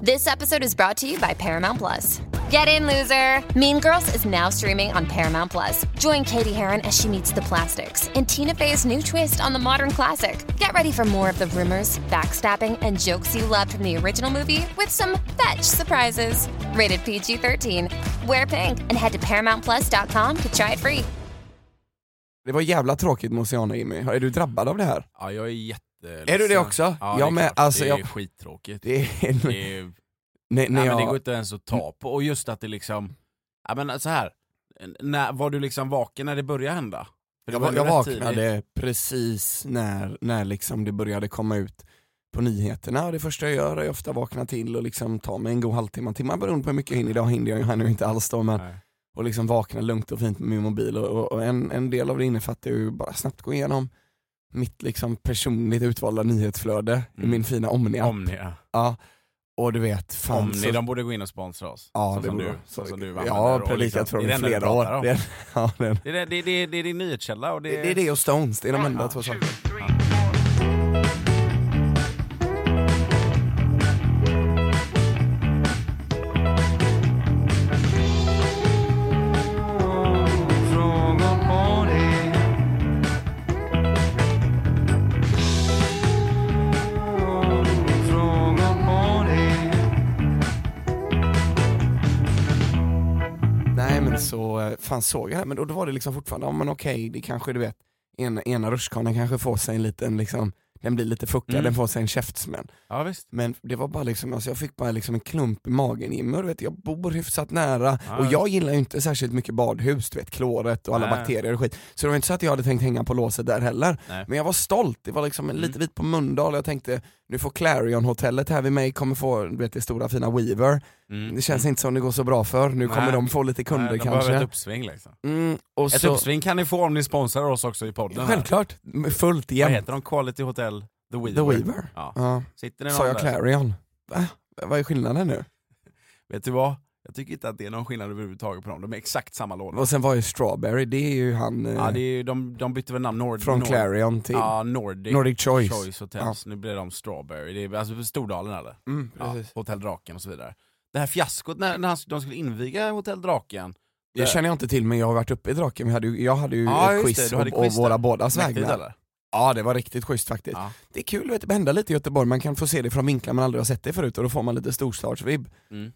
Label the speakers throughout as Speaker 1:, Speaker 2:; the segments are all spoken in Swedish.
Speaker 1: This episode is brought to you by Paramount Plus. Get in, loser! Mean Girls is now streaming on Paramount Plus. Join Katie Heron as she meets the plastics in Tina Fey's new twist on the modern classic. Get ready for more of the rumors, backstabbing, and jokes you loved from the original movie with some fetch surprises. Rated PG 13. Wear pink and head to ParamountPlus.com to try it free.
Speaker 2: Det var jävla tråkigt med Oceana Jimmy. Är du drabbad av det här?
Speaker 3: Ja, jag är jätteledsen.
Speaker 2: Är du det också? Jag
Speaker 3: Ja, det är
Speaker 2: med.
Speaker 3: klart.
Speaker 2: Alltså,
Speaker 3: det är
Speaker 2: jag-
Speaker 3: skittråkigt.
Speaker 2: Det är...
Speaker 3: Det är
Speaker 2: Nej,
Speaker 3: Nej,
Speaker 2: nej,
Speaker 3: men det går
Speaker 2: jag... Mm.
Speaker 3: inte ens att ta på. Och just att det liksom, ja men så här. N- När, var du liksom vaken när det började hända? För det
Speaker 2: Jag,
Speaker 3: var
Speaker 2: va-
Speaker 3: ju
Speaker 2: jag
Speaker 3: rätt
Speaker 2: vaknade
Speaker 3: tidigt.
Speaker 2: precis när, när liksom det började komma ut på nyheterna och det första jag gör är ofta vakna till och liksom ta mig en god halvtimme, en timme beroende på hur mycket jag hinner. Idag hinner jag ju här nu inte alls då men
Speaker 3: Nej.
Speaker 2: och liksom vakna lugnt och fint med min mobil och- och, och en, en del av det innefattar ju bara snabbt gå igenom mitt liksom personligt utvalda nyhetsflöde i
Speaker 3: Mm.
Speaker 2: min fina Omnia.
Speaker 3: Omnia.
Speaker 2: Ja. Och du vet, fan
Speaker 3: Omni,
Speaker 2: så-
Speaker 3: de borde gå in och sponsra oss.
Speaker 2: Ja,
Speaker 3: så
Speaker 2: det
Speaker 3: som
Speaker 2: borde
Speaker 3: du,
Speaker 2: vara.
Speaker 3: så,
Speaker 2: Så-
Speaker 3: som du
Speaker 2: Jag
Speaker 3: använder
Speaker 2: har
Speaker 3: och liksom
Speaker 2: predikat för dem i
Speaker 3: det är det enda
Speaker 2: flera
Speaker 3: du
Speaker 2: år.
Speaker 3: pratar om.
Speaker 2: Det är, ja, det, är,
Speaker 3: Det, är, det, det, det, det är din nyhetskälla och det,
Speaker 2: det är det och Stones, det är de enda två sakerna. Nej men så, eh, fan såg jag det, men då, då var det liksom fortfarande, ja men okej, det kanske du vet, ena, ena rutschkanan kanske får sig en liten liksom, den blir lite fuckad,
Speaker 3: Mm.
Speaker 2: den får sig en käftsmäll.
Speaker 3: Ja, visst.
Speaker 2: Men det var bara liksom, alltså jag fick bara liksom en klump i magen Jimmy och du vet jag bor hyfsat nära
Speaker 3: Ja,
Speaker 2: och
Speaker 3: ja.
Speaker 2: jag gillar ju inte särskilt mycket badhus, du vet kloret och alla
Speaker 3: Nej.
Speaker 2: bakterier och skit. Så det var inte så att jag hade tänkt hänga på låset där heller.
Speaker 3: Nej. Mm.
Speaker 2: Men jag var stolt, det var liksom lite vit på Mölndal jag tänkte nu får Clarion-hotellet här vid mig, kommer få du vet, det stora fina Weaver.
Speaker 3: Mm.
Speaker 2: Det känns inte som det går så bra för, nu kommer
Speaker 3: Nej.
Speaker 2: de få lite kunder
Speaker 3: Nej, de
Speaker 2: kanske.
Speaker 3: behöver ett uppsving liksom.
Speaker 2: Mm, och
Speaker 3: Ett
Speaker 2: så,
Speaker 3: uppsving kan ni få om ni sponsrar oss också i podden. här.
Speaker 2: Självklart, fullt
Speaker 3: Vad
Speaker 2: igen.
Speaker 3: heter de? Quality Hotel The Weaver?
Speaker 2: The Weaver.
Speaker 3: Ja.
Speaker 2: Ja.
Speaker 3: Sitter ni
Speaker 2: Sa
Speaker 3: någon
Speaker 2: jag
Speaker 3: där?
Speaker 2: Clarion? Va? Vad är skillnaden nu?
Speaker 3: Vet du vad? Jag tycker inte att det är någon skillnad överhuvudtaget på dem, de är exakt samma låda.
Speaker 2: Och sen var ju Strawberry, det är ju han eh,
Speaker 3: Ja, det är ju, de, de bytte väl namn, Nord,
Speaker 2: från
Speaker 3: Nord,
Speaker 2: Clarion till
Speaker 3: Ja, Nordic,
Speaker 2: Nordic Choice.
Speaker 3: Choice Hotels, nu blir de Strawberry, det är, alltså för Stordalen eller?
Speaker 2: Mm,
Speaker 3: Ja,
Speaker 2: precis.
Speaker 3: Hotell Draken och så vidare. Det här fiaskot när, när han, de skulle inviga Hotell Draken,
Speaker 2: Det känner jag inte till men jag har varit uppe i Draken, Vi hade ju- jag hade ju
Speaker 3: Ja,
Speaker 2: ett
Speaker 3: just
Speaker 2: quiz
Speaker 3: det, du hade
Speaker 2: och,
Speaker 3: quiz
Speaker 2: och våra
Speaker 3: där.
Speaker 2: bådas
Speaker 3: mäktigt
Speaker 2: vägnar.
Speaker 3: eller?
Speaker 2: Ja det var riktigt schysst faktiskt.
Speaker 3: Ja.
Speaker 2: Det är kul, vet, du, det händer lite i Göteborg, man kan få se det från vinklar man aldrig har sett det förut och då får man lite storstadsvibb.
Speaker 3: Mm.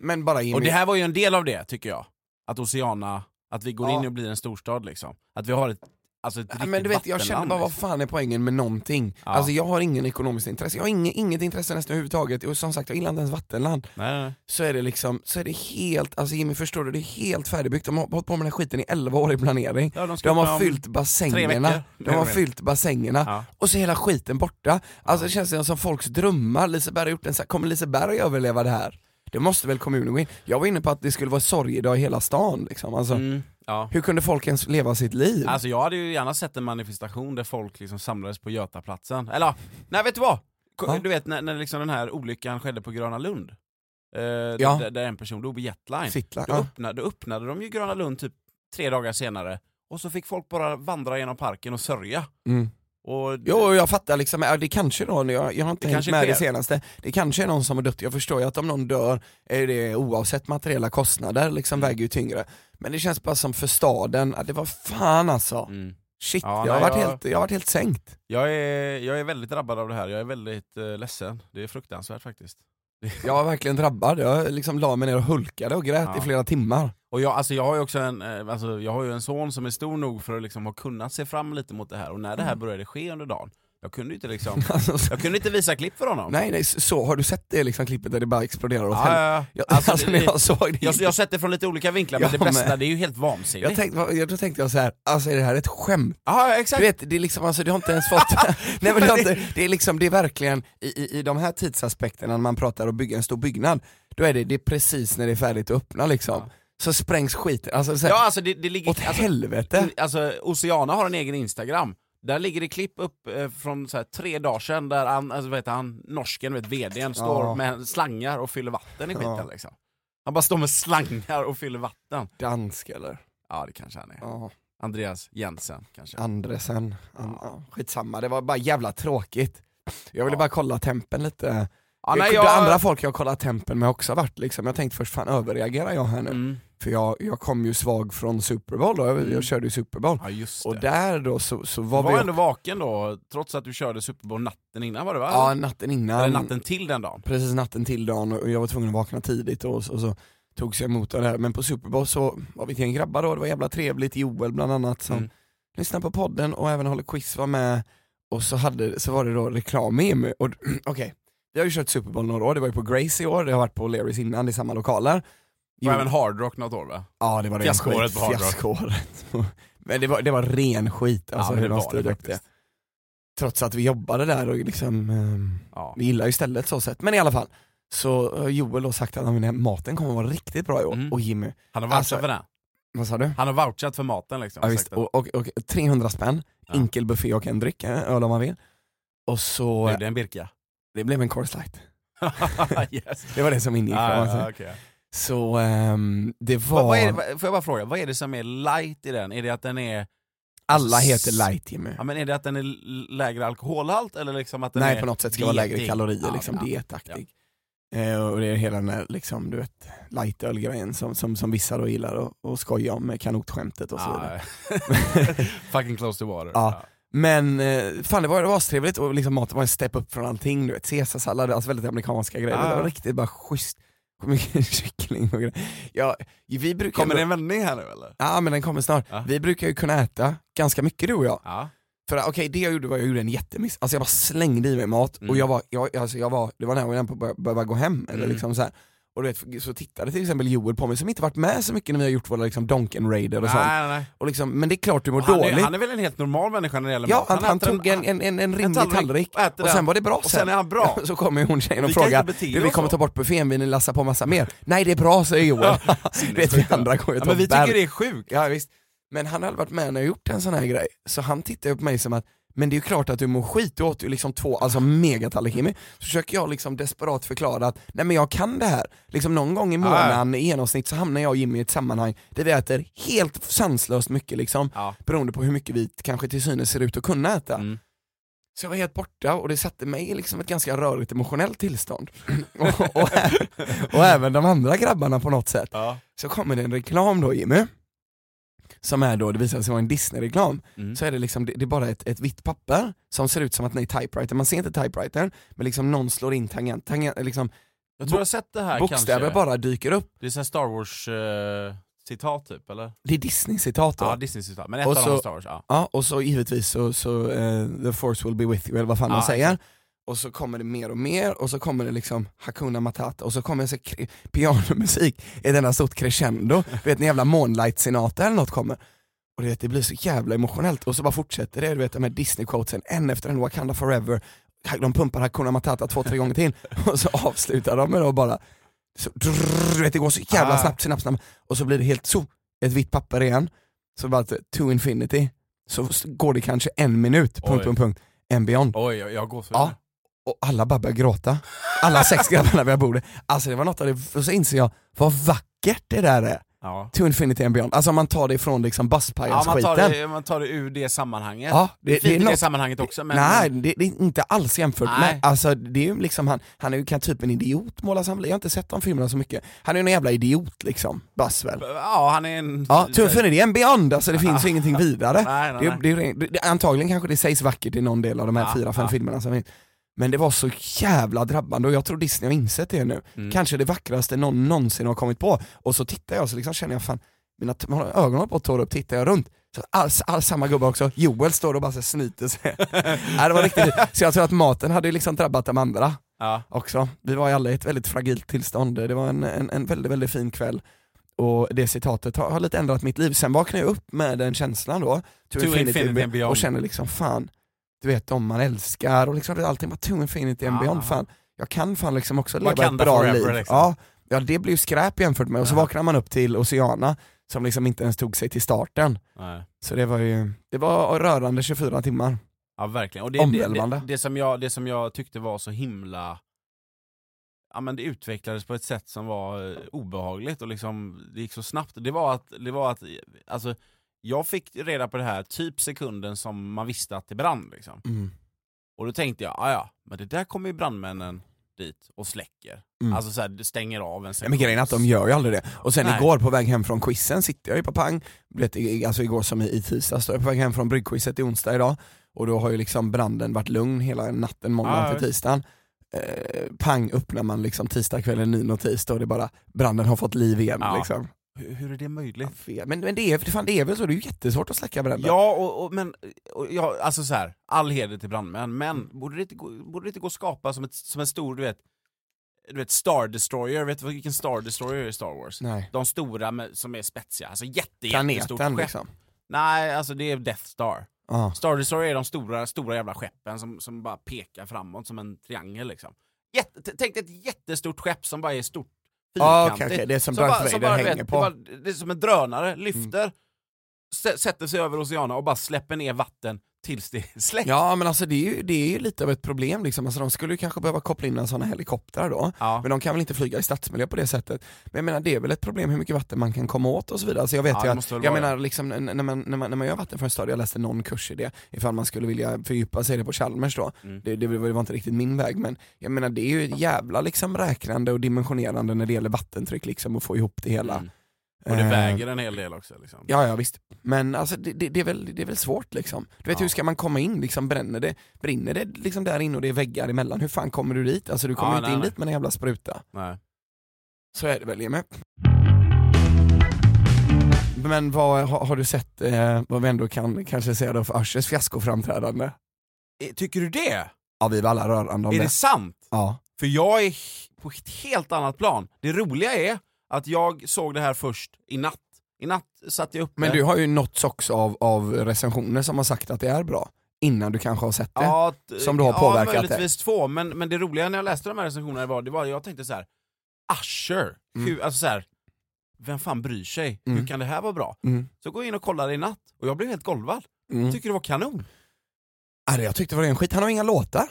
Speaker 2: Men bara Jimmy,
Speaker 3: Och det här var ju en del av det tycker jag, att Oceana, att vi går
Speaker 2: Ja.
Speaker 3: in och blir en storstad liksom. Att vi har ett, alltså ett
Speaker 2: Ja,
Speaker 3: riktigt
Speaker 2: men du vet, jag känner bara vad
Speaker 3: vattenland, liksom.
Speaker 2: fan är poängen med någonting?
Speaker 3: Ja.
Speaker 2: Alltså jag har ingen ekonomiskt intresse, jag har inget, inget intresse nästan överhuvudtaget och som sagt jag gillar inte ens vattenland.
Speaker 3: liksom. Nej, nej, nej.
Speaker 2: Så är det liksom, så är det helt, alltså Jimmy förstår du, det är helt färdigbyggt, de har hållit på med den här skiten i 11 år i planering.
Speaker 3: Ja, de ska
Speaker 2: De
Speaker 3: öppna
Speaker 2: har
Speaker 3: om
Speaker 2: fyllt
Speaker 3: tre
Speaker 2: bassängerna,
Speaker 3: veckor.
Speaker 2: de har fyllt bassängerna
Speaker 3: Ja.
Speaker 2: och så är hela skiten borta. Alltså det känns som folks drömmar, Liseberg har gjort en så här, kommer Liseberg överleva det här? Det måste väl kommunen gå in? Jag var inne på att det skulle vara sorgedag i hela stan liksom, alltså,
Speaker 3: Mm, ja.
Speaker 2: hur kunde folk ens leva sitt liv?
Speaker 3: Alltså jag hade ju gärna sett en manifestation där folk liksom samlades på Götaplatsen. Eller ja, nej vet du vad? Ko-
Speaker 2: Ja.
Speaker 3: Du vet när, när liksom den här olyckan skedde på Gröna Lund? Eh,
Speaker 2: Ja.
Speaker 3: där, där en person dog i jetline.
Speaker 2: Sittla,
Speaker 3: Då,
Speaker 2: ja.
Speaker 3: öppnade, då öppnade de ju Gröna Lund typ tre dagar senare, och så fick folk bara vandra genom parken och sörja.
Speaker 2: mm.
Speaker 3: Och
Speaker 2: Jo, jag fattar liksom, ja, det kanske då, jag, jag har inte
Speaker 3: Det
Speaker 2: hängt
Speaker 3: kanske
Speaker 2: med det
Speaker 3: sker.
Speaker 2: senaste, det kanske är någon som har dött, jag förstår ju att om någon dör är det oavsett materiella kostnader liksom
Speaker 3: Mm.
Speaker 2: väger ju tyngre. Men det känns bara som för staden, att det var fan alltså,
Speaker 3: Mm.
Speaker 2: shit,
Speaker 3: Ja,
Speaker 2: jag, har
Speaker 3: nej,
Speaker 2: varit
Speaker 3: jag-
Speaker 2: Helt, jag har varit helt sänkt.
Speaker 3: Jag, är, jag är väldigt drabbad av det här, jag är väldigt eh, ledsen. Det är fruktansvärt faktiskt.
Speaker 2: Jag var verkligen drabbad, jag liksom la mig ner och hulkade och grät
Speaker 3: Ja.
Speaker 2: i flera timmar.
Speaker 3: Och jag, alltså jag har ju också en, eh, alltså jag har ju en son som är stor nog för att liksom ha kunnat se fram lite mot det här, och när
Speaker 2: Mm.
Speaker 3: det här började ske under dagen, jag kunde ju inte liksom,
Speaker 2: Alltså, så,
Speaker 3: jag kunde inte visa klipp för honom.
Speaker 2: nej nej, så, har du sett det liksom klippet där det bara exploderar åt
Speaker 3: Ja,
Speaker 2: helvete?
Speaker 3: ja, ja.
Speaker 2: Jag, alltså,
Speaker 3: Alltså, det-
Speaker 2: när jag såg det,
Speaker 3: Jag, jag har sett det från lite olika vinklar, men
Speaker 2: Jag
Speaker 3: det bästa,
Speaker 2: med.
Speaker 3: det är ju helt vansinnigt.
Speaker 2: jag tänkte, vad- jag, då tänkte jag så här, alltså är det här ett skämt?
Speaker 3: Ja, ja,
Speaker 2: Du
Speaker 3: exakt.
Speaker 2: vet, det är liksom, alltså du har inte ens fått, nej men det, har inte, det är liksom, det är verkligen i, i, i de här tidsaspekterna när man pratar om att bygga en stor byggnad, då är det, det är precis när det är färdigt att öppna liksom. Så sprängs skiten, alltså, så här,
Speaker 3: Ja, alltså det, det ligger...
Speaker 2: åt
Speaker 3: alltså,
Speaker 2: helvete.
Speaker 3: Alltså, Oceana har en egen Instagram. Där ligger det klipp upp eh, från så här, tre dagar sedan där han, alltså, vad heter han, norsken, vet, vdn, står
Speaker 2: Ja.
Speaker 3: med slangar och fyller vatten i skiten
Speaker 2: Ja.
Speaker 3: liksom. Han bara står med slangar och fyller vatten.
Speaker 2: Dansk eller?
Speaker 3: Ja, det kanske han är.
Speaker 2: Ja,
Speaker 3: Andreas Jensen kanske.
Speaker 2: Andresen. An, ja. Skitsamma, det var bara jävla tråkigt. Jag ville
Speaker 3: Ja.
Speaker 2: bara kolla tempen lite.
Speaker 3: Ja,
Speaker 2: det
Speaker 3: nej,
Speaker 2: jag...
Speaker 3: jag-
Speaker 2: andra folk jag har kollat tempen med också varit liksom, jag tänkte först fan överreagerar jag här nu?
Speaker 3: Mm.
Speaker 2: För jag, jag kom ju svag från Super Bowl då, jag, jag körde ju Super Bowl.
Speaker 3: Ja just
Speaker 2: Och
Speaker 3: det.
Speaker 2: där då så, så
Speaker 3: Du
Speaker 2: var,
Speaker 3: var
Speaker 2: vi...
Speaker 3: ändå vaken då, trots att du körde Super Bowl natten innan var det va?
Speaker 2: Ja, natten innan.
Speaker 3: Eller natten till den dagen.
Speaker 2: precis natten till dagen och jag var tvungen att vakna tidigt och så, och så tog sig emot det här. Men på Super Bowl så var vi till en grabbar då, det var jävla trevligt, Joel bland annat som
Speaker 3: Mm.
Speaker 2: lyssnade på podden och även håller quiz var med och så, hade, så var det då reklam med EMU och okej, vi har ju kört Super Bowl några år, det var ju på Grace i år, det har varit på O'Learys innan, det är samma lokaler.
Speaker 3: Och
Speaker 2: Jo,
Speaker 3: även Hard Rock något år va?
Speaker 2: ja det var ren
Speaker 3: Fiaskoåret
Speaker 2: skit,
Speaker 3: på Hard Rock.
Speaker 2: fiaskoåret. Men det var, det var ren skit alltså hur de styrde upp det. Trots att vi jobbade där och liksom ehm,
Speaker 3: Ja.
Speaker 2: vi gillar ju stället så sett, men i alla fall. Så har Joel har sagt att "Ja, men maten kommer vara riktigt bra i år,
Speaker 3: Mm.
Speaker 2: och Jimmy,
Speaker 3: Han har vouchat
Speaker 2: Alltså,
Speaker 3: för den.
Speaker 2: vad sa du?
Speaker 3: Han har vouchat för maten liksom.
Speaker 2: Ja,
Speaker 3: Sagt
Speaker 2: visst.
Speaker 3: att-
Speaker 2: Och, och, och 300 spänn,
Speaker 3: Ja.
Speaker 2: enkel buffé och en dryck, eh, öl om man vill. Och så,
Speaker 3: Blev det en Birka?
Speaker 2: det blev en Coors light.
Speaker 3: yes.
Speaker 2: Det var det som ingick.
Speaker 3: Ah,
Speaker 2: kan man
Speaker 3: ja,
Speaker 2: säga.
Speaker 3: okej.
Speaker 2: Så ehm, det var,
Speaker 3: Vad- vad är det, vad- får jag bara fråga, vad är det som är light i den? Är det att den är,
Speaker 2: alla heter light Jimmy.
Speaker 3: ja, men är det att den är l- lägre alkoholhalt eller liksom att den
Speaker 2: Nej
Speaker 3: är
Speaker 2: på något sätt ska det vara lägre
Speaker 3: dietig?
Speaker 2: kalorier,
Speaker 3: Ja,
Speaker 2: liksom,
Speaker 3: ja.
Speaker 2: dietaktig. Eh, och det är hela den här liksom, du vet, light-ölgrejen som, som, som vissa då gillar och, och skojar om, med kanotskämtet och så vidare.
Speaker 3: Ah, fucking close to water.
Speaker 2: Ja. Men eh, fan det var, det var astrevligt och liksom maten var en step upp från allting, du vet caesarsallad, alltså väldigt amerikanska grejer.
Speaker 3: Ah.
Speaker 2: Det var riktigt bara schysst. Hur Mycket kyckling och grejer. Ja, vi brukar
Speaker 3: Kommer det en vändning här nu eller?
Speaker 2: Ja men den kommer snart.
Speaker 3: Ah.
Speaker 2: Vi brukar ju kunna äta ganska mycket du och jag.
Speaker 3: Ja.
Speaker 2: För ah, okej det jag gjorde var jag gjorde en jättemiss, alltså jag bara slängde i mig mat
Speaker 3: Mm.
Speaker 2: och jag var, jag, alltså jag var, det var när jag var inne på att börja- börja gå hem eller
Speaker 3: Mm.
Speaker 2: liksom så här. Och du vet, så tittade till exempel Joel på mig som inte varit med så mycket när vi har gjort våra liksom Donken Raider och sånt.
Speaker 3: nej, nej.
Speaker 2: Och liksom, men det är klart du mår
Speaker 3: Ah. Och han,
Speaker 2: dåligt.
Speaker 3: är, han är väl en helt normal människa när det gäller
Speaker 2: Ja,
Speaker 3: mat?
Speaker 2: han, han
Speaker 3: äter
Speaker 2: tog en, en, en, en rimlig
Speaker 3: tallrik
Speaker 2: tallrik,
Speaker 3: och äter
Speaker 2: och
Speaker 3: den.
Speaker 2: sen var det bra
Speaker 3: och sen är han bra.
Speaker 2: Så kommer hon tjejen och
Speaker 3: Vi kan
Speaker 2: frågar,
Speaker 3: inte bete
Speaker 2: du vi
Speaker 3: oss
Speaker 2: kommer
Speaker 3: så."
Speaker 2: ta bort buffén, vill ni lassa på massa mer? Nej det är bra säger Joel. Du vet vi andra går ju
Speaker 3: ja,
Speaker 2: och
Speaker 3: men vi
Speaker 2: bär.
Speaker 3: tycker det är sjukt.
Speaker 2: Ja, visst. Men han hade varit med när jag gjort en sån här grej, så han tittade på mig som att men det är ju klart att du mår skit, du åt ju liksom två alltså megatallrikar med. Så försöker jag liksom desperat förklara att nej men jag kan det här. Liksom någon gång i
Speaker 3: Ah.
Speaker 2: månaden i genomsnitt så hamnar jag och Jimmy i ett sammanhang där vi äter helt sanslöst mycket liksom,
Speaker 3: Ja.
Speaker 2: beroende på hur mycket vi kanske till synes ser ut att kunna äta.
Speaker 3: Mm.
Speaker 2: Så jag var helt borta och det satte mig i liksom ett ganska rörigt emotionellt tillstånd. och, och, ä- och även de andra grabbarna på något sätt.
Speaker 3: Ja.
Speaker 2: Så kommer det en reklam då Jimmy, som är då, det visar sig vara en Disney-reklam,
Speaker 3: Mm.
Speaker 2: så är det liksom, det, det är bara ett, ett vitt papper som ser ut som att den är typewriter, man ser inte typewritern, men liksom någon slår in tangent, tangent liksom,
Speaker 3: Jag tror jag har sett det här
Speaker 2: bokstäver
Speaker 3: kanske.
Speaker 2: bara dyker upp.
Speaker 3: Det är sån här Star Wars eh, citat typ eller?
Speaker 2: Det är Disney-citat då.
Speaker 3: Ja, Disney-citat. Men ett
Speaker 2: Och
Speaker 3: av dem
Speaker 2: så-
Speaker 3: var Star Wars. Ja.
Speaker 2: Ja, och så givetvis så, så eh, the force will be with you, eller vad fan
Speaker 3: Ja,
Speaker 2: de säger. Och så kommer det mer och mer, och så kommer det liksom Hakuna Matata, och så kommer så kre- pianomusik i ett enda stort crescendo. Du vet när jävla Moonlight-senata eller något kommer. Och du vet, det blir så jävla emotionellt, och så bara fortsätter det, du vet de här Disney-quotesen, en efter en, Wakanda forever, de pumpar Hakuna Matata två, tre gånger till, och så avslutar de med det och bara, så, drrrr, du vet det går så jävla
Speaker 3: Ah.
Speaker 2: snabbt, snabbt, snabbt, och så blir det helt så, ett vitt papper igen, så bara to infinity, så s- går det kanske en minut, punkt,
Speaker 3: Oj.
Speaker 2: punkt, punkt, en beyond.
Speaker 3: Oj, jag, jag går så
Speaker 2: Ja. Och alla bara börjar gråta. Alla sex grabbarna vid bordet. Alltså det var något av det, och så inser jag vad vackert det där är.
Speaker 3: ja.
Speaker 2: To infinity and beyond. Alltså om man tar det ifrån liksom
Speaker 3: ja man, tar
Speaker 2: Buzzpirates-skiten.
Speaker 3: det, man tar det ur det sammanhanget.
Speaker 2: Ja, det,
Speaker 3: Fint
Speaker 2: det
Speaker 3: i
Speaker 2: är
Speaker 3: det
Speaker 2: något
Speaker 3: sammanhanget också men...
Speaker 2: Nej, det, det är inte alls jämfört
Speaker 3: Nej.
Speaker 2: med, alltså det är ju liksom han, han är ju kan- typ en idiot målas han blir. jag har inte sett de filmerna så mycket. Han är ju en jävla idiot liksom, Buzzwell.
Speaker 3: Ja, han är en...
Speaker 2: Ja, to infinity and beyond, alltså det finns ju ingenting vidare.
Speaker 3: Nej, nej,
Speaker 2: Det,
Speaker 3: nej.
Speaker 2: det, är ju- det, det, antagligen kanske det sägs vackert i någon del av de här
Speaker 3: Ja,
Speaker 2: fyra, fem
Speaker 3: ja.
Speaker 2: filmerna som finns. Men det var så jävla drabbande och jag tror Disney har insett det nu.
Speaker 3: Mm.
Speaker 2: Kanske det vackraste någon någonsin har kommit på. Och så tittar jag så liksom känner jag fan, mina t- mina ögon håller på att torra upp, tittar jag runt. Så alls, alls samma gubbe också, Joel står och bara så snyter sig. Nej, det var riktigt, så jag tror att maten hade ju liksom drabbat de andra
Speaker 3: Ja.
Speaker 2: också. Vi var i alla i ett väldigt fragilt tillstånd, det var en, en, en väldigt, väldigt fin kväll. Och det citatet har, har lite ändrat mitt liv. Sen vaknade jag upp med den känslan då, to, infinity, and beyond. och känner liksom fan, du vet de man älskar och liksom det är allting bara to infinity and
Speaker 3: Ah.
Speaker 2: beyond, fan, jag kan fan liksom också leva ett
Speaker 3: Wakanda
Speaker 2: bra
Speaker 3: forever,
Speaker 2: liv.
Speaker 3: liksom.
Speaker 2: Ja, ja det blir ju skräp jämfört med, och så
Speaker 3: Ja.
Speaker 2: vaknar man upp till Oceana som liksom inte ens tog sig till starten.
Speaker 3: Nej.
Speaker 2: Så det var ju, det var rörande 24 timmar.
Speaker 3: Ja verkligen, och det, det,
Speaker 2: Omvälvande.
Speaker 3: det, det, som jag, det som jag tyckte var så himla... Ja men det utvecklades på ett sätt som var eh, obehagligt och liksom, det gick så snabbt. Det var att, det var att alltså, jag fick reda på det här typ sekunden som man visste att det brann. Liksom.
Speaker 2: Mm.
Speaker 3: Och då tänkte jag, "Ah, ja men det där kommer ju brandmännen, dit och släcker.
Speaker 2: Mm.
Speaker 3: Alltså så här, det stänger av en
Speaker 2: Ja, men grejen är att de gör ju aldrig det. Och sen
Speaker 3: Nej.
Speaker 2: igår på väg hem från quizen sitter jag ju på pang, Du vet, i- alltså igår som i, i tisdags, då är jag på väg hem från bryggquizet i onsdag idag och då har ju liksom branden varit lugn hela natten måndag
Speaker 3: Ja, ja.
Speaker 2: till tisdagen. Eh, pang öppnar man liksom tisdagskvällen, ny notis, då är det bara branden har fått liv igen.
Speaker 3: Ja.
Speaker 2: Liksom.
Speaker 3: Hur, hur är det
Speaker 2: Ja,
Speaker 3: möjligt?
Speaker 2: fel. Men, men det, är, fan, det är väl så, det är ju jättesvårt att släcka bränder.
Speaker 3: Ja, och, och, men och, ja, alltså så här, all heder till brandmän, men
Speaker 2: Mm.
Speaker 3: borde det inte gå, borde det inte gå att skapa som, ett, som en stor, du vet, du vet Star Destroyer, vet du vilken Star Destroyer är i Star Wars?
Speaker 2: Nej.
Speaker 3: De stora med, som är spetsiga, alltså jätte,
Speaker 2: Planeten
Speaker 3: jättestort skepp.
Speaker 2: liksom.
Speaker 3: Nej, alltså det är Death Star.
Speaker 2: Ja.
Speaker 3: Star Destroyer är de stora, stora jävla skeppen som, som bara pekar framåt som en triangel liksom. Jätte, t- tänk dig ett jättestort skepp som bara är stort,
Speaker 2: Ja,
Speaker 3: fyrkantigt.
Speaker 2: Ah, okej, okej, det är som Darth Vader
Speaker 3: du
Speaker 2: hänger
Speaker 3: vet,
Speaker 2: på. Mm.
Speaker 3: Det, bara, det är som en drönare, lyfter, sä- sätter sig över oceanen och bara släpper ner vatten tills det är släckt.
Speaker 2: ja men alltså det är, ju, det är ju lite av ett problem liksom. Alltså, de skulle ju kanske behöva koppla in en sån här helikoptrar då.
Speaker 3: Ja.
Speaker 2: Men de kan väl inte flyga i stadsmiljö på det sättet. Men jag menar det är väl ett problem hur mycket vatten man kan komma åt och så vidare. Alltså jag vet
Speaker 3: Ja,
Speaker 2: ju
Speaker 3: det
Speaker 2: att,
Speaker 3: måste väl
Speaker 2: jag
Speaker 3: vara
Speaker 2: menar liksom, n- när, man, när, man, när man gör vattenförstöring, jag läste någon kurs i det, ifall man skulle vilja fördjupa sig i det på Chalmers då.
Speaker 3: Mm.
Speaker 2: Det, det var det var inte riktigt min väg men jag menar det är ju ett jävla liksom räknande och dimensionerande när det gäller vattentryck liksom och få ihop det hela.
Speaker 3: Mm. Och det
Speaker 2: Eh,
Speaker 3: väger en hel del också. Liksom.
Speaker 2: Ja, ja visst. Men alltså, det, det, det, är väl, det är väl svårt liksom. Du vet
Speaker 3: Ja.
Speaker 2: hur ska man komma in, liksom, bränner det, brinner det liksom där inne och det är väggar emellan, hur fan kommer du dit? Alltså du kommer
Speaker 3: Ja,
Speaker 2: inte
Speaker 3: nej,
Speaker 2: in
Speaker 3: nej.
Speaker 2: dit med en jävla spruta.
Speaker 3: Nej.
Speaker 2: Så är det väl Jimmy. Men vad har, har du sett, eh, vad vi ändå kan kanske säga då för Ushers fiaskoframträdande?
Speaker 3: Eh, Tycker du det?
Speaker 2: Ja vi var alla rörande om
Speaker 3: är
Speaker 2: det.
Speaker 3: det sant?
Speaker 2: Ja.
Speaker 3: För jag är på ett helt annat plan. Det roliga är att jag såg det här först i natt. I natt satt jag uppe.
Speaker 2: Men du har ju nåtts också av, av recensioner som har sagt att det är bra, innan du kanske har sett det.
Speaker 3: Ja, t-
Speaker 2: som du har påverkat
Speaker 3: Ja, möjligtvis två, men, men det roliga när jag läste de här recensionerna var, det var jag tänkte så här: Usher, hur, alltså så här, vem fan bryr sig?
Speaker 2: Mm.
Speaker 3: Hur kan det här vara bra?
Speaker 2: Mm.
Speaker 3: Så går jag in och kollar i natt, och jag blev helt golvad.
Speaker 2: Mm.
Speaker 3: Tycker det var kanon.
Speaker 2: Alltså, jag tyckte det var en skit, han har inga låtar.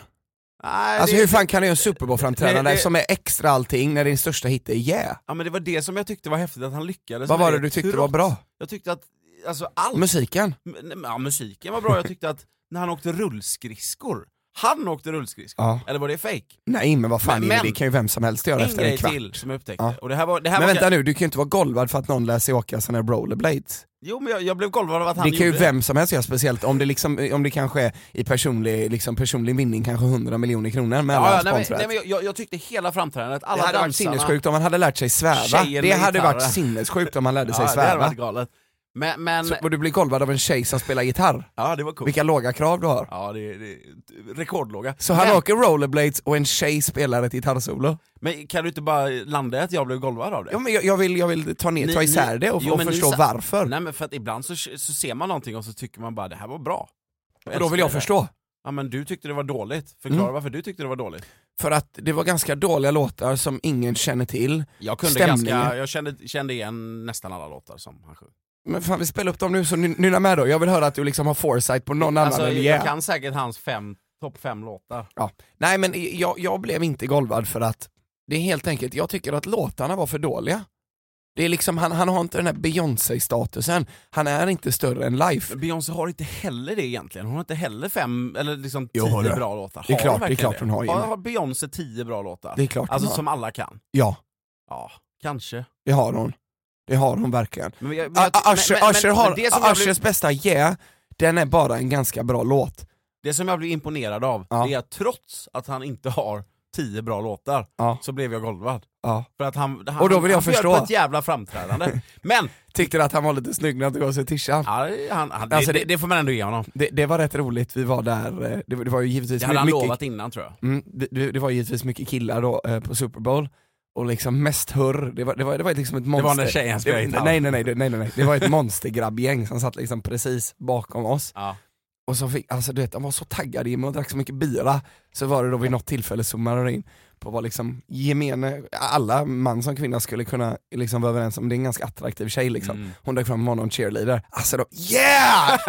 Speaker 3: Nej,
Speaker 2: Alltså
Speaker 3: det,
Speaker 2: hur fan kan du göra en Super
Speaker 3: Det-
Speaker 2: Bowl-framträdande
Speaker 3: det- Alltså,
Speaker 2: som är extra allting när din största hit är yeah?
Speaker 3: ja, men det var det som jag tyckte var häftigt, att han lyckades.
Speaker 2: Vad
Speaker 3: med
Speaker 2: var det du tyckte var bra?
Speaker 3: Jag tyckte att, alltså allt.
Speaker 2: Musiken?
Speaker 3: M- Ja, musiken var bra, jag tyckte att när han åkte rullskridskor, han åkte rullskridskor,
Speaker 2: Ja.
Speaker 3: eller var det fake?
Speaker 2: Nej men vad fan
Speaker 3: Men-
Speaker 2: Jimmy,
Speaker 3: men-
Speaker 2: det kan ju vem som helst göra
Speaker 3: En
Speaker 2: efter en
Speaker 3: grej
Speaker 2: kvart.
Speaker 3: till som jag upptäckte,
Speaker 2: Ja.
Speaker 3: och det här var... Det här
Speaker 2: Men
Speaker 3: var
Speaker 2: vänta nu, du kan ju inte vara golvad för att någon lär sig åka såna här rollerblades.
Speaker 3: Jo men jag, jag blev golvad av att han
Speaker 2: Det kan ju
Speaker 3: gjorde
Speaker 2: vem som helst göra, speciellt om det, liksom, om det kanske är i personlig, liksom personlig vinning kanske 100 miljoner kronor med alla
Speaker 3: Ja, ja, nej, men,
Speaker 2: sponsrat.
Speaker 3: nej, men jag- jag, jag tyckte hela framträdandet,
Speaker 2: Det
Speaker 3: alla
Speaker 2: hade varit
Speaker 3: dansarna...
Speaker 2: sinnessjukt om man hade lärt sig sväva.
Speaker 3: Tjejer
Speaker 2: Det
Speaker 3: med
Speaker 2: hade
Speaker 3: gitarr.
Speaker 2: varit sinnessjukt om man lärde sig
Speaker 3: ja, det hade
Speaker 2: sväva.
Speaker 3: varit galet. Men, men
Speaker 2: Så, och du blir golvad av en tjej som spelar gitarr.
Speaker 3: ja det var coolt.
Speaker 2: Vilka låga krav du har.
Speaker 3: Ja, det, det, rekordlåga.
Speaker 2: Så han
Speaker 3: men,
Speaker 2: åker rollerblades och en tjej spelar ett gitarrsolo.
Speaker 3: men kan du inte bara landa i att jag blev golvad av det?
Speaker 2: Ja, men jag, jag, vill, jag vill ta, ner,
Speaker 3: Ni-
Speaker 2: ta isär
Speaker 3: ni-
Speaker 2: det och,
Speaker 3: jo,
Speaker 2: och
Speaker 3: men ni
Speaker 2: förstå
Speaker 3: sa-
Speaker 2: varför.
Speaker 3: Nej men för att ibland så, så ser man någonting och så tycker man bara det här var bra.
Speaker 2: och då vill jag
Speaker 3: älskar det.
Speaker 2: förstå.
Speaker 3: Ja men du tyckte det var dåligt, förklara
Speaker 2: Mm.
Speaker 3: varför du tyckte det var dåligt.
Speaker 2: För att det var ganska dåliga låtar som ingen känner till.
Speaker 3: Jag kunde
Speaker 2: Stämningen.
Speaker 3: ganska, jag kände, kände igen nästan alla låtar som han sjöng.
Speaker 2: Men fan vi spelar upp dem nu så ny- nynna med då. Jag vill höra att du liksom har foresight på någon
Speaker 3: Alltså,
Speaker 2: annan än
Speaker 3: jag,
Speaker 2: yeah.
Speaker 3: jag kan säkert hans fem, topp fem låtar.
Speaker 2: Ja. Nej men jag, jag blev inte golvad för att det är helt enkelt, jag tycker att låtarna var för dåliga. Det är liksom, han, han har inte den här Beyoncé-statusen, han är inte större än life.
Speaker 3: Men Beyoncé har inte heller det egentligen, hon har inte heller fem eller liksom tio
Speaker 2: Jo, har du.
Speaker 3: bra låtar.
Speaker 2: Det är
Speaker 3: Har
Speaker 2: klart-
Speaker 3: hon
Speaker 2: det är
Speaker 3: verkligen
Speaker 2: klart hon har, Jimmy.
Speaker 3: Har, har Beyoncé tio bra låtar?
Speaker 2: Det är klart hon
Speaker 3: Alltså
Speaker 2: har.
Speaker 3: som alla kan?
Speaker 2: Ja,
Speaker 3: Ja, kanske.
Speaker 2: det har hon. Det har hon verkligen.
Speaker 3: Men jag, men jag-
Speaker 2: Ah, ah, Usher
Speaker 3: men- men-
Speaker 2: Usher
Speaker 3: men
Speaker 2: har-
Speaker 3: det, som jag blev,
Speaker 2: Ushers bästa yeah, den är bara en ganska bra låt.
Speaker 3: det som jag blev imponerad av,
Speaker 2: Ja.
Speaker 3: det är att trots att han inte har tio bra låtar,
Speaker 2: Ja.
Speaker 3: så blev jag golvad.
Speaker 2: Ja.
Speaker 3: För att han, han,
Speaker 2: Och då vill jag
Speaker 3: han bjöd
Speaker 2: förstå.
Speaker 3: på ett jävla framträdande. Men,
Speaker 2: Tyckte att han var lite snygg när han tog av sig tishan.
Speaker 3: ja, det- han, han,
Speaker 2: Alltså,
Speaker 3: det,
Speaker 2: det-
Speaker 3: det, det får man ändå ge honom.
Speaker 2: Det, det var rätt roligt, vi var där, eh, det, var- det var ju givetvis
Speaker 3: Det hade han
Speaker 2: mycket,
Speaker 3: lovat innan tror jag.
Speaker 2: mm, det, det var givetvis mycket killar då eh, på Super Bowl, och liksom mest hörr, det var, det var, det var liksom ett
Speaker 3: Det
Speaker 2: monster.
Speaker 3: var när tjejen spelade
Speaker 2: Det-
Speaker 3: gitarr.
Speaker 2: nej, nej, nej, det- nej, nej, nej, det var ett monstergrabbgäng som satt liksom precis bakom oss,
Speaker 3: Ja.
Speaker 2: och så fick, alltså du vet, de var så taggade Jimmy och drack så mycket bira, så var det då vid något tillfälle zoomade det in på vad liksom gemene, alla man som kvinna skulle kunna liksom vara överens om, det är en ganska attraktiv tjej liksom.
Speaker 3: Mm.
Speaker 2: Hon dök fram och var någon cheerleader, alltså de, yeah!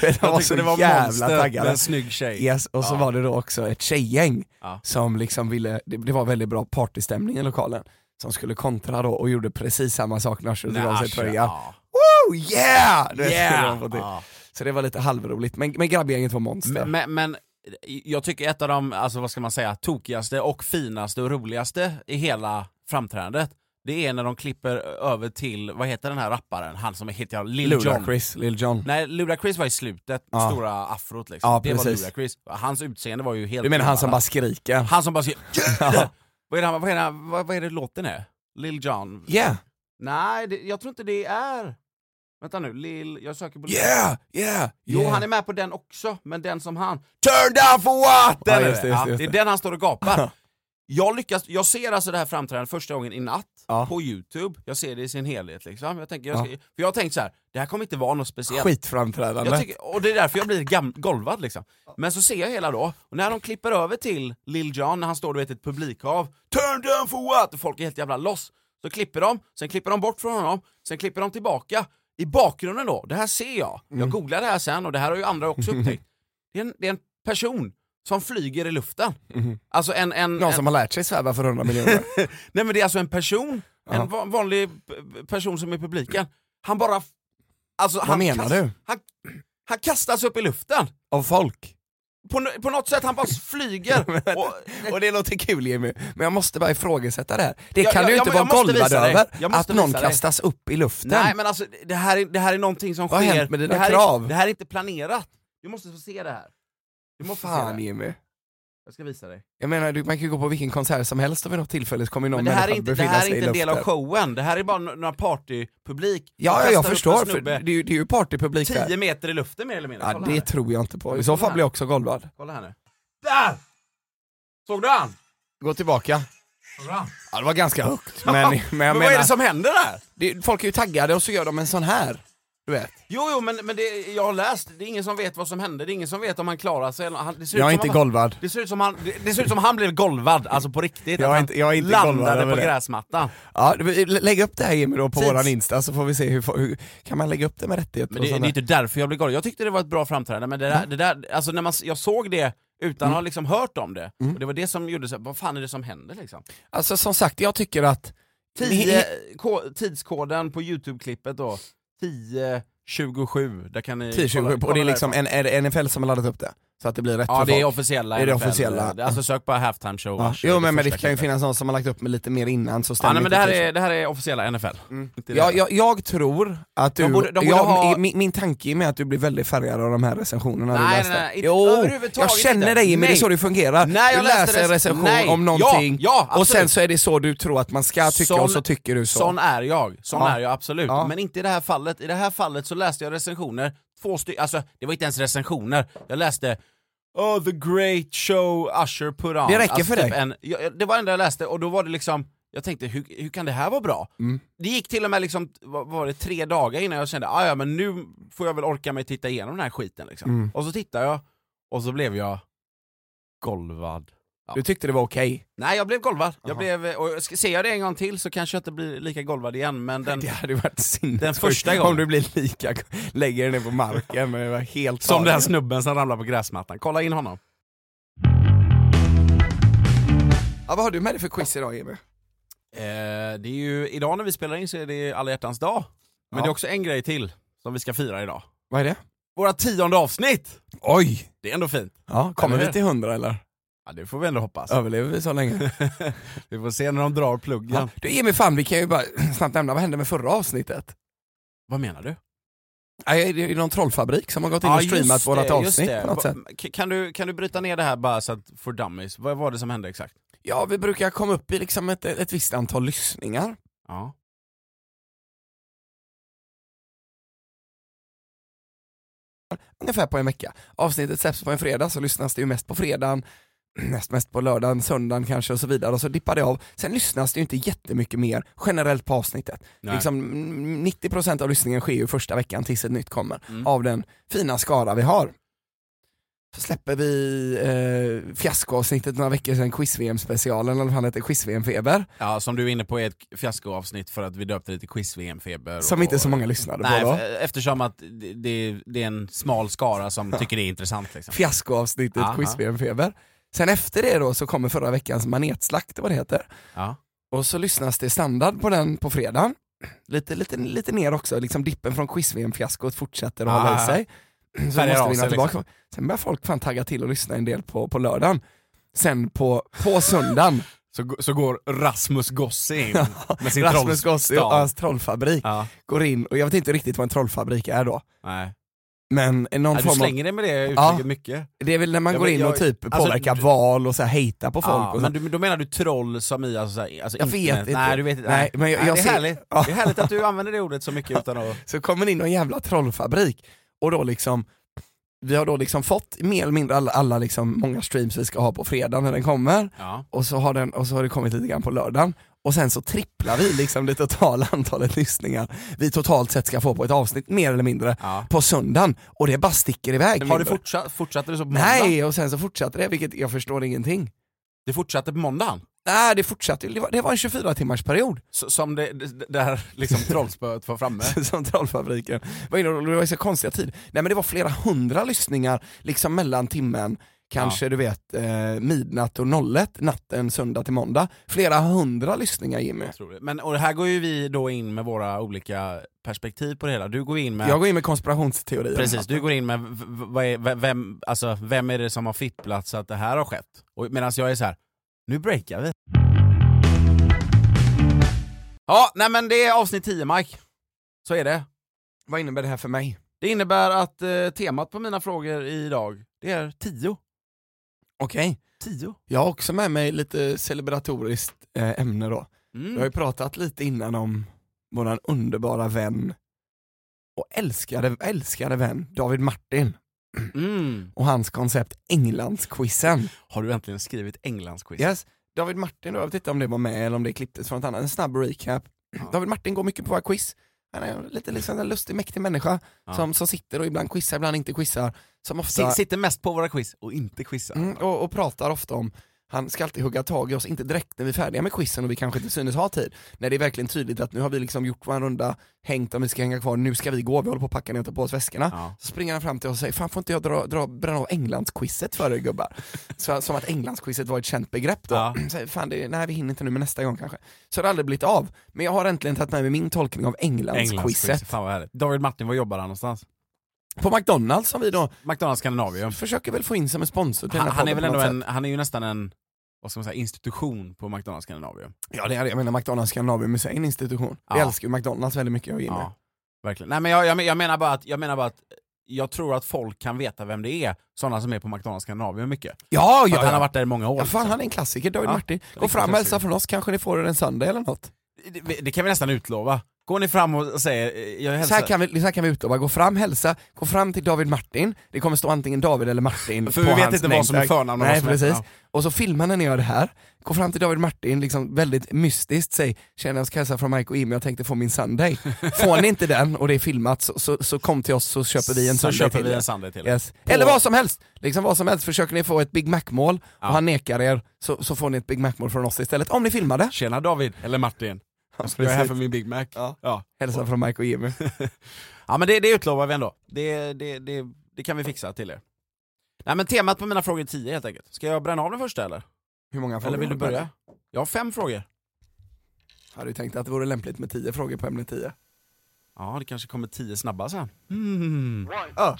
Speaker 2: de
Speaker 3: Jag
Speaker 2: var
Speaker 3: tyckte
Speaker 2: så
Speaker 3: det var
Speaker 2: jävla
Speaker 3: monster med
Speaker 2: taggade.
Speaker 3: en snygg tjej.
Speaker 2: Yes, och så
Speaker 3: Ja.
Speaker 2: var det då också ett tjejgäng
Speaker 3: Ja.
Speaker 2: som liksom ville, det, det var väldigt bra partystämning i lokalen, som skulle kontra då och gjorde precis samma sak när Usher
Speaker 3: När
Speaker 2: tog av sig
Speaker 3: Usher-
Speaker 2: tröjan.
Speaker 3: ja.
Speaker 2: Oh yeah! Du vet, skulle de
Speaker 3: Yeah!
Speaker 2: få till.
Speaker 3: Ja.
Speaker 2: Så det var lite halvroligt, men, men grabbgänget var monster.
Speaker 3: Men, men jag tycker ett av de, alltså vad ska man säga, tokigaste och finaste och roligaste i hela framträdandet, det är när de klipper över till, vad heter den här rapparen, han som heter Lil Jon.
Speaker 2: Ludacris, Lil Jon.
Speaker 3: Nej, Ludacris var i slutet,
Speaker 2: Ja.
Speaker 3: stora afrot liksom.
Speaker 2: Ja,
Speaker 3: det var
Speaker 2: precis.
Speaker 3: Ludacris. Hans utseende var ju helt...
Speaker 2: Du menar han som
Speaker 3: bara...
Speaker 2: bara skriker?
Speaker 3: Han som bara skrev...
Speaker 2: Ja.
Speaker 3: vad, är det, han- vad, är det, han- vad, vad är det låten är? Lil Jon?
Speaker 2: Yeah,
Speaker 3: Nej, det, jag tror inte det är... Vänta nu, Lil... Jag söker på... Lil-
Speaker 2: yeah, yeah!
Speaker 3: Jo,
Speaker 2: yeah.
Speaker 3: han är med på den också, men den som han... Turn down for what? Den
Speaker 2: Ja,
Speaker 3: är
Speaker 2: just det,
Speaker 3: det.
Speaker 2: just det,
Speaker 3: Ja,
Speaker 2: just
Speaker 3: det är
Speaker 2: det.
Speaker 3: den han står och gapar. Jag, lyckas, jag ser alltså det här framträdandet första gången i natt
Speaker 2: Ja.
Speaker 3: på Youtube, jag ser det i sin helhet liksom. Jag, tänker, jag,
Speaker 2: Ja.
Speaker 3: ska, för jag har tänkt så här, det här kommer inte vara något speciellt.
Speaker 2: Skitframträdande.
Speaker 3: Jag tycker, och det är därför jag blir gam- golvad liksom. Men så ser jag hela då, och när de klipper över till Lil Jon när han står du vet i ett publikhav, Turn down for what? Och folk är helt jävla loss. Så klipper de, sen klipper de bort från honom, sen klipper de tillbaka. I bakgrunden då, det här ser jag,
Speaker 2: Mm.
Speaker 3: jag googlar det här sen och det här har ju andra också upptäckt. Det är en, det är en person som flyger i luften. Alltså en, en,
Speaker 2: Någon
Speaker 3: en,
Speaker 2: Mm-hmm. som har lärt sig sväva för 100 miljoner.
Speaker 3: Nej men det är alltså en person,
Speaker 2: Ja.
Speaker 3: en va- vanlig p- person som är i publiken. Han bara... f- Alltså,
Speaker 2: Vad
Speaker 3: han
Speaker 2: menar
Speaker 3: kast-
Speaker 2: du?
Speaker 3: Han, han kastas upp i luften.
Speaker 2: Av folk.
Speaker 3: På, n- på något sätt, han bara flyger. och,
Speaker 2: Och det låter kul Jimmy, men jag måste bara ifrågasätta det här. Det
Speaker 3: Ja,
Speaker 2: kan
Speaker 3: ja,
Speaker 2: du
Speaker 3: ja,
Speaker 2: inte
Speaker 3: men jag
Speaker 2: vara
Speaker 3: måste visa
Speaker 2: golvad
Speaker 3: dig.
Speaker 2: över,
Speaker 3: Jag
Speaker 2: att
Speaker 3: måste
Speaker 2: någon
Speaker 3: visa dig.
Speaker 2: kastas upp i luften.
Speaker 3: nej men alltså, det här, är, det här är någonting som
Speaker 2: Vad har
Speaker 3: sker.
Speaker 2: hänt med dina
Speaker 3: det, här
Speaker 2: krav?
Speaker 3: Är, det här är inte planerat. Du måste få se det här. Du måste få se
Speaker 2: Fan
Speaker 3: det. här.
Speaker 2: Jimmy.
Speaker 3: Jag ska visa dig.
Speaker 2: Jag menar, du, man kan ju gå på vilken konsert som helst och vid något tillfälle så kommer ju någon
Speaker 3: Men det här är
Speaker 2: människa
Speaker 3: inte, det
Speaker 2: befinna
Speaker 3: här
Speaker 2: sig
Speaker 3: är
Speaker 2: i
Speaker 3: inte en del av
Speaker 2: luften.
Speaker 3: showen, det här är bara n- några partypublik.
Speaker 2: Ja, ja
Speaker 3: kastar
Speaker 2: jag
Speaker 3: upp en
Speaker 2: förstår, för det
Speaker 3: snubbe
Speaker 2: är ju, det är ju partypublik där.
Speaker 3: 10 meter i luften mer eller mindre.
Speaker 2: Ja,
Speaker 3: Kolla
Speaker 2: det
Speaker 3: här.
Speaker 2: tror jag inte på, i
Speaker 3: men
Speaker 2: så
Speaker 3: kolla
Speaker 2: fall
Speaker 3: här.
Speaker 2: blir jag också golvad.
Speaker 3: Kolla här nu. Där! Såg du han?
Speaker 2: Gå tillbaka.
Speaker 3: Såg du han?
Speaker 2: Ja det var ganska högt, men, men jag
Speaker 3: Men vad är
Speaker 2: menar,
Speaker 3: det som händer där?
Speaker 2: det, folk är ju taggade och så gör de en sån här. Du vet.
Speaker 3: Jo, jo, men, men det, jag har läst, det är ingen som vet vad som hände, det är ingen som vet om han klarar sig eller han, det ser ut
Speaker 2: Jag är
Speaker 3: som
Speaker 2: inte
Speaker 3: han,
Speaker 2: golvad.
Speaker 3: Det ser ut som han, det, det ser ut som han blev golvad, alltså på
Speaker 2: Jag
Speaker 3: riktigt. att
Speaker 2: är
Speaker 3: han
Speaker 2: inte- jag är inte golvad
Speaker 3: landade
Speaker 2: över
Speaker 3: på
Speaker 2: det.
Speaker 3: gräsmattan.
Speaker 2: Ja, det- lägg upp det här Jimmy då på
Speaker 3: Tids.
Speaker 2: våran Insta så får vi se hur, fo- hur kan man lägga upp det Mm. med rättigheter
Speaker 3: Men
Speaker 2: och
Speaker 3: det, det
Speaker 2: sånt
Speaker 3: är
Speaker 2: där.
Speaker 3: inte därför jag blev golvad. Jag tyckte det var ett bra framträdande, men det där, det där alltså när man, s- jag såg det utan
Speaker 2: Mm.
Speaker 3: att ha liksom hört om det, och det var det som gjorde så här, vad fan är det som händer liksom?
Speaker 2: Alltså som sagt, jag tycker att
Speaker 3: Tio, ko, tidskoden på Youtube-klippet då, 10.27, där kan ni
Speaker 2: 10-20
Speaker 3: kolla-
Speaker 2: och det är
Speaker 3: kolla
Speaker 2: liksom en, är det NFL som har laddat upp det. Så att det blir rätt
Speaker 3: Ja
Speaker 2: för
Speaker 3: det är
Speaker 2: folk.
Speaker 3: officiella
Speaker 2: Det är det
Speaker 3: NFL.
Speaker 2: officiella.
Speaker 3: Det- Alltså sök bara halftime show
Speaker 2: Ja.
Speaker 3: varsågod,
Speaker 2: Jo
Speaker 3: det
Speaker 2: men, men det
Speaker 3: första
Speaker 2: kan ju
Speaker 3: klippet.
Speaker 2: finnas någon som har lagt upp med lite mer innan så stämmer
Speaker 3: Ja, nej, men det,
Speaker 2: inte
Speaker 3: här
Speaker 2: till sig.
Speaker 3: är, det här är officiella NFL. Inte det
Speaker 2: jag,
Speaker 3: här.
Speaker 2: jag, jag tror att du,
Speaker 3: De borde- de borde
Speaker 2: jag,
Speaker 3: ha-
Speaker 2: min, min tanke är med att du blir väldigt färgad av de här recensionerna du
Speaker 3: Nej,
Speaker 2: läste.
Speaker 3: nej, nej, inte-
Speaker 2: jo,
Speaker 3: överhuvudtaget
Speaker 2: jag känner
Speaker 3: inte.
Speaker 2: dig men det är så
Speaker 3: Nej.
Speaker 2: det fungerar.
Speaker 3: Nej, jag
Speaker 2: du
Speaker 3: läste
Speaker 2: läser en
Speaker 3: rec-
Speaker 2: recension
Speaker 3: nej.
Speaker 2: om
Speaker 3: Ja,
Speaker 2: någonting
Speaker 3: ja,
Speaker 2: och sen
Speaker 3: absolut.
Speaker 2: så är det så du tror att man ska tycka och så tycker du så.
Speaker 3: Sån är jag, sån
Speaker 2: Ja.
Speaker 3: är jag absolut.
Speaker 2: Ja.
Speaker 3: Men inte i det här fallet. I det här fallet så läste jag recensioner, två stycken, alltså det var inte ens recensioner. Jag läste Oh the great show Usher put on.
Speaker 2: Det räcker
Speaker 3: alltså,
Speaker 2: för
Speaker 3: typ
Speaker 2: dig.
Speaker 3: En, jag, jag- det var det enda jag läste och då var det liksom, jag tänkte hur, hur kan det här vara bra?
Speaker 2: Mm.
Speaker 3: Det gick till och med liksom, vad vad var det, tre dagar innan jag kände ah, ja men nu får jag väl orka mig titta igenom den här skiten liksom.
Speaker 2: Mm.
Speaker 3: Och så tittade jag, och så blev jag golvad.
Speaker 2: Du tyckte det var okej.
Speaker 3: Nej, jag blev golvad. Jag
Speaker 2: Jaha.
Speaker 3: blev, eh, och ska- ser jag det en gång till så kanske jag inte blir lika golvad igen, men den...
Speaker 2: Det hade varit sinnessjukt
Speaker 3: Den första gången.
Speaker 2: om du blir lika, lägger dig ner på marken men det var helt
Speaker 3: Som den
Speaker 2: tagen.
Speaker 3: här snubben som ramlar på gräsmattan. Kolla in honom.
Speaker 2: ja, Vad har du med dig för quiz idag Jimmy?
Speaker 3: Eh, det är ju, idag när vi spelar in så är det alla hjärtans dag. Men
Speaker 2: Ja.
Speaker 3: det är också en grej till som vi ska fira idag.
Speaker 2: Vad är det?
Speaker 3: Våra tionde avsnitt!
Speaker 2: Oj!
Speaker 3: Det är ändå fint.
Speaker 2: Ja, kommer
Speaker 3: Eller
Speaker 2: vi
Speaker 3: hur?
Speaker 2: till hundra eller?
Speaker 3: Ja, det får vi ändå hoppas.
Speaker 2: Överlever vi så länge?
Speaker 3: vi får se när de drar pluggen.
Speaker 2: Ja. Du Jimmy, fan vi kan ju bara snabbt nämna, vad hände med förra avsnittet?
Speaker 3: Vad menar du?
Speaker 2: Nej, det är någon trollfabrik som har gått in och
Speaker 3: just
Speaker 2: streamat
Speaker 3: det,
Speaker 2: vårat
Speaker 3: just
Speaker 2: avsnitt
Speaker 3: det.
Speaker 2: på något
Speaker 3: Va-
Speaker 2: sätt.
Speaker 3: k- Kan du, kan du bryta ner det här bara så att, for dummies? Vad var det som hände exakt?
Speaker 2: Ja, vi brukar komma upp i liksom ett, ett visst antal lyssningar.
Speaker 3: Ja.
Speaker 2: Ungefär på en vecka. Avsnittet släpps på en fredag så lyssnas det ju mest på fredagen, näst mest på lördagen, söndagen kanske och så vidare och så dippar det av. Sen lyssnas det ju inte jättemycket mer generellt på avsnittet.
Speaker 3: Nej.
Speaker 2: Liksom, mm, 90% av lyssningen sker ju första veckan tills ett nytt kommer
Speaker 3: Mm.
Speaker 2: av den fina skara vi har. Så släpper vi eh, fiaskoavsnittet några veckor sedan, quiz-VM specialen, eller vad han heter, quiz-VM feber,
Speaker 3: Ja, som du är inne på är ett fiaskoavsnitt för att vi döpte det till quiz-VM-feber.
Speaker 2: som
Speaker 3: och-
Speaker 2: inte så många lyssnade
Speaker 3: Nej,
Speaker 2: på då.
Speaker 3: f- eftersom att det, det, det är en smal skara som tycker det är intressant. Liksom.
Speaker 2: Fiaskoavsnittet
Speaker 3: Aha.
Speaker 2: quiz-VM feber. Sen efter det då så kommer förra veckans manetslakt, vad det heter.
Speaker 3: Ja.
Speaker 2: Och så lyssnas det standard på den på fredagen. Lite, lite, lite ner också, liksom dippen från quiz-VM-fiaskot fortsätter att hålla i
Speaker 3: Ah.
Speaker 2: sig. så
Speaker 3: Färgar
Speaker 2: måste
Speaker 3: av
Speaker 2: vi vinna
Speaker 3: sig, liksom.
Speaker 2: tillbaka. Sen börjar folk fan tagga till och lyssna en del på, på lördagen. Sen på, på söndagen,
Speaker 3: Så, g- så går Rasmus Gosse in med sin
Speaker 2: Rasmus Gossi och
Speaker 3: trollstav.
Speaker 2: hans trollfabrik
Speaker 3: Ja,
Speaker 2: går in, och jag vet inte riktigt vad en trollfabrik är då,
Speaker 3: nej.
Speaker 2: men någon
Speaker 3: Ja, du
Speaker 2: form av,
Speaker 3: slänger dig med det uttrycket
Speaker 2: Ja.
Speaker 3: mycket.
Speaker 2: det är väl när man
Speaker 3: Ja,
Speaker 2: går
Speaker 3: men
Speaker 2: in
Speaker 3: jag-
Speaker 2: och typ
Speaker 3: alltså,
Speaker 2: påverkar
Speaker 3: du-
Speaker 2: val och så här, hejta på folk.
Speaker 3: Ja,
Speaker 2: och så.
Speaker 3: men du, då menar du troll som i alltså, så här, alltså
Speaker 2: Jag vet
Speaker 3: internet?
Speaker 2: inte.
Speaker 3: Nej, du vet inte.
Speaker 2: Nej, men jag-
Speaker 3: nej,
Speaker 2: jag
Speaker 3: det, är
Speaker 2: ser-
Speaker 3: härligt.
Speaker 2: Ja.
Speaker 3: det är härligt att du använder det ordet så mycket utan att...
Speaker 2: Så kommer det in någon jävla trollfabrik och då liksom vi har då liksom fått mer eller mindre alla, alla liksom många streams vi ska ha på fredag när den kommer
Speaker 3: Ja.
Speaker 2: och så, har den, och så har det kommit lite grann på lördagen och sen så tripplar vi liksom det totala antalet lyssningar vi totalt sett ska få på ett avsnitt mer eller mindre
Speaker 3: Ja.
Speaker 2: på söndagen och det bara sticker iväg.
Speaker 3: Har det fortsatt, fortsatte det så på måndag?
Speaker 2: Nej, och sen så fortsatte det vilket jag förstår ingenting.
Speaker 3: Det fortsatte på måndagen?
Speaker 2: Nej det fortsatte, ju- det var, det var en 24 timmars period
Speaker 3: Så, som det, det, det här liksom trollspöet var framme?
Speaker 2: som Trollfabriken. Var inne och- Det var ju så konstiga tid. Nej men det var flera hundra lyssningar liksom mellan timmen, kanske du vet eh, midnatt och 01, natten söndag till måndag. Flera hundra lyssningar Jimmy.
Speaker 3: Jag tror det. Men, och här går ju vi då in med våra olika perspektiv på det hela. Du går in med...
Speaker 2: Jag går in med konspirationsteorier.
Speaker 3: Precis, du går in med v- v- vad är, v- vem, alltså, vem är det som har fipplat så att det här har skett? Medan jag är så här, nu breakar vi. Ja, nej men det är avsnitt 10 Mike. Så är det.
Speaker 2: Vad innebär det här för mig?
Speaker 3: Det innebär att eh, temat på mina frågor idag, det är 10.
Speaker 2: Okej,
Speaker 3: 10?
Speaker 2: jag har också med mig lite celebratoriskt eh, ämne då. Vi har ju
Speaker 3: Mm.
Speaker 2: pratat lite innan om våran underbara vän och älskade, älskade vän David Martin
Speaker 3: Mm.
Speaker 2: och hans koncept Englandsquizen.
Speaker 3: Har du äntligen skrivit Englandsquiz?
Speaker 2: Yes. David Martin, då, jag vet inte om det var med eller om det klipptes från något annat, en snabb recap.
Speaker 3: Ja.
Speaker 2: David Martin går mycket på våra quiz. Han är lite liksom en lustig, mäktig människa
Speaker 3: Ja.
Speaker 2: som, som sitter och ibland quizar, ibland inte quizar. Som ofta,
Speaker 3: S- sitter mest på våra quiz och inte quizar.
Speaker 2: mm, och, och pratar ofta om han ska alltid hugga tag i oss, inte direkt när vi är färdiga med quizen och vi kanske till synes har tid. När det är verkligen tydligt att nu har vi liksom gjort vår runda, hängt om vi ska hänga kvar, nu ska vi gå, vi håller på att packa ner och ta på oss väskorna.
Speaker 3: Ja.
Speaker 2: Så springer han fram till oss och säger, fan får inte jag dra, dra, bränna av Englandsquizet för dig gubbar? Så, som att Englandsquizet var ett känt begrepp då.
Speaker 3: Ja.
Speaker 2: Så, här, fan, det, nej vi hinner inte nu men nästa gång kanske. Så det har aldrig blivit av. Men jag har äntligen tagit med mig min tolkning av
Speaker 3: Englandsquiz,
Speaker 2: Englandsquizet.
Speaker 3: fan vad härligt. David Martin, var jobbar han någonstans?
Speaker 2: På McDonalds som vi då
Speaker 3: McDonalds Scandinavium.
Speaker 2: försöker väl få in som en sponsor till
Speaker 3: Han,
Speaker 2: den här
Speaker 3: han är
Speaker 2: podden
Speaker 3: väl
Speaker 2: på
Speaker 3: ändå
Speaker 2: något
Speaker 3: en, han är ju nästan en vad ska man säga, institution på McDonalds Scandinavium.
Speaker 2: sätt. Ja det är det, jag menar McDonalds Scandinavium är en institution. Vi
Speaker 3: Ja.
Speaker 2: älskar ju McDonalds väldigt mycket jag och Jimmy.
Speaker 3: Ja, verkligen. Nej, men jag, jag, men- jag, menar bara att, jag menar bara att jag tror att folk kan veta vem det är, sådana som är på McDonalds Scandinavium mycket.
Speaker 2: Ja,
Speaker 3: För
Speaker 2: ja,
Speaker 3: att han har
Speaker 2: ja.
Speaker 3: varit där i många år.
Speaker 2: Ja, fan,
Speaker 3: liksom.
Speaker 2: han är en klassiker, David
Speaker 3: Ja,
Speaker 2: Martin. Gå
Speaker 3: riktigt
Speaker 2: fram och hälsa
Speaker 3: klassiker.
Speaker 2: från oss, kanske ni får den en söndag eller något.
Speaker 3: det, det kan vi nästan utlova. Går ni fram och säger eh, jag
Speaker 2: Så
Speaker 3: hälsar...
Speaker 2: här, kan vi, så här kan vi utlova, gå fram, hälsa, gå fram till David Martin, det kommer stå antingen David eller Martin
Speaker 3: För
Speaker 2: på
Speaker 3: vi vet
Speaker 2: hans
Speaker 3: inte vad som är
Speaker 2: nametag.
Speaker 3: förnamn och vad
Speaker 2: Nej
Speaker 3: som är
Speaker 2: precis,
Speaker 3: efternamn.
Speaker 2: och så filmar när ni gör det här, gå fram till David Martin, liksom väldigt mystiskt, säg “tjena jag ska hälsa från Mike och Jimmy, jag tänkte få min Sunday”. Får ni inte den och det är filmat så, så, så kom till oss så köper vi en
Speaker 3: så
Speaker 2: Sunday
Speaker 3: köper
Speaker 2: till
Speaker 3: vi
Speaker 2: er.
Speaker 3: en Sunday till.
Speaker 2: Yes. Eller vad som helst! Liksom vad som helst, försöker ni få ett Big Mac-mål
Speaker 3: Ja.
Speaker 2: och han nekar er så, så får ni ett Big Mac-mål från oss istället, om ni filmade.
Speaker 3: Tjena David, eller Martin. Jag är här för min Big Mac.
Speaker 2: Ja.
Speaker 3: Ja.
Speaker 2: Hälsa från Mike och Jimmy.
Speaker 3: Ja men det, det utlovar vi ändå. Det, det, det, det kan vi fixa till er. Nej men temat på mina frågor är 10 helt enkelt. Ska jag bränna av den första eller?
Speaker 2: Hur många frågor
Speaker 3: Eller vill
Speaker 2: har
Speaker 3: du börja? Jag har fem frågor.
Speaker 2: Hade du tänkt att det vore lämpligt med 10 frågor på ämne 10?
Speaker 3: Ja, det kanske kommer 10 snabba sen. Mm.
Speaker 2: Ja.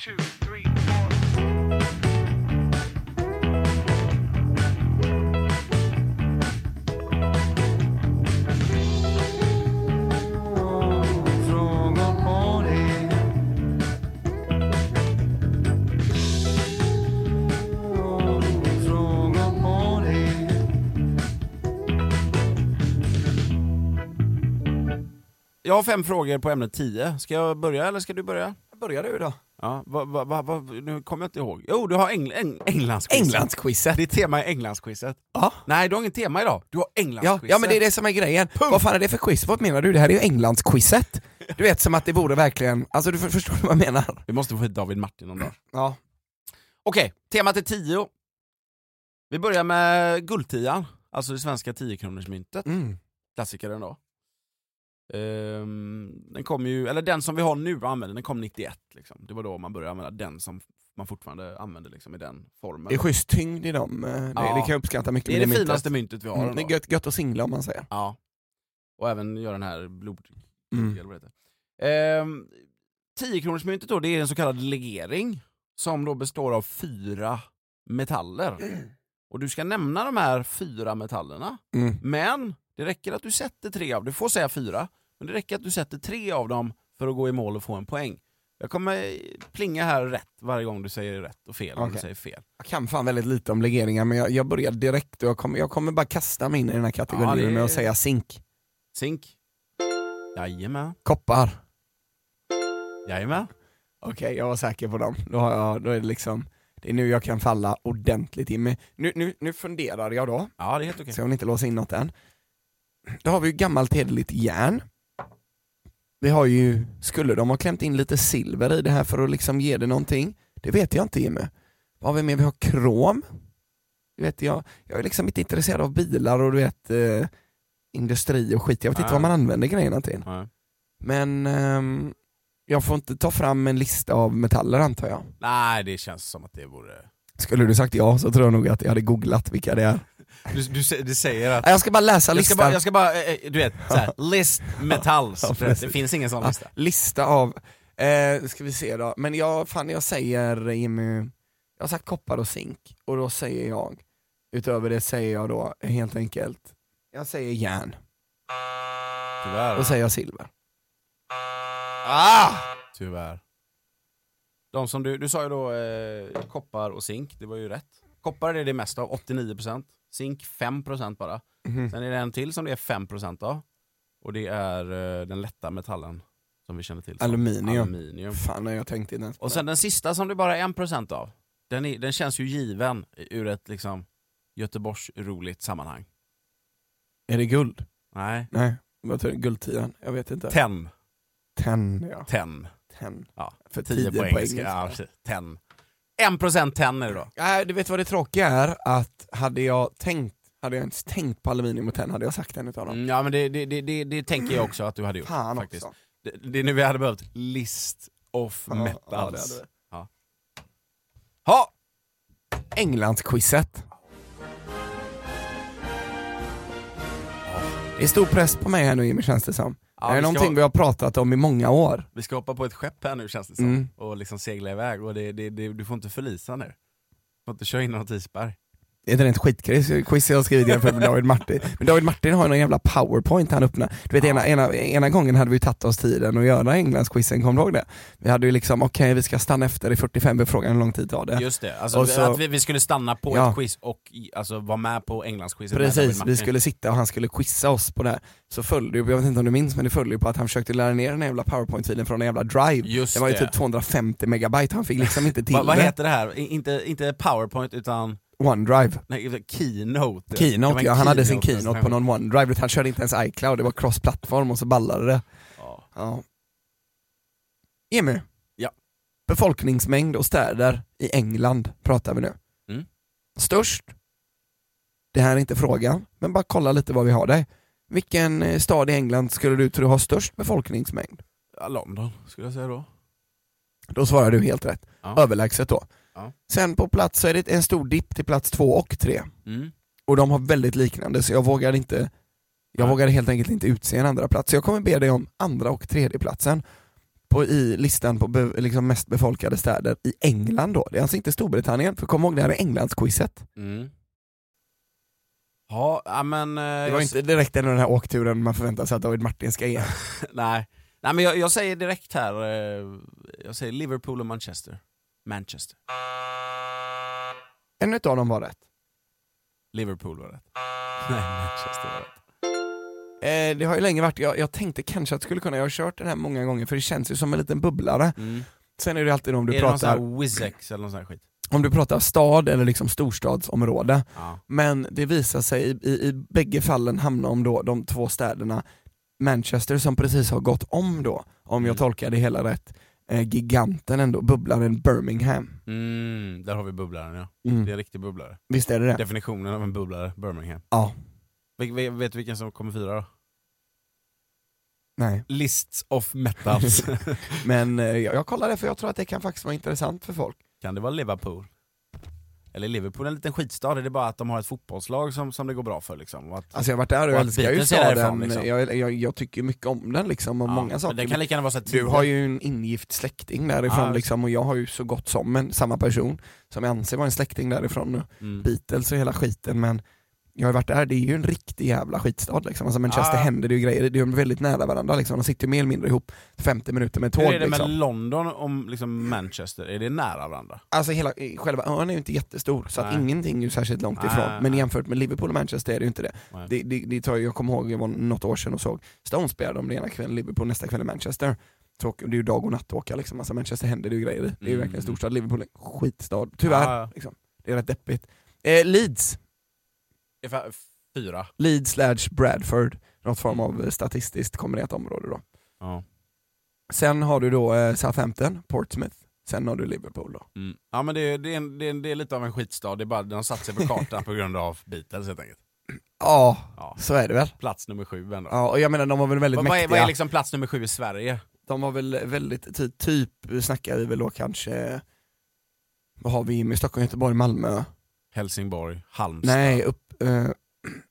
Speaker 3: Jag har fem frågor på ämnet 10. Ska jag börja eller ska du börja?
Speaker 2: Börjar du då?
Speaker 3: Ja, va, va, va, va, nu kommer jag inte ihåg. Jo, du har Engl Eng Englandsquizet.
Speaker 2: Englandsquizet!
Speaker 3: Ditt tema är Englandsquizet.
Speaker 2: Ja.
Speaker 3: Nej, du har inget tema idag. Du har
Speaker 2: Ja,
Speaker 3: Englandsquizet.
Speaker 2: ja men det är det som är grejen. Vad fan är det för quiz? Vad menar du? Det här är ju Englandsquizet. Du vet som att det vore verkligen, alltså du för- förstår vad jag menar?
Speaker 3: Vi måste få hit David Martin någon dag.
Speaker 2: Ja.
Speaker 3: Okej, temat är 10. Vi börjar med guldtian, alltså det svenska 10-kronorsmyntet.
Speaker 2: Mm.
Speaker 3: Klassiker ändå. Ehm, den kom ju, eller den som vi har nu använder, den kom 91. Liksom. Det var då man började använda den som man fortfarande använder liksom, i den formen.
Speaker 2: Det är schysst tyngd i dem, eh, det,
Speaker 3: Ja.
Speaker 2: det kan jag uppskatta mycket
Speaker 3: Det är
Speaker 2: med
Speaker 3: det
Speaker 2: myntet.
Speaker 3: finaste myntet vi har.
Speaker 2: Mm, det
Speaker 3: ändå.
Speaker 2: är gött, gött att singla om man säger.
Speaker 3: Ja. Och även göra den här blod...
Speaker 2: Mm.
Speaker 3: eller vad det heter. Ehm, 10-kronorsmyntet då, det är en så kallad legering som då består av fyra metaller. Och du ska nämna de här fyra metallerna,
Speaker 2: Mm.
Speaker 3: men det räcker att du sätter tre av, du får säga fyra, men det räcker att du sätter tre av dem för att gå i mål och få en poäng. Jag kommer plinga här rätt varje gång du säger rätt och fel om du
Speaker 2: Okej.
Speaker 3: säger fel.
Speaker 2: Jag kan fan väldigt lite om legeringar men jag, jag börjar direkt och jag kommer, jag kommer bara kasta mig in i den här kategorin
Speaker 3: Ja, det-
Speaker 2: med att säga zink,
Speaker 3: Zink. Jajamän.
Speaker 2: koppar.
Speaker 3: Jajamän.
Speaker 2: Okej, jag var säker på dem. Då, har jag, då är det liksom, det är nu jag kan falla ordentligt in. Men Nu, nu, nu funderar jag då,
Speaker 3: Ja, det är helt okej.
Speaker 2: se om ni inte låser in något än. Då har vi ju gammalt hederligt järn. Vi har ju, skulle de ha klämt in lite silver i det här för att liksom ge det någonting? Det vet jag inte Jimmy. Vad har vi mer? Vi har krom. Du vet, jag, jag är liksom inte intresserad av bilar och du vet eh, industri och skit. Jag vet inte
Speaker 3: Nej.
Speaker 2: vad man använder grejerna till.
Speaker 3: Nej.
Speaker 2: Men ehm, jag får inte ta fram en lista av metaller antar jag.
Speaker 3: Nej, det känns som att det vore...
Speaker 2: Skulle du sagt ja så tror jag nog att jag hade googlat vilka det är.
Speaker 3: Du, du, sä- du säger att...
Speaker 2: Nej, Jag ska bara läsa
Speaker 3: Jag ska
Speaker 2: listan.
Speaker 3: bara, jag ska bara eh, eh, du vet, så här, list metalls.
Speaker 2: Ja, precis.
Speaker 3: det finns ingen sån
Speaker 2: Ja,
Speaker 3: lista.
Speaker 2: lista av, eh, ska vi se då, men jag, fan jag säger Jimmy, jag har sagt koppar och zink och då säger jag, utöver det säger jag då helt enkelt, jag säger järn,
Speaker 3: Tyvärr.
Speaker 2: då säger jag silver.
Speaker 3: Ah! Tyvärr. De som du, du sa ju då eh, koppar och zink, det var ju rätt. Koppar är det mest av, 89%. Zink 5% bara.
Speaker 2: Mhm.
Speaker 3: Sen är det en till som det är 5% av. Och det är eh, den lätta metallen som vi känner till. som
Speaker 2: Aluminium.
Speaker 3: aluminium.
Speaker 2: Fan har jag tänkt inte ens på
Speaker 3: Och sen den sista som det bara är 1% av, den, är, den känns ju given ur ett liksom Göteborgs-roligt sammanhang.
Speaker 2: det. Är det guld?
Speaker 3: Nej.
Speaker 2: Nej, vad tror du? Guldtian? Jag vet inte.
Speaker 3: Ten.
Speaker 2: Ten, ja.
Speaker 3: Ten.
Speaker 2: Ten.
Speaker 3: Ja,
Speaker 2: För
Speaker 3: 10 på engelska. Ja, precis. ten. 1% ten är det då.
Speaker 2: Nej, Äh, du vet vad det tråkiga är? Att hade jag tänkt, hade jag ens tänkt på aluminium och tenn hade jag sagt en utav dem.
Speaker 3: Mm, Ja men det, det, det, det, det tänker jag också att du hade gjort.
Speaker 2: Fan
Speaker 3: faktiskt.
Speaker 2: också.
Speaker 3: Det, det är nu vi hade behövt list of
Speaker 2: Ja, ja, det hade
Speaker 3: metals.
Speaker 2: vi.
Speaker 3: Ja.
Speaker 2: Ha! Englandsquizet. Det är stor press på mig här nu Jimmy känns det som.
Speaker 3: Ja,
Speaker 2: det
Speaker 3: vi
Speaker 2: är
Speaker 3: ska
Speaker 2: någonting
Speaker 3: ha-
Speaker 2: vi har pratat om i många år.
Speaker 3: Vi ska hoppa på ett skepp här nu känns det som,
Speaker 2: Mm.
Speaker 3: och liksom segla iväg. Och det, det, det, du får inte förlisa nu. Du får inte köra in i något isberg.
Speaker 2: Det är ett rent skitquiz quiz jag har skrivit jämfört med David Martin. Men David Martin har ju någon jävla powerpoint han öppnar. Du vet ena, ena, ena gången hade vi ju tagit oss tiden att göra Englandsquizen, kommer du ihåg det? Vi hade ju liksom, okej vi ska stanna efter i 45 frågan hur lång tid tar det?
Speaker 3: Just det, alltså,
Speaker 2: Och så-
Speaker 3: att vi, vi skulle stanna på
Speaker 2: Ja.
Speaker 3: ett quiz och i- alltså, vara med på Englandsquizet med David
Speaker 2: Precis,
Speaker 3: Martin.
Speaker 2: vi skulle sitta och han skulle quizza oss på det här. Så följde ju, jag vet inte om du minns, men det följde ju på att han försökte lära ner den här jävla powerpoint-filen från en jävla drive.
Speaker 3: Just
Speaker 2: det var ju
Speaker 3: det.
Speaker 2: typ 250 megabyte, han fick liksom inte till
Speaker 3: Va, vad
Speaker 2: det.
Speaker 3: heter det här? I- Inte, inte powerpoint utan
Speaker 2: OneDrive.
Speaker 3: nej, keynote. Det var
Speaker 2: Keynote,
Speaker 3: en alltså.
Speaker 2: ja, han hade sin
Speaker 3: nästan.
Speaker 2: keynote på någon OneDrive, han körde inte ens iCloud, det var cross-plattform och så ballade det.
Speaker 3: Ja.
Speaker 2: Ja. Emil.
Speaker 3: Ja.
Speaker 2: Befolkningsmängd och städer i England pratar vi nu.
Speaker 3: Mm.
Speaker 2: Störst. Det här är inte frågan, men bara kolla lite vad vi har där. Vilken eh, stad i England skulle du tro har störst befolkningsmängd?
Speaker 3: Ja, London skulle jag säga då.
Speaker 2: Då svarar du helt rätt.
Speaker 3: Ja.
Speaker 2: Överlägset då.
Speaker 3: Ja.
Speaker 2: Sen på plats så är det en stor dipp till plats två och tre.
Speaker 3: Mm.
Speaker 2: Och de har väldigt liknande så jag vågar inte jag
Speaker 3: Nej.
Speaker 2: vågar helt enkelt inte utse en andra plats. Så jag kommer be dig om andra och tredje platsen på, i listan på be, liksom mest befolkade städer i England då. Det är alltså inte Storbritannien, för kom ihåg det här är Englandsquizet.
Speaker 3: Mm. Ja, ja, men... eh,
Speaker 2: Det
Speaker 3: jag
Speaker 2: var ju
Speaker 3: s-
Speaker 2: inte direkt en av den här åkturen man förväntar sig att David Martin ska ge.
Speaker 3: Nej, nej men jag, jag säger direkt här, eh, jag säger Liverpool och Manchester. Manchester.
Speaker 2: En utav dem var rätt.
Speaker 3: Liverpool var rätt. Nej, Manchester var rätt.
Speaker 2: Eh, det har ju länge varit, jag, jag tänkte kanske att skulle kunna, jag har kört den här många gånger för det känns ju som en liten bubblare.
Speaker 3: Mm.
Speaker 2: Sen är det alltid om
Speaker 3: Du
Speaker 2: du,
Speaker 3: är pratar... det någon sån
Speaker 2: pratar,
Speaker 3: här Wizex eller någon sån här skit?
Speaker 2: om du pratar stad eller liksom storstadsområde.
Speaker 3: Ja.
Speaker 2: Men det visar sig i, i, i bägge fallen hamna om då de två städerna Manchester som precis har gått om då, om jag
Speaker 3: Mm.
Speaker 2: tolkar det hela rätt, eh, giganten ändå, bubblaren Birmingham.
Speaker 3: Mm, där har vi bubblaren ja.
Speaker 2: Mm.
Speaker 3: Det är en riktig bubblare.
Speaker 2: Visst är det det?
Speaker 3: Definitionen av en bubblare, Birmingham.
Speaker 2: Ja.
Speaker 3: Vil- vil- vet du vilken som kommer fyra då?
Speaker 2: Nej.
Speaker 3: Lists of metals.
Speaker 2: Men eh, jag, jag kollar det för jag tror att det kan faktiskt vara intressant för folk.
Speaker 3: kan det vara Liverpool? eller Liverpool är en liten skitstad, det är bara att de har ett fotbollslag som, som det går bra för. Liksom. Och att,
Speaker 2: Alltså jag har varit där och
Speaker 3: Och
Speaker 2: jag
Speaker 3: att
Speaker 2: älskar ju
Speaker 3: Beatles är därifrån,
Speaker 2: staden,
Speaker 3: liksom.
Speaker 2: jag, jag, jag tycker mycket om den liksom, och
Speaker 3: Ja,
Speaker 2: många
Speaker 3: men
Speaker 2: saker.
Speaker 3: Det kan lika gärna vara så att
Speaker 2: Du har ju en ingift släkting därifrån
Speaker 3: Ja.
Speaker 2: liksom, och jag har ju så gott som en, samma person som jag anser vara en släkting därifrån nu.
Speaker 3: Mm.
Speaker 2: Beatles och hela skiten men jag har ju varit där, det är ju en riktig jävla skitstad liksom. Alltså Manchester
Speaker 3: Ja, ja.
Speaker 2: händer det ju grejer, det är ju väldigt nära varandra liksom. De sitter ju mer eller mindre ihop 50 minuter med tåg
Speaker 3: Hur är det med
Speaker 2: liksom.
Speaker 3: London och liksom Manchester? Är det nära varandra?
Speaker 2: Alltså hela, eh, själva ön är ju inte jättestor så att
Speaker 3: Nej.
Speaker 2: ingenting är ju särskilt långt
Speaker 3: Nej,
Speaker 2: ifrån.
Speaker 3: nej,
Speaker 2: Men
Speaker 3: nej.
Speaker 2: jämfört med Liverpool och Manchester är det ju inte det.
Speaker 3: Nej.
Speaker 2: det, det, det tar, ju- jag kommer ihåg, jag var något år sedan och såg Stones spelade de det ena kvällen i Liverpool, nästa kväll i Manchester. Tråk, det är ju dag och natt att åka liksom. Alltså Manchester händer det ju grejer i. Det är ju
Speaker 3: Mm.
Speaker 2: verkligen en storstad. Liverpool är en skitstad, tyvärr.
Speaker 3: Ja, ja.
Speaker 2: Liksom. Det är rätt deppigt. Eh, Leeds,
Speaker 3: Ungefär fyra.
Speaker 2: Leeds slash Bradford, något form av eh, statistiskt kombinerat område då.
Speaker 3: Ja.
Speaker 2: Sen har du då eh, Southampton, Portsmouth, sen har du Liverpool då.
Speaker 3: Mm. Ja, men det, det, är en, det, är en, det är lite av en skitstad, det är bara de satt sig på kartan på grund av Beatles helt enkelt.
Speaker 2: Ja,
Speaker 3: Ja.
Speaker 2: så är det väl.
Speaker 3: Plats nummer sju ändå.
Speaker 2: Ja, och jag menar de var väl väldigt
Speaker 3: Vad, vad,
Speaker 2: mäktiga.
Speaker 3: är, vad är liksom plats nummer sju i Sverige?
Speaker 2: De var väl väldigt, ty, typ snackar vi väl då kanske, eh, vad har vi med Stockholm, Göteborg, Malmö?
Speaker 3: Helsingborg, Halmstad,
Speaker 2: Nej, upp, eh,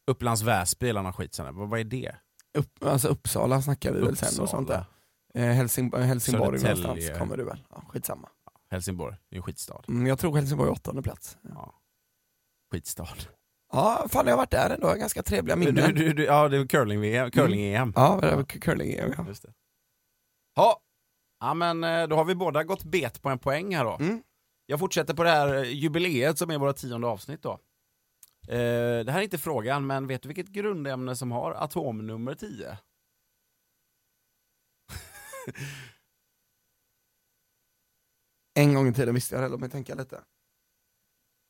Speaker 3: Upplands Väsby eller någon skit sån där. Vad, vad är det?
Speaker 2: upp, alltså Uppsala snackar vi väl sen
Speaker 3: Uppsala,
Speaker 2: och sånt där. Eh, Helsing, eh, Helsingborg
Speaker 3: Södertälje.
Speaker 2: någonstans kommer du väl? Ja, skitsamma.
Speaker 3: Helsingborg, det är en skitstad.
Speaker 2: Mm, jag tror Helsingborg är åttonde plats.
Speaker 3: Skitstad.
Speaker 2: Ja, fan jag har varit där ändå, jag har ganska trevliga
Speaker 3: Du,
Speaker 2: minnen.
Speaker 3: du, du, ja, det är curling-VM. Curling
Speaker 2: Ja, det var curling ja.
Speaker 3: Just det. Ja. ja, men eh, då har vi båda gått bet på en poäng här då.
Speaker 2: Mm.
Speaker 3: Jag fortsätter på det här eh, jubileet som är våra tionde avsnitt då. Eh, Det här är inte frågan, men vet du vilket grundämne som har atomnummer 10?
Speaker 2: En gång i tiden visste jag det, låt mig tänka lite.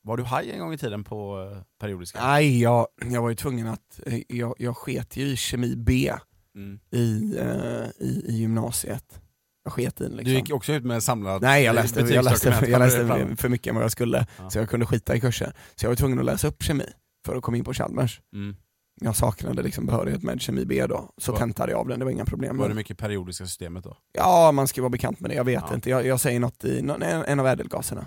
Speaker 3: Var du haj en gång i tiden på eh, periodiska?
Speaker 2: Nej, jag, jag var ju tvungen att, eh, jag, jag sket ju i kemi B
Speaker 3: Mm.
Speaker 2: i, eh, i, i gymnasiet. Jag sket i den, liksom.
Speaker 3: Du gick också ut med en samlad
Speaker 2: Nej jag läste, jag läste,
Speaker 3: betygsdokument.
Speaker 2: jag läste för mycket än vad jag skulle,
Speaker 3: Ja.
Speaker 2: så jag kunde skita i kurser. Så jag var tvungen att läsa upp kemi för att komma in på Chalmers.
Speaker 3: Mm.
Speaker 2: Jag saknade liksom behörighet med kemi B då, så
Speaker 3: Var-
Speaker 2: tentade jag av den, det var inga problem.
Speaker 3: Var det mycket periodiska systemet då?
Speaker 2: Ja, man ska vara bekant med det, jag vet
Speaker 3: Ja.
Speaker 2: inte. Jag, jag säger något i någon, en, en av ädelgaserna.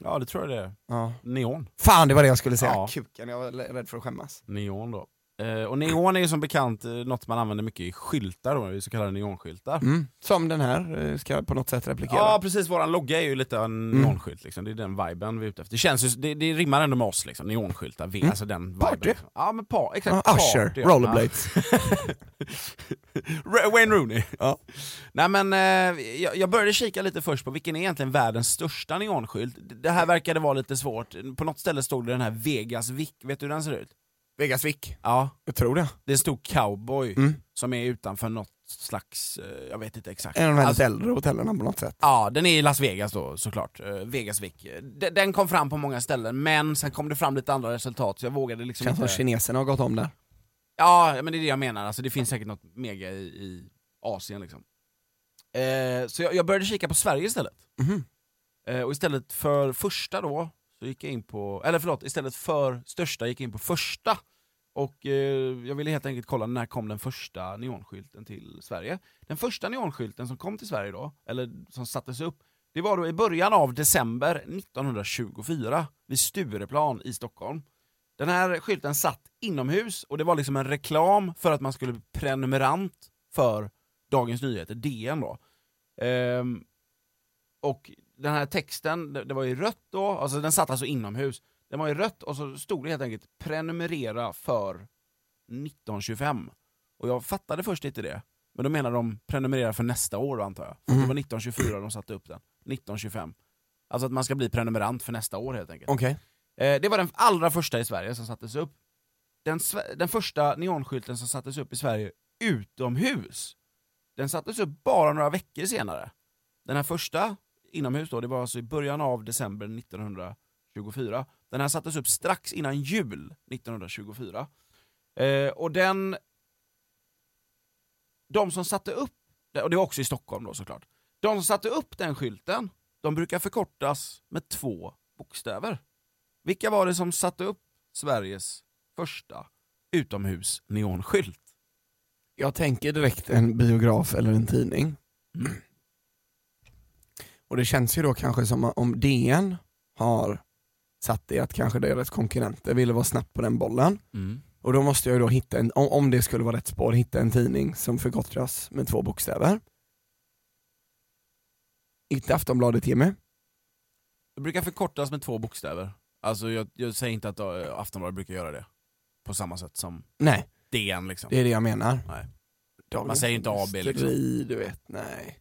Speaker 3: Ja, det tror jag det är.
Speaker 2: Ja.
Speaker 3: Neon.
Speaker 2: Fan, det var det jag skulle säga.
Speaker 3: Ja.
Speaker 2: Kuken, jag var rädd för att skämmas.
Speaker 3: Neon då. Eh, och neon är ju som bekant eh, något man använder mycket i skyltar, då, så kallade neonskyltar.
Speaker 2: Mm. Som den här eh, ska på något sätt replikera.
Speaker 3: Ja precis, våran logga är ju lite en
Speaker 2: Mm.
Speaker 3: neonskylt liksom. det är den viben vi är ute efter. Det, känns ju, det, det rimmar ändå med oss liksom, neonskyltar, vi, alltså den viben.
Speaker 2: Mm. Party.
Speaker 3: liksom. Ja men par, exakt,
Speaker 2: Ja, Ah, Usher,
Speaker 3: party, ja.
Speaker 2: rollerblades.
Speaker 3: Ra- Wayne Rooney.
Speaker 2: Ja.
Speaker 3: Nej men eh, jag, jag började kika lite först på vilken är egentligen världens största neonskylt? Det- Det här verkade vara lite svårt, på något ställe stod det den här Vegas Vic, vet du hur den ser ut?
Speaker 2: Vegas Vick.
Speaker 3: Ja,
Speaker 2: Jag tror det.
Speaker 3: det stod cowboy
Speaker 2: Mm.
Speaker 3: som är utanför något slags, eh, jag vet inte exakt.
Speaker 2: En av de väldigt
Speaker 3: Alltså-
Speaker 2: äldre hotellen på något sätt.
Speaker 3: Ja, den är i Las Vegas då såklart, eh, Vegas Vic. De- Den kom fram på många ställen, men sen kom det fram lite andra resultat så jag vågade liksom
Speaker 2: Känns som
Speaker 3: inte...
Speaker 2: kineserna har gått om där.
Speaker 3: Ja, men det är det jag menar, alltså, det finns säkert något mega i, i Asien liksom. Eh, så jag, jag började kika på Sverige istället.
Speaker 2: Mhm.
Speaker 3: Eh, och istället för första då, så gick jag in på, eller förlåt, istället för största gick jag in på första. Och eh, jag ville helt enkelt kolla när kom den första neonskylten till Sverige. Den första neonskylten som kom till Sverige då, eller som sattes upp, det var då i början av december 1924 vid Stureplan i Stockholm. Den här skylten satt inomhus och det var liksom en reklam för att man skulle bli prenumerant för Dagens Nyheter, DN då. Ehm, och den här texten, det, det var i rött då, alltså den satt alltså inomhus. Den var i rött och så stod det helt enkelt prenumerera för 1925. Och jag fattade först inte det. Men då menar de prenumerera för nästa år då, antar jag. För
Speaker 2: Mm.
Speaker 3: Det var 1924 de satte upp den. 1925. Alltså att man ska bli prenumerant för nästa år helt enkelt.
Speaker 2: Okej.
Speaker 3: Eh, det var den allra första i Sverige som sattes upp. Den, sve- den första neonskylten som sattes upp i Sverige utomhus, den sattes upp bara några veckor senare. Den här första inomhus då, det var alltså i början av december 1924. Den här sattes upp strax innan jul 1924. Eh, och den... De som satte upp, och det var också i Stockholm då såklart, de som satte upp den skylten, de brukar förkortas med två bokstäver. Vilka var det som satte upp Sveriges första utomhus neonskylt?
Speaker 2: Jag tänker direkt en biograf eller en tidning.
Speaker 3: Mm.
Speaker 2: Och det känns ju då kanske som om DN har satt i att kanske deras konkurrenter ville vara snabbt på den bollen.
Speaker 3: Mm.
Speaker 2: Och då måste jag ju då hitta, en, om, om det skulle vara rätt spår, hitta en tidning som förkortas med två bokstäver. Inte Aftonbladet Jimmy.
Speaker 3: Det brukar förkortas med två bokstäver. Alltså jag, jag säger inte att eh, Aftonbladet brukar göra det. På samma sätt som
Speaker 2: Nej,
Speaker 3: DN liksom.
Speaker 2: det är det jag menar.
Speaker 3: Nej.
Speaker 2: Dagens
Speaker 3: Man säger inte AB, liksom.
Speaker 2: Industri, du vet, nej.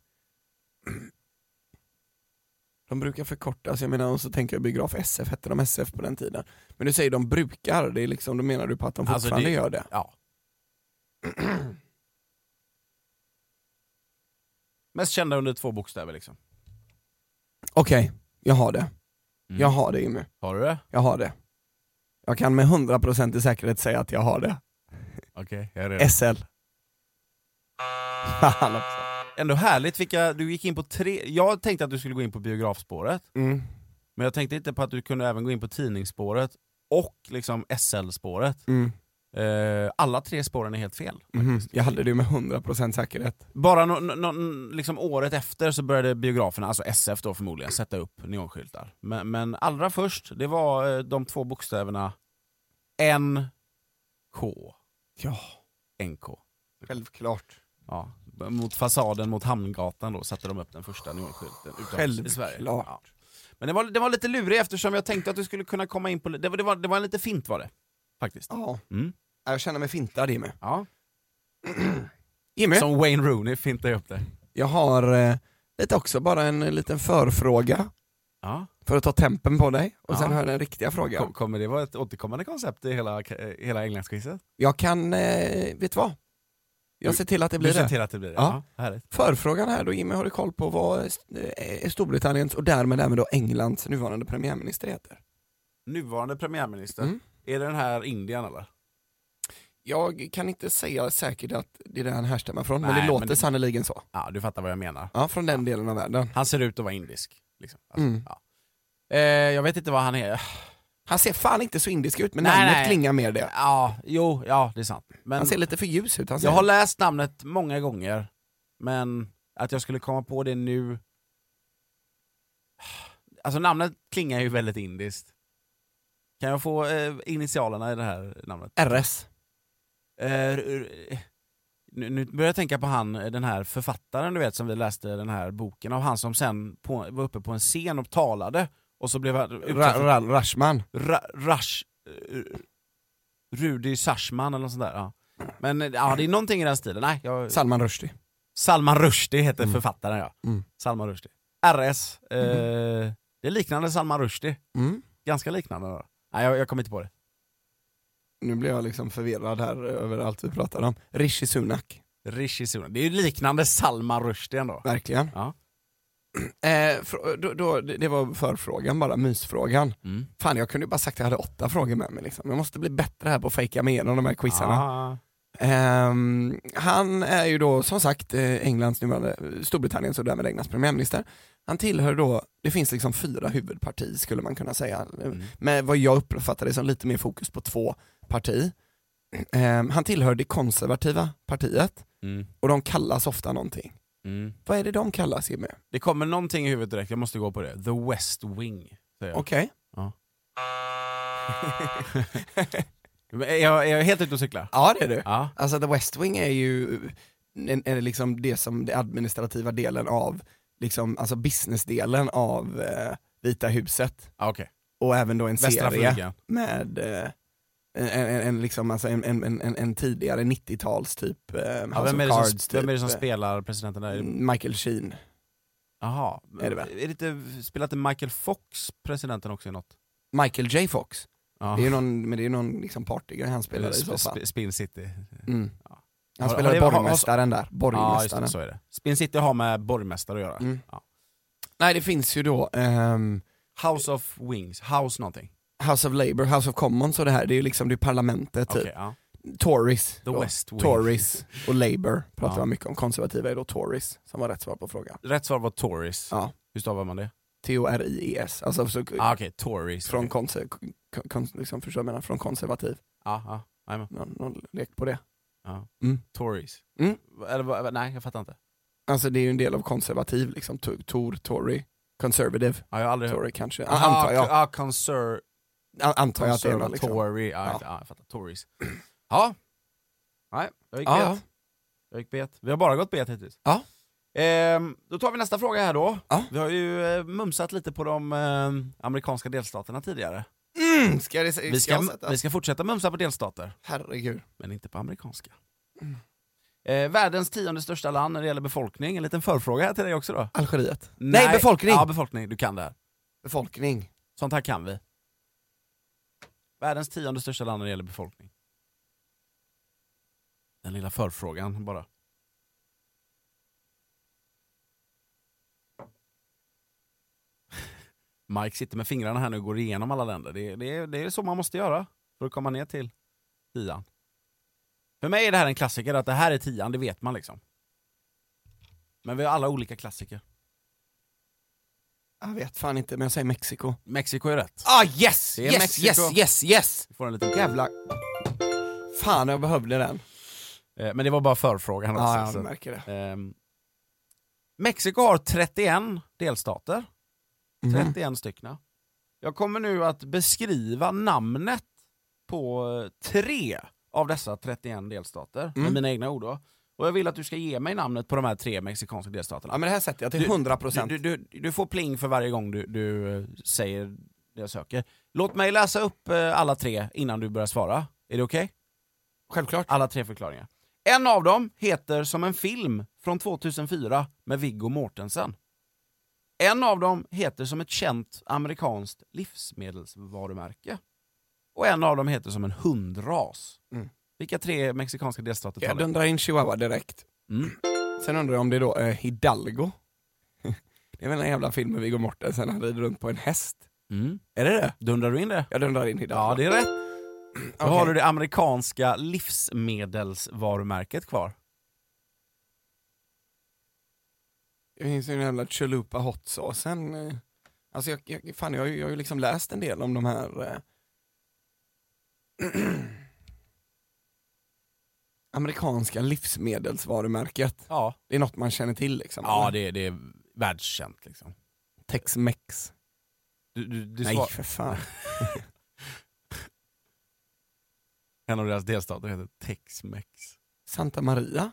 Speaker 2: De brukar förkortas, jag menar och så tänker jag biograf SF, hette de SF på den tiden? Men du säger de brukar, det är liksom, då menar du på att de
Speaker 3: Alltså,
Speaker 2: fortfarande
Speaker 3: det-
Speaker 2: gör det?
Speaker 3: Ja. Mest kända under två bokstäver liksom.
Speaker 2: Okej, jag har det.
Speaker 3: Mm.
Speaker 2: Jag har det Jimmy,
Speaker 3: Har du det?
Speaker 2: jag har det. Jag kan med 100% i säkerhet säga att jag har det.
Speaker 3: Okej, jag är redo.
Speaker 2: SL. Fan också.
Speaker 3: Ändå härligt vilka, du gick in på tre, jag tänkte att du skulle gå in på biografspåret,
Speaker 2: Mm.
Speaker 3: men jag tänkte inte på att du kunde även gå in på tidningsspåret och liksom SL-spåret.
Speaker 2: Mm.
Speaker 3: Eh, alla tre spåren är helt fel.
Speaker 2: Mhm. Jag hade det med 100% säkerhet.
Speaker 3: Bara no, no, no, liksom året efter så började biograferna, alltså SF då förmodligen, sätta upp neonskyltar. Men, men allra först, det var eh, de två bokstäverna NK.
Speaker 2: Ja,
Speaker 3: NK.
Speaker 2: självklart.
Speaker 3: Ja, mot fasaden mot Hamngatan då satte de upp den första neonskylten utomhus i Sverige.
Speaker 2: Självklart.
Speaker 3: Ja. Men den var, den var lite lurig eftersom jag tänkte att du skulle kunna komma in på... Det var, det var, det var en lite fint var det. Faktiskt.
Speaker 2: Ja,
Speaker 3: Mm.
Speaker 2: jag känner mig fintad Jimmy.
Speaker 3: Ja.
Speaker 2: Jimmy?
Speaker 3: Som Wayne Rooney fintade upp det.
Speaker 2: Jag har eh, lite också bara en eh, liten förfråga
Speaker 3: Ja.
Speaker 2: för att ta tempen på dig och sen
Speaker 3: Ja.
Speaker 2: har jag den riktiga
Speaker 3: Kom-
Speaker 2: frågan.
Speaker 3: Kommer det vara ett återkommande koncept i hela, eh, hela Englandsquizet?
Speaker 2: Jag kan, eh, vet du vad? Jag
Speaker 3: Du-
Speaker 2: ser till att det
Speaker 3: Du
Speaker 2: blir
Speaker 3: ser
Speaker 2: det.
Speaker 3: till att det blir det?
Speaker 2: Ja.
Speaker 3: ja härligt.
Speaker 2: Förfrågan här då, Jimmy, har du koll på vad eh, Storbritanniens och därmed även då Englands nuvarande premiärminister heter?
Speaker 3: Nuvarande premiärminister,
Speaker 2: Mm.
Speaker 3: är det den här Indien eller?
Speaker 2: Jag kan inte säga säkert att det är där han härstammar från, men
Speaker 3: Nej,
Speaker 2: det
Speaker 3: men
Speaker 2: låter
Speaker 3: det-
Speaker 2: sannerligen så.
Speaker 3: Ja, du fattar vad jag menar.
Speaker 2: Ja, från den delen av världen.
Speaker 3: Han ser ut att vara indisk. Liksom. Alltså,
Speaker 2: Mm.
Speaker 3: ja. eh, jag vet inte vad han är.
Speaker 2: Han ser fan inte så indisk ut, men
Speaker 3: Nej,
Speaker 2: namnet
Speaker 3: nej.
Speaker 2: klingar mer det.
Speaker 3: Ja, jo, ja det är sant. Men
Speaker 2: Han ser lite för ljus ut. Han ser...
Speaker 3: jag har läst namnet många gånger, men att jag skulle komma på det nu... Alltså namnet klingar ju väldigt indiskt. Kan jag få eh, initialerna i det här namnet?
Speaker 2: RS.
Speaker 3: Eh, r- r- nu, nu börjar jag tänka på han, eh, den här författaren du vet som vi läste den här boken av, han som sen på, var uppe på en scen och talade och så blev han...
Speaker 2: Ra-
Speaker 3: Ra,
Speaker 2: Ra- Rashman.
Speaker 3: Rash... eh, Rudi Sashman eller något sånt där. Ja. Men eh, ja, det är någonting i den stilen. Nej, jag,
Speaker 2: Salman Rushdie.
Speaker 3: Salman Rushdie heter
Speaker 2: Mm.
Speaker 3: författaren ja.
Speaker 2: Mm.
Speaker 3: Salman Rushdie. RS. Eh, Det är liknande Salman Rushdie.
Speaker 2: Mm.
Speaker 3: Ganska liknande. Då. Nej, jag, jag kommer inte på det.
Speaker 2: nu blir jag liksom förvirrad här över allt vi pratar om. Rishi Sunak,
Speaker 3: Rishi Sunak. Det är ju liknande Salman Rushdie ändå.
Speaker 2: verkligen.
Speaker 3: Ja.
Speaker 2: Eh, fr- då, då, det det var förfrågan bara, mysfrågan.
Speaker 3: Mm.
Speaker 2: Fan jag kunde ju bara sagt att jag hade åtta frågor med mig liksom. Jag måste bli bättre här på att fejka mig igenom de här quizarna.
Speaker 3: Ah.
Speaker 2: Ehm, han är ju då som sagt eh, Englands nuvarande, Storbritanniens och därmed Englands premiärminister. Han tillhör då, det finns liksom fyra huvudparti skulle man kunna säga.
Speaker 3: Mm.
Speaker 2: Men vad jag uppfattar det som lite mer fokus på två parti. Ehm, han tillhör det konservativa partiet.
Speaker 3: Mm.
Speaker 2: och de kallas ofta någonting.
Speaker 3: Mm.
Speaker 2: Vad är det de kallas Jimmy?
Speaker 3: Det kommer någonting i huvudet direkt, jag måste gå på det. The West Wing. Säger jag.
Speaker 2: Okej.
Speaker 3: Men Är, jag, är jag helt ute och cyklar?
Speaker 2: Ja det är du.
Speaker 3: Ja.
Speaker 2: Alltså The West Wing är ju en, är det liksom det som den administrativa delen av, liksom, alltså businessdelen av eh, Vita huset.
Speaker 3: Ah, Okej.
Speaker 2: Och även då en
Speaker 3: Västra
Speaker 2: serie
Speaker 3: flugan.
Speaker 2: med eh, en, en, en, liksom, alltså en, en, en, en tidigare 90-tals typ, eh,
Speaker 3: Ja,
Speaker 2: House
Speaker 3: vem,
Speaker 2: of
Speaker 3: är det som,
Speaker 2: Cards typ.
Speaker 3: vem är det som
Speaker 2: eh,
Speaker 3: spelar presidenten där?
Speaker 2: Michael Sheen.
Speaker 3: Jaha.
Speaker 2: Är det väl?
Speaker 3: inte, spelar inte Michael Fox presidenten också i något?
Speaker 2: Michael J Fox.
Speaker 3: Ja.
Speaker 2: Det är ju någon, men det är ju någon liksom partygrej han spelar i så
Speaker 3: Sp-
Speaker 2: fall.
Speaker 3: sp- Spin City.
Speaker 2: Mm.
Speaker 3: Ja.
Speaker 2: Han
Speaker 3: Har-
Speaker 2: spelar
Speaker 3: har det- har- har-
Speaker 2: borgmästaren där,
Speaker 3: Ja, just
Speaker 2: borgmästaren.
Speaker 3: det, så är det. Spin City har med borgmästare att göra.
Speaker 2: Mm.
Speaker 3: Ja.
Speaker 2: Nej det finns ju då ehm,
Speaker 3: House of Wings, House någonting.
Speaker 2: House of Labour, House of Commons och det här, det är ju liksom det är parlamentet
Speaker 3: Okej,
Speaker 2: typ.
Speaker 3: ja.
Speaker 2: Tories.
Speaker 3: The
Speaker 2: då.
Speaker 3: West Wing.
Speaker 2: Tories och Labour pratar
Speaker 3: Ja.
Speaker 2: man mycket om, konservativa är då Tories som var rätt svar på frågan.
Speaker 3: Rätt svar var Tories.
Speaker 2: Ja.
Speaker 3: Hur stavar man det?
Speaker 2: T-O-R-I-E-S, alltså så,
Speaker 3: Ah, Okej, Tories.
Speaker 2: från,
Speaker 3: Okej.
Speaker 2: konser, kon, kon, liksom, förstår jag vad jag menar, från konservativ.
Speaker 3: Ja, ja. Jajamän.
Speaker 2: Någon, någon lek på det.
Speaker 3: ah. Ja.
Speaker 2: Mm.
Speaker 3: Tories.
Speaker 2: Mm.
Speaker 3: Eller, vad- nej, jag fattar inte.
Speaker 2: Alltså det är ju en del av konservativ liksom, Tor, Tor Tory, conservative,
Speaker 3: Ja, jag har aldrig hört.
Speaker 2: Tory kanske, antar jag.
Speaker 3: Ah, conser...
Speaker 2: An- antar jag att det är något, liksom.
Speaker 3: Conservatory, ja,
Speaker 2: Ja.
Speaker 3: ja. jag fattar, Tories. Ja. Nej, jag gick
Speaker 2: Ja,
Speaker 3: bet.
Speaker 2: ja.
Speaker 3: Jag gick bet. Vi har bara gått bet hittills.
Speaker 2: Ja.
Speaker 3: Ehm, då tar vi nästa fråga här då.
Speaker 2: Ja.
Speaker 3: Vi har ju eh, mumsat lite på de ehm, amerikanska delstaterna tidigare.
Speaker 2: Mm, ska det, ska
Speaker 3: Vi
Speaker 2: jag
Speaker 3: ska,
Speaker 2: sätta?
Speaker 3: vi ska fortsätta mumsa på delstater,
Speaker 2: Herregud.
Speaker 3: men inte på amerikanska.
Speaker 2: Mm.
Speaker 3: Eh, världens tionde största land när det gäller befolkning. En liten förfråga här till dig också då.
Speaker 2: Algeriet. Nej, befolkning!
Speaker 3: Ja, befolkning. Du kan det här.
Speaker 2: Befolkning.
Speaker 3: Sånt här kan vi. Världens tionde största land när det gäller befolkning. Den lilla förfrågan bara. Mike sitter med fingrarna här nu och går igenom alla länder. Det, det, är- det är så man måste göra för att komma ner till tian. För mig är det här en klassiker, att det här är tian, det vet man liksom. Men vi har alla olika klassiker.
Speaker 2: Jag vet fan inte, men jag säger Mexiko.
Speaker 3: Mexiko är rätt.
Speaker 2: Ah yes!
Speaker 3: Det är
Speaker 2: Yes,
Speaker 3: Mexiko.
Speaker 2: yes, yes, yes!
Speaker 3: Vi får en liten
Speaker 2: Jävla... Fan, jag behövde den.
Speaker 3: Eh, Men det var bara förfrågan också.
Speaker 2: Ah, Ja,
Speaker 3: så-
Speaker 2: jag märker det.
Speaker 3: Ehm, Mexiko har 31 delstater.
Speaker 2: Mhm.
Speaker 3: 31 stycken. Jag kommer nu att beskriva namnet på eh, tre av dessa 31 delstater med
Speaker 2: Mm.
Speaker 3: mina egna ord. Då. Och jag vill att du ska ge mig namnet på de här tre mexikanska delstaterna.
Speaker 2: Ja men det här sätter jag till
Speaker 3: Du-
Speaker 2: 100%.
Speaker 3: Du, du, du, du får pling för varje gång du, du eh, säger det jag söker. Låt mig läsa upp eh, alla tre innan du börjar svara. Är det okej?
Speaker 2: Självklart.
Speaker 3: Alla tre förklaringar. En av dem heter som en film från 2004 med Viggo Mortensen. En av dem heter som ett känt amerikanskt livsmedelsvarumärke. Och en av dem heter som en hundras.
Speaker 2: Mm.
Speaker 3: Vilka tre mexikanska delstater
Speaker 2: Jag
Speaker 3: talar
Speaker 2: dundrar in chihuahua direkt.
Speaker 3: Mm.
Speaker 2: Sen undrar jag om det är då eh, Hidalgo. det är väl den jävla filmen Viggo Mortensen, han rider runt på en häst.
Speaker 3: Mm.
Speaker 2: Är det det?
Speaker 3: Dundrar du in det?
Speaker 2: Jag dundrar in Hidalgo.
Speaker 3: Ja, det är rätt. Då
Speaker 2: Okej.
Speaker 3: har du det amerikanska livsmedelsvarumärket kvar.
Speaker 2: Det finns ju den jävla chalupa hot saucen. eh. Alltså jag, jag, fan, jag, har ju- jag har ju liksom läst en del om de här eh, amerikanska livsmedelsvarumärket.
Speaker 3: Ja,
Speaker 2: Det är något man känner till liksom.
Speaker 3: ja
Speaker 2: eller?
Speaker 3: det, det är världskänt liksom.
Speaker 2: Tex-Mex.
Speaker 3: Du, du, du
Speaker 2: Nej
Speaker 3: svar-
Speaker 2: för fan.
Speaker 3: En av deras delstater heter Tex-Mex.
Speaker 2: Santa Maria?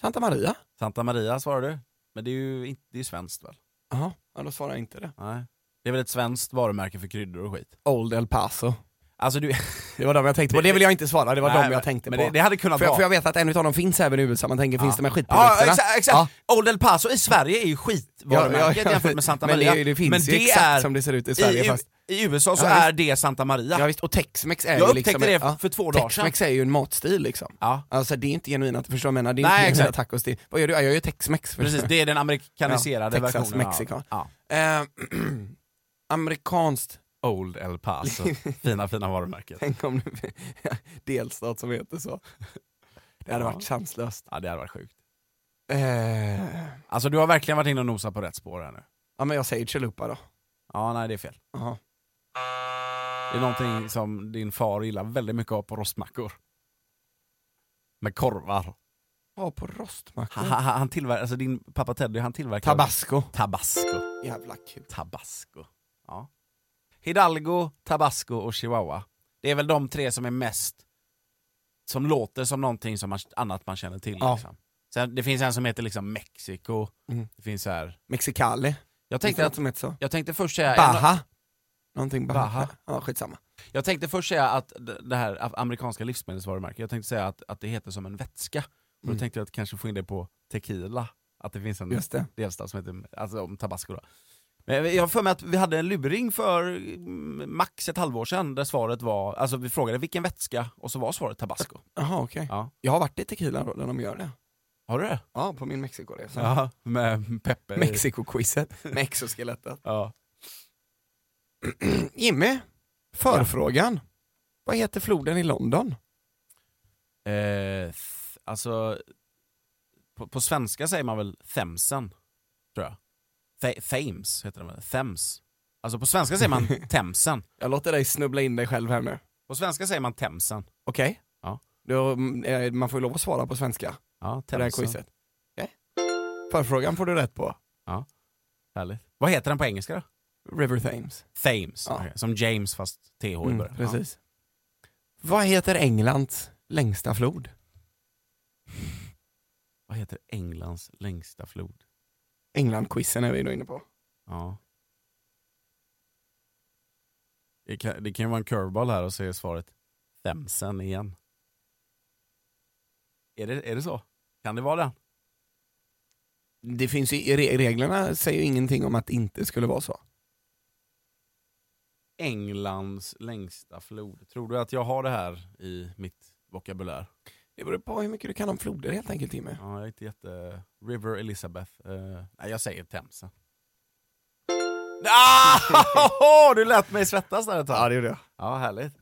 Speaker 2: Santa Maria?
Speaker 3: Santa Maria svarar du. Men det är ju inte, det är ju svenskt väl?
Speaker 2: Jaha, ja, då svarar jag inte det.
Speaker 3: Nej. Det är väl ett svenskt varumärke för kryddor och skit?
Speaker 2: Old El Paso.
Speaker 3: Alltså du...
Speaker 2: Det var de jag tänkte på, det vill jag inte svara, det var de jag tänkte
Speaker 3: men
Speaker 2: på.
Speaker 3: Det, det hade kunnat
Speaker 2: för, jag,
Speaker 3: vara.
Speaker 2: för jag vet att en utav dem finns även i USA, man tänker finns
Speaker 3: Ja.
Speaker 2: de här skitprodukterna?
Speaker 3: Ja exakt, exakt. Old El Paso i Sverige är ju skitvarumärket jämfört med Santa Maria.
Speaker 2: Men det, det finns
Speaker 3: Men
Speaker 2: ju
Speaker 3: det
Speaker 2: exakt
Speaker 3: är-
Speaker 2: som det ser ut i
Speaker 3: I,
Speaker 2: Sverige
Speaker 3: U-
Speaker 2: fast...
Speaker 3: I USA så
Speaker 2: Ja,
Speaker 3: är det Santa Maria.
Speaker 2: Ja, visst, och Tex-Mex är
Speaker 3: jag
Speaker 2: ju
Speaker 3: upptäckte
Speaker 2: liksom...
Speaker 3: det
Speaker 2: ja,
Speaker 3: för två dagar sedan.
Speaker 2: Tex-Mex är ju en matstil liksom.
Speaker 3: Ja,
Speaker 2: Alltså det är inte genuint, förstår du vad jag menar? Det är
Speaker 3: Nej,
Speaker 2: inte genuina
Speaker 3: exakt.
Speaker 2: tacos, det, vad gör du? Ja, Jag gör Tex-Mex. förstår
Speaker 3: precis.
Speaker 2: du?
Speaker 3: Det är den amerikaniserade
Speaker 2: Ja, Texas,
Speaker 3: versionen. av-
Speaker 2: Mexico.
Speaker 3: Ja.
Speaker 2: Eh, amerikanskt,
Speaker 3: Old El Paso. fina, fina varumärken.
Speaker 2: tänk om det delstat som heter så. Det hade
Speaker 3: Ja.
Speaker 2: varit sanslöst.
Speaker 3: Ja, det hade varit sjukt.
Speaker 2: Eh,
Speaker 3: Alltså du har verkligen varit inne och nosat på rätt spår här nu.
Speaker 2: ja men jag säger chalupa då.
Speaker 3: Ja, nej det är fel.
Speaker 2: Jaha.
Speaker 3: Det är någonting som din far gillar väldigt mycket att ha på rostmackor. Med
Speaker 2: Mm.
Speaker 3: korvar.
Speaker 2: Ja, på rostmackor.
Speaker 3: Han, han, han tillverkar, alltså din pappa Teddy han tillverkar...
Speaker 2: Tabasco.
Speaker 3: Tabasco.
Speaker 2: Jävla kul.
Speaker 3: Tabasco. Ja. Hidalgo, Tabasco och Chihuahua. Det är väl de tre som är mest, som låter som någonting som man, annat man känner till.
Speaker 2: Ja.
Speaker 3: Liksom. Sen, det finns en som heter liksom Mexiko.
Speaker 2: Mm.
Speaker 3: Det finns så här.
Speaker 2: Mexicali.
Speaker 3: Jag
Speaker 2: Tänkte
Speaker 3: tänkte,
Speaker 2: något
Speaker 3: att,
Speaker 2: som heter så.
Speaker 3: jag tänkte först säga... en-
Speaker 2: Baha. Någonting Baha.
Speaker 3: Baja.
Speaker 2: Ja, skitsamma.
Speaker 3: Jag tänkte först säga att d- det här af- amerikanska livsmedelsvarumärket, jag tänkte säga att, att det heter som en vätska. Och då
Speaker 2: Mm.
Speaker 3: tänkte jag att kanske få in det på tequila, att det finns en
Speaker 2: Just det.
Speaker 3: delstat som heter alltså, om tabasco. Då. Men jag har för mig att vi hade en luring för mm, max ett halvår sedan där svaret var, alltså vi frågade vilken vätska och så var svaret tabasco.
Speaker 2: Jaha, okej.
Speaker 3: Ja.
Speaker 2: Jag har varit i Tequila då, när de gör det.
Speaker 3: Har du det?
Speaker 2: Ja, på min Mexikoresa.
Speaker 3: Ja, eh. med pepper. i.
Speaker 2: Mexiko-quizet med exoskelettet.
Speaker 3: Ja.
Speaker 2: Jimmy, förfrågan. Vad heter floden i London?
Speaker 3: Eh, th- alltså, på, på svenska säger man väl Themsen, tror jag. Th- Thames heter den väl? Thames. Alltså på svenska säger man Themsen.
Speaker 2: Jag låter dig snubbla in dig själv här nu.
Speaker 3: På svenska säger man Themsen.
Speaker 2: Okej?
Speaker 3: Ja.
Speaker 2: Då, mm, eh, man får ju lov att svara på svenska
Speaker 3: Ja,
Speaker 2: på det här
Speaker 3: Themsen.
Speaker 2: quizet. Okej. Förfrågan får du rätt på.
Speaker 3: Härligt. Vad heter den på engelska då?
Speaker 2: River Thames.
Speaker 3: Thames,
Speaker 2: Ja.
Speaker 3: okej, som James fast TH i
Speaker 2: Mm,
Speaker 3: början. Ja.
Speaker 2: precis. Vad heter Englands längsta flod?
Speaker 3: Vad heter Englands längsta flod?
Speaker 2: England-quizen är vi då inne på.
Speaker 3: Ja. Det kan, det kan ju vara en curveball här och så är svaret Themsen igen. Är det, är det så? Kan det vara den?
Speaker 2: Det finns ju, re- reglerna säger ju ingenting om att det inte skulle vara så.
Speaker 3: Englands längsta flod. Tror du att jag har det här i mitt vokabulär?
Speaker 2: Det beror på hur mycket du kan om floder helt enkelt Timmy.
Speaker 3: Ja, jag är inte jätte... River Elizabeth. Eh, nej, jag säger Themsen. Ah! Du lät mig svettas där ett tag.
Speaker 2: gjorde jag.
Speaker 3: Ja, härligt.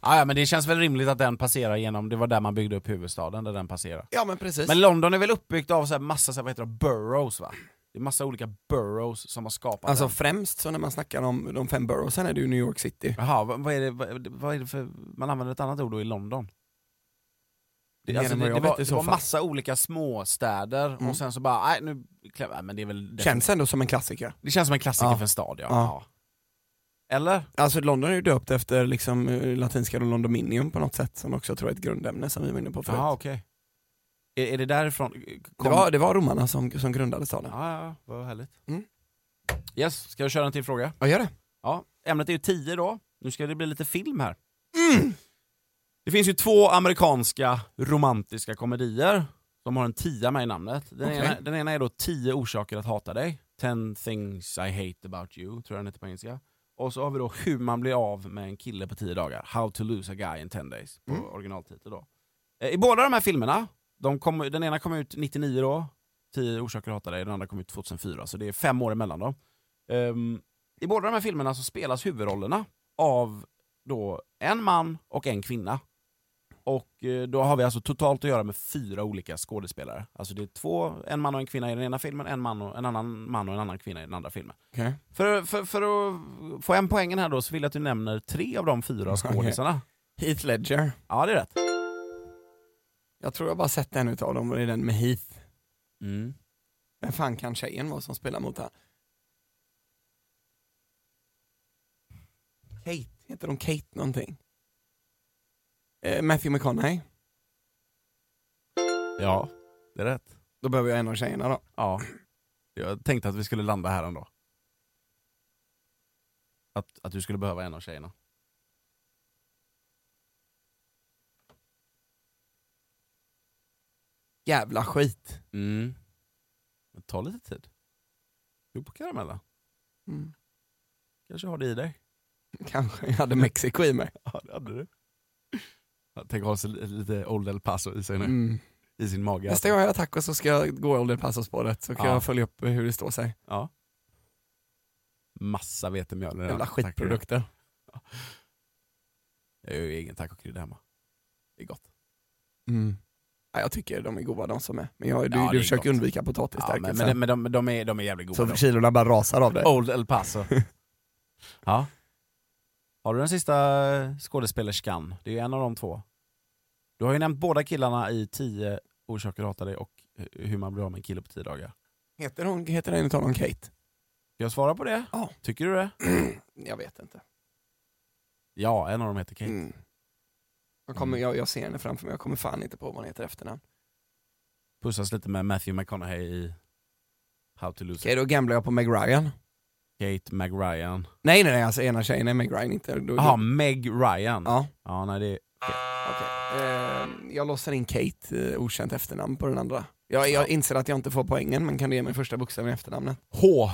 Speaker 3: Ah, ja, men det känns väl rimligt att den passerar genom, det var där man byggde upp huvudstaden, där den passerar.
Speaker 2: Ja men precis.
Speaker 3: Men London är väl uppbyggt av så här massa, så här, vad heter det, boroughs va? Det är massa olika boroughs som har skapat
Speaker 2: alltså
Speaker 3: den.
Speaker 2: främst så när man snackar om de fem boroughsen är det ju New York City.
Speaker 3: Jaha, vad, vad, är det, vad, vad är det för, man använder ett annat ord då i London?
Speaker 2: Det,
Speaker 3: Alltså, det,
Speaker 2: menar
Speaker 3: det,
Speaker 2: jag
Speaker 3: var,
Speaker 2: vet i
Speaker 3: det
Speaker 2: så
Speaker 3: var
Speaker 2: fall. Mm.
Speaker 3: massa olika småstäder och sen så bara, nej nu, klä- nej, men det är väl...
Speaker 2: Känns ändå som en klassiker.
Speaker 3: Det känns som en klassiker
Speaker 2: Ja.
Speaker 3: för en stad ja.
Speaker 2: Ja.
Speaker 3: ja. Eller?
Speaker 2: Alltså London är ju döpt efter liksom eh, latinska och Londominium på något sätt som också tror jag är ett grundämne som vi var inne på förut.
Speaker 3: Jaha okej. Är, är det därifrån?
Speaker 2: det,
Speaker 3: kom-
Speaker 2: var, det var romarna som, som grundade staden.
Speaker 3: Ja, ja, ja, vad härligt.
Speaker 2: Mm.
Speaker 3: Yes, ska jag köra en till fråga?
Speaker 2: Ja, gör det.
Speaker 3: Ja, ämnet är ju 10 då. Nu ska det bli lite film här.
Speaker 2: Mm.
Speaker 3: Det finns ju två amerikanska romantiska komedier som har en tia med i namnet. Den,
Speaker 2: Okej.
Speaker 3: ena, den ena är då 10 orsaker att hata dig. 10 things I hate about you, tror jag den heter på engelska. Och så har vi då hur man blir av med en kille på 10 dagar. How to lose a guy in 10 days, på
Speaker 2: Mm.
Speaker 3: originaltitel då. Eh, I båda de här filmerna, de kom, den ena kom ut 99 då, 10 orsaker att hata dig, den andra kom ut 2004, så det är fem år emellan då. Ehm, i båda de här filmerna så spelas huvudrollerna av då en man och en kvinna. Och eh, då har vi alltså totalt att göra med fyra olika skådespelare. Alltså det är två, en man och en kvinna i den ena filmen, en, man och, en annan man och en annan kvinna i den andra filmen.
Speaker 2: Okej.
Speaker 3: För, för, för att få en poängen här då så vill jag att du nämner tre av de fyra skådisarna.
Speaker 2: Heath Ledger.
Speaker 3: Ja, det är rätt.
Speaker 2: Jag tror jag bara sett en utav dem och det är den med Heath.
Speaker 3: Mm.
Speaker 2: Vem fan kan tjejen vara som spelar mot han? Kate, heter hon Kate någonting? Eh, Matthew McConaughey.
Speaker 3: Ja, det är rätt.
Speaker 2: Då behöver jag en av tjejerna då.
Speaker 3: Ja. Jag tänkte att vi skulle landa här ändå. Att, att du skulle behöva en av tjejerna.
Speaker 2: Jävla skit.
Speaker 3: Mm. Men ta lite tid. Jo, på karamellen.
Speaker 2: Mm.
Speaker 3: Kanske har det i dig.
Speaker 2: Kanske jag hade Mexiko i mig.
Speaker 3: Ja, det hade du. Tänk ha sig li- lite Old El Paso i sig nu.
Speaker 2: Mm.
Speaker 3: I sin mage.
Speaker 2: Nästa gång jag gör tacos så ska jag gå Older Passos-spåret så kan
Speaker 3: Ja.
Speaker 2: jag följa upp hur det står sig.
Speaker 3: Ja. Massa vetemjöl. i den.
Speaker 2: Jävla
Speaker 3: Tack för det.
Speaker 2: skitprodukter.
Speaker 3: Jag gör ju egen tacokrydda hemma. Det är gott.
Speaker 2: Mm. Ja, jag tycker de är goda de som är. Men jag, du,
Speaker 3: Ja, det
Speaker 2: du
Speaker 3: är
Speaker 2: försöker
Speaker 3: gott.
Speaker 2: undvika potatis
Speaker 3: Ja,
Speaker 2: där,
Speaker 3: men,
Speaker 2: Kilsen.
Speaker 3: men, men de, de, är, de är jävligt goda.
Speaker 2: Så
Speaker 3: de.
Speaker 2: kilorna bara rasar av dig.
Speaker 3: Old El Paso. ja. Har du den sista eh, skådespelerskan? Det är ju en av de två. Du har ju nämnt båda killarna i 10 orsaker att hata dig och hur man blir av med en kille på 10 dagar.
Speaker 2: Heter, hon, heter en utav dem Kate?
Speaker 3: Ska jag svara på det?
Speaker 2: Ja.
Speaker 3: Tycker du det?
Speaker 2: jag vet inte.
Speaker 3: Ja, en av dem heter Kate.
Speaker 2: Mm. Jag, kommer, jag, jag ser henne framför mig, jag kommer fan inte på vad hon heter i efternamn.
Speaker 3: Pussas lite med Matthew McConaughey i How to lose
Speaker 2: Okej, då gamblar jag på Meg Ryan.
Speaker 3: a Kate Mm. Meg Ryan.
Speaker 2: Nej, nej, nej, alltså ena tjejen är Meg Ryan inte. Då,
Speaker 3: Jaha, Meg Ryan.
Speaker 2: Ja,
Speaker 3: Ja, nej det är...
Speaker 2: okej. Eh, jag låtsar in Kate, eh, okänt efternamn på den andra. Jag, jag inser att jag inte får poängen, men kan du ge mig första bokstaven i efternamnet?
Speaker 3: H.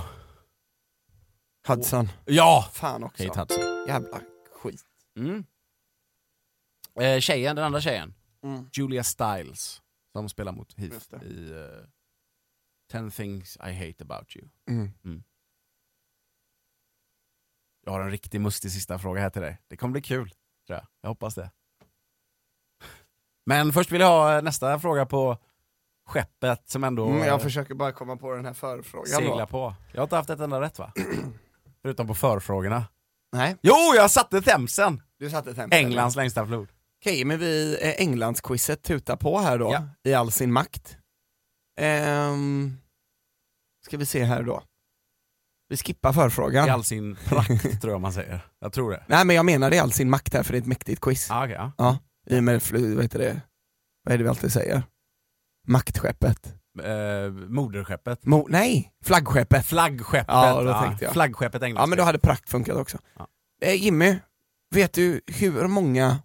Speaker 2: Hudson.
Speaker 3: Ja!
Speaker 2: Fan också.
Speaker 3: Kate Hudson.
Speaker 2: Jävla skit.
Speaker 3: Mm. Eh, tjejen, den andra tjejen.
Speaker 2: Mm.
Speaker 3: Julia Stiles. Som spelar mot
Speaker 2: Just
Speaker 3: Heath
Speaker 2: det.
Speaker 3: i eh, Ten things I hate about you.
Speaker 2: Mm.
Speaker 3: Jag har en riktig mustig sista fråga här till dig. Det kommer bli kul, tror jag. Jag hoppas det. Men först vill jag ha eh, nästa fråga på skeppet som ändå
Speaker 2: Mm,
Speaker 3: eh,
Speaker 2: jag försöker bara komma på den här förfrågan
Speaker 3: seglar
Speaker 2: då.
Speaker 3: på. Jag har inte haft ett enda rätt va? Förutom på förfrågorna.
Speaker 2: Nej,
Speaker 3: Jo, jag satte Themsen!
Speaker 2: du satte tempen.
Speaker 3: Englands längsta flod.
Speaker 2: Okej, men vi eh, Englandsquizet tutar på här då,
Speaker 3: Ja.
Speaker 2: i all sin makt. Ehm, ska vi se här då. Vi skippar förfrågan.
Speaker 3: I all sin prakt tror jag man säger. Jag tror det.
Speaker 2: Nej men jag menar det i all sin makt här för det är ett mäktigt quiz.
Speaker 3: Ah, okay, ja.
Speaker 2: I och med, fly- vad heter det, vad är det vi alltid säger? Maktskeppet.
Speaker 3: eh, moderskeppet. Eh,
Speaker 2: Mo- nej, flaggskeppet.
Speaker 3: Flaggskeppet. Ah,
Speaker 2: Ja, då tänkte jag.
Speaker 3: Flaggskeppet engelska.
Speaker 2: Ja men då hade prakt funkat också.
Speaker 3: Ja.
Speaker 2: Eh, Jimmy, vet du hur många...